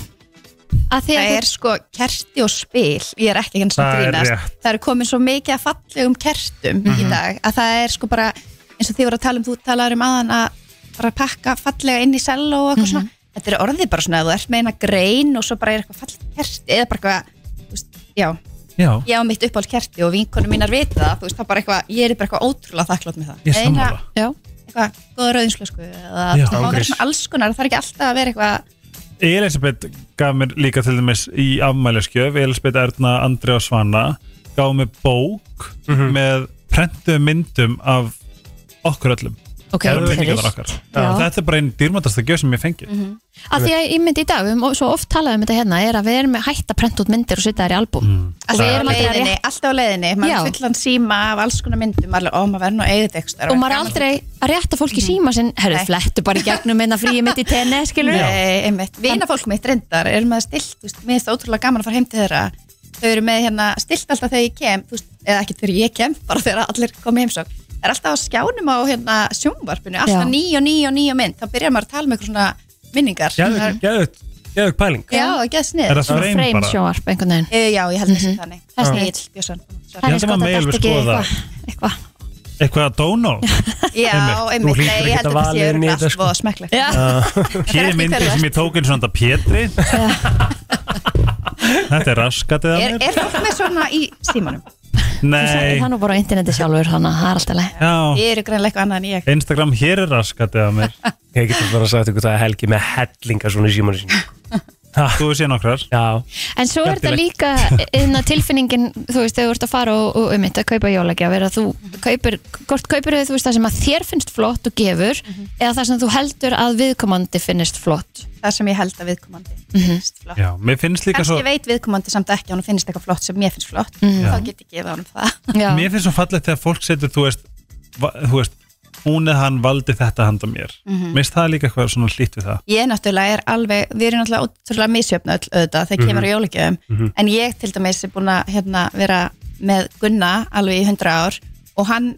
Speaker 10: það er sko kerti og spil ég er ekki eins og
Speaker 4: Það er
Speaker 10: grínast
Speaker 4: rétt.
Speaker 10: það er komin svo mikið að fallegum kertum í
Speaker 4: Mhm.
Speaker 10: dag að það er sko bara eins og þið voru að tala um, þú talar um aðan að bara pakka fallega inn í sel og eitthvað svona þetta er orðið bara svona að þú ert með eina grein og svo bara er eitthvað falleg kerti eða bara eitthvað, þú veist, já
Speaker 4: Já.
Speaker 10: ég á mitt uppáhald kerti og vinkonum mínar vita það þú veist, það bara eitthvað, ég er bara eitthvað ótrúlega þakklátt með það
Speaker 4: Ég er
Speaker 10: Eina-
Speaker 4: sammála.
Speaker 3: já,
Speaker 10: eitthvað góða rauðinslösku eða
Speaker 4: Já,
Speaker 10: það má vera
Speaker 4: ángríns.
Speaker 10: svona alls konar, það er ekki alltaf að vera eitthvað
Speaker 4: Elisabeth gaf mér líka til dæmis í afmæliskjöf, Elisabeth Erna Andri og Svana gaf mér bók með prentu myndum af okkur öllum
Speaker 3: Ok, trist.
Speaker 4: Geðveikingarnar okkar.
Speaker 3: Já. Mhm.
Speaker 4: þetta er bara einn dýrmætasta gjöf sem ég fengi
Speaker 3: að því að ég myndi í dag, við höfum svo oft talað um þetta hérna er að við erum hægt að prenta út myndir og setja þær í album mm.
Speaker 10: Alltaf
Speaker 3: við
Speaker 10: á
Speaker 3: erum að gera
Speaker 10: leiðinni,
Speaker 3: rétt
Speaker 10: alltaf á leiðinni maður
Speaker 3: Já.
Speaker 10: er fullan síma af alls konar myndum alveg, ó, maður verður nú eigið ekstra
Speaker 3: og maður er aldrei að rétta fólki síma sinn herru,
Speaker 10: Nei.
Speaker 3: flettu bara í gegnum einna fríi mitt í tenni skilur
Speaker 10: Nei, einmitt, vinafólk mitt reyndar er með stilt, þú veist, mér finnst það ótrúlega gaman að fara heim til þeirra þau eru með hérna stilt alltaf þegar ég kem þú veist, eða ekki þegar ég kem, bara þegar allir komið heimsók, það er alltaf á skjánum á hérna sjónvarpinu,
Speaker 3: Já.
Speaker 10: alltaf ný og ný og ný og mynd, þá byrjar maður að tala með eitthvað svona minningar Það er-
Speaker 2: Geðug pæling
Speaker 10: Já, það gæðs niður
Speaker 2: Er það Svona frame frame bara? sjónvarp,
Speaker 3: einhvern veginn
Speaker 10: Já, ég held þessi þannig
Speaker 3: Mhm. Það er
Speaker 10: Já.
Speaker 3: snill.
Speaker 10: Egill Björnsson.
Speaker 4: Ég held að maður megi alveg skoða Eitthvað að dóna
Speaker 10: Já, einmitt, nei, ég held að það sé örugglega allt
Speaker 2: sko.
Speaker 10: voða smekklegt.
Speaker 4: Hér er myndin sem ég tók eins og þetta Pétri Þetta er raskat eða
Speaker 10: er,
Speaker 4: mér
Speaker 10: er fólk með svona í símanum?
Speaker 4: Nei,
Speaker 3: það er nú bara á interneti sjálfur þannig að það er alltaf leið
Speaker 4: já,
Speaker 10: Ég eru greinlega eitthvað annað en ég
Speaker 4: Instagram hér er raskat eða mér
Speaker 2: Ég getur bara sagt ykkur það að helgi með hellinga svona í símanu sín
Speaker 4: Þú sé nokkrar
Speaker 2: Já
Speaker 3: En svo er þetta líka innan tilfinningin, þú veist, þegar þú ert að fara og, og um að kaupa jólagjafir að þú kaupir, hvort kaupir þau, þú veist, það sem að þér finnst flott og gefur
Speaker 10: Mhm.
Speaker 3: eða það sem þú heldur að viðkomandi finnist flott
Speaker 10: Það sem ég held að viðkomandi finnst flott
Speaker 4: Já, mér finnst líka
Speaker 10: Kannski
Speaker 4: svo
Speaker 10: veit viðkomandi samt ekki að hún finnst eitthvað flott sem mér finnst flott
Speaker 4: Mhm.
Speaker 10: þá
Speaker 4: Já.
Speaker 10: get ég gefið honum það
Speaker 4: Mér finnst svo fallegt þegar fólk setur Þú veist, va- þú veist hún eða hann valdi þetta handa mér
Speaker 10: Mhm.
Speaker 4: Mér finnst það líka eitthvað svona hlýtt við það
Speaker 10: Ég náttúrulega er alveg, við erum náttúrulega ótrúlega misjöfna öll auðvitað þegar
Speaker 4: Mhm.
Speaker 10: kemur á jólagjöfum
Speaker 4: Mhm.
Speaker 10: en ég til dæmis er búin að hérna, vera með Gunna alveg í 100 ár og hann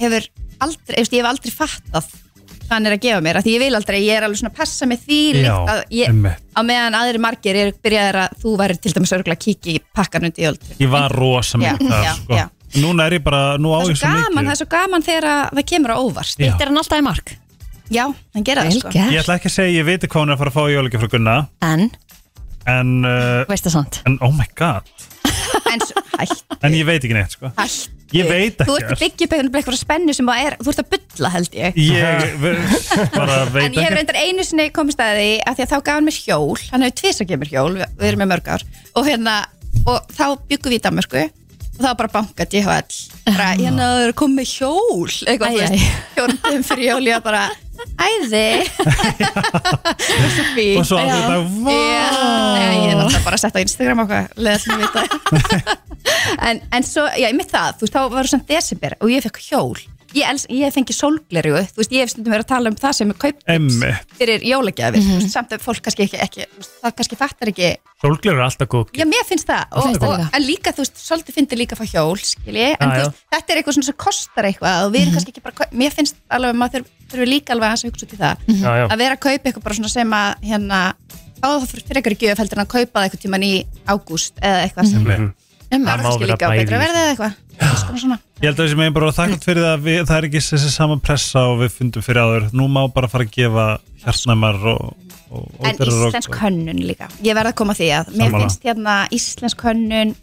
Speaker 10: hefur aldrei, eftir, ég hef aldrei fattað hvað hann er að gefa mér, af því ég vil aldrei ég er alveg svona að passa með því líkt
Speaker 4: Já,
Speaker 10: að ég,
Speaker 4: einmitt.
Speaker 10: á meðan aðri margir er byrjaðir að þú væri til dæmis örgulega að kíkja í pakkan undir jólagjöfum
Speaker 4: Ég var rosa
Speaker 10: Já,
Speaker 4: mikið
Speaker 10: já,
Speaker 4: það sko.
Speaker 10: já.
Speaker 4: Núna er ég bara, nú á ég
Speaker 10: það er
Speaker 4: svo
Speaker 10: svo gaman,
Speaker 4: mikið
Speaker 10: það er svo gaman þegar að það kemur á óvart
Speaker 4: Já. Hittir
Speaker 3: hann alltaf í mark?
Speaker 10: Já, hann gera það sko
Speaker 4: Ég ætla ekki að segja, ég veit hvað hún er að fara að fá í jólagi frá Gunna
Speaker 3: En?
Speaker 4: En uh,
Speaker 3: Veist það sant
Speaker 4: En oh my god
Speaker 10: En s- hætt,
Speaker 4: En ég veit ekki neitt sko
Speaker 10: hætt
Speaker 4: Ég veit
Speaker 10: Þú ert að
Speaker 4: ekki
Speaker 10: byggja upp einhvern eitthvað spennu sem það er, þú ert að bulla held ég
Speaker 4: Ég v- bara
Speaker 10: En
Speaker 4: veit
Speaker 10: ég hef
Speaker 4: ekki
Speaker 10: reyndar einu sinni komist að því að því að þá gaf hann mér hjól, hann hefur tvis að gefa mér hjól, við, við erum með mörg ár og hérna, og þá byggum við í Danmarku og þá bara bankað DHL
Speaker 4: Ah.
Speaker 10: bara, hérna þau eru komið með hjól eitthvað, þú veist, hjólum fyrir hjól ég var bara, æði
Speaker 4: Og svo allir þetta, vá.
Speaker 10: Já, ég er náttúrulega bara að setja á Instagram og hvað, leða sem við þetta en, en svo, já, ég mitt það, þú veist, þá var það samt desember og ég fekk hjól ég, els, ég hef fengið sólgleru þú veist, ég hef stundum verið að tala um það sem er kaup
Speaker 4: Emmi
Speaker 10: fyrir jólagjafir mm -hmm. samt að fólk kannski ekki, ekki þú veist, það kannski fattar ekki
Speaker 2: Sólgleru er alltaf góð
Speaker 10: Já, mér finnst það, og,
Speaker 2: finnst það
Speaker 10: og,
Speaker 2: líka.
Speaker 10: en líka þú veist, svolítið finnir líka að fá hjól, skilji
Speaker 2: Já,
Speaker 10: en
Speaker 2: Mhm.
Speaker 10: þú
Speaker 2: já.
Speaker 10: veist, þetta er eitthvað svona sem kostar eitthvað og við erum kannski ekki bara, að kaup- mér finnst alveg að maður þurf- þurfi líka alveg aðeins að hugsa út í það
Speaker 2: Mhm. Já, já.
Speaker 10: að vera að kaupa eitthvað bara svona sem að hérna, þá það fyrir fyrir eitthvað gjöf heldur en að kaupa það eitthvað tíman í ágúst eða eitthvað sem
Speaker 2: Mhm.
Speaker 10: um,
Speaker 4: Það
Speaker 10: það
Speaker 4: má
Speaker 10: er kannski
Speaker 4: vera
Speaker 10: líka á
Speaker 4: bæði
Speaker 10: betra
Speaker 4: í
Speaker 10: verði eða eitthvað Alls konar svona.
Speaker 4: Ég held að þessi megin bara þakklátt fyrir það að við, það er ekki þessi sama pressa og við fundum fyrir áður. Nú má bara fara að gefa hjartnæmar og, og, og
Speaker 10: en íslensk hönnun líka ég verð að koma að því að mér
Speaker 4: Sammála.
Speaker 10: finnst hérna íslensk hönnun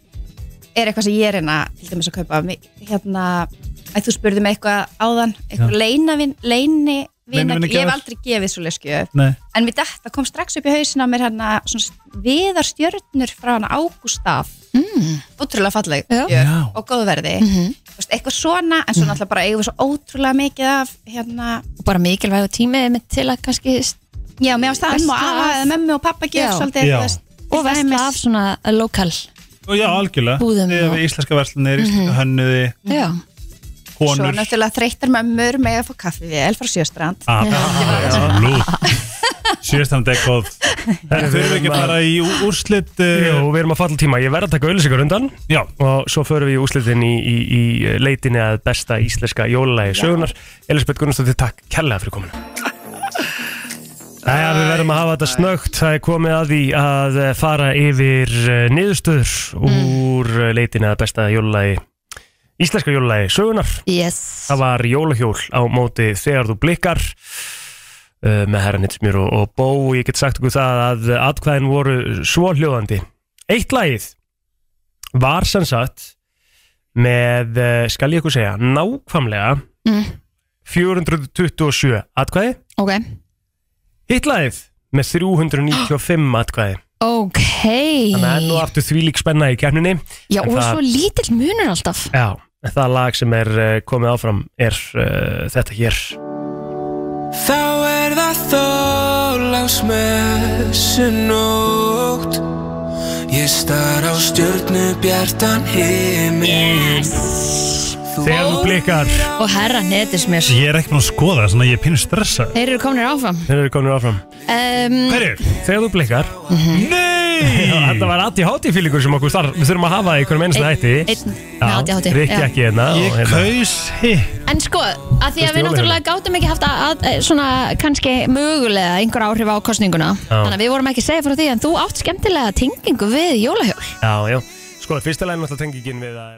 Speaker 10: er eitthvað sem ég er hérna til dæmis að kaupa Mér- hérna, að þú spurði mig eitthvað áðan eitthvað
Speaker 4: Já.
Speaker 10: leinavin, leini
Speaker 4: Leynivinagjöf.
Speaker 10: ég hef aldrei gefið svo lesku
Speaker 4: Nei.
Speaker 10: en mér dætt, það kom strax upp í hausin á mér hérna svona viðar stjörnur frá hana Ágústaf mm. ótrúlega falleg
Speaker 4: Já.
Speaker 10: og góðverði mm
Speaker 3: Mhm.
Speaker 10: eitthvað svona, en svo náttúrulega bara eigum við svo ótrúlega mikið af hérna
Speaker 3: og bara mikilvæg og tímið mitt til að kannski
Speaker 10: Já, mér finnst það amma og afa eða mömmu og pappa gera svolítið, þú veist,
Speaker 3: og vestla af svona uh, lokal
Speaker 4: Og já, algjörlega.
Speaker 3: Búðum
Speaker 4: Þið
Speaker 3: og-
Speaker 4: hefur íslenska verslunir, íslenska hönnuði,
Speaker 3: já
Speaker 10: Svo
Speaker 4: konur.
Speaker 10: náttúrulega þreytar mömmur með að fá kaffi við frá Sjöstrand
Speaker 4: Ah, já, lú. Sjöstam dekkóð.
Speaker 2: Herri,
Speaker 4: Þau eru ekki bara í úrslit eh,
Speaker 2: Jú, við erum að falla tíma Ég verð að taka auðlýsingar undan
Speaker 4: Já
Speaker 2: Og svo förum við í úrslitin í, í, í leitinni að besta íslenska jólalagi sögunar Elisabeth Gunnarsdóttir, takk kærlega fyrir kominu Æja, við verðum að hafa þetta snögt Það er komið að því að eh, fara yfir eh, niðurstöður úr eh, leitinni að besta jólalagi Íslenska jólalagi sögunar
Speaker 3: yes.
Speaker 2: Það var jólahjól á móti þegar þú blikkar eh, með herra Nitsmjör og, og Bó ég get sagt okkur það að atkvæðin voru svohljóðandi Eitt lagið var sem sagt með, eh, skal ég ykkur segja, nákvæmlega
Speaker 3: mm.
Speaker 2: 427 atkvæði
Speaker 3: ok,
Speaker 2: Hitt lagið með 395 atkvæði
Speaker 3: ok
Speaker 2: Þannig að nú aftur þvílík spenna í kjarninni
Speaker 3: já, og svo lítill munur alltaf
Speaker 2: Já, en það lag sem er eh, komið áfram er uh, þetta hér
Speaker 5: Þá er það þólagsmessu nótt Ég star á stjörnu bjartan himin yes.
Speaker 2: Þegar þú blikkar
Speaker 3: og herra netis mér
Speaker 4: Ég er ekki búin að skoða það, svona ég er pínu stressa.
Speaker 3: þeir eru kominir áfram
Speaker 2: Þeir eru komin áfram.
Speaker 3: um,
Speaker 2: Hverjir? Þegar þú blikkar
Speaker 3: Mhm.
Speaker 2: Nei! Þetta var Adi Hátti fílingur sem okkur þar Við þurfum að hafa það í hverjum einasta
Speaker 3: Einn-
Speaker 2: hætti
Speaker 3: einn með ADHD,
Speaker 2: Rikki
Speaker 3: já.
Speaker 2: ekki hérna
Speaker 4: Ég kaus hitt
Speaker 3: en sko, að því að
Speaker 2: Fyrstu
Speaker 3: við
Speaker 2: jólahjólið.
Speaker 3: náttúrulega gátum ekki haft að, að, eh, svona kannski mögulega einhver áhrif á kostninguna
Speaker 2: Já.
Speaker 3: þannig að við vorum ekki að segja frá því en þú átt skemmtilega tengingu við jólahjól
Speaker 2: Já, já Sko, fyrsta lægin náttúrulega tengið við að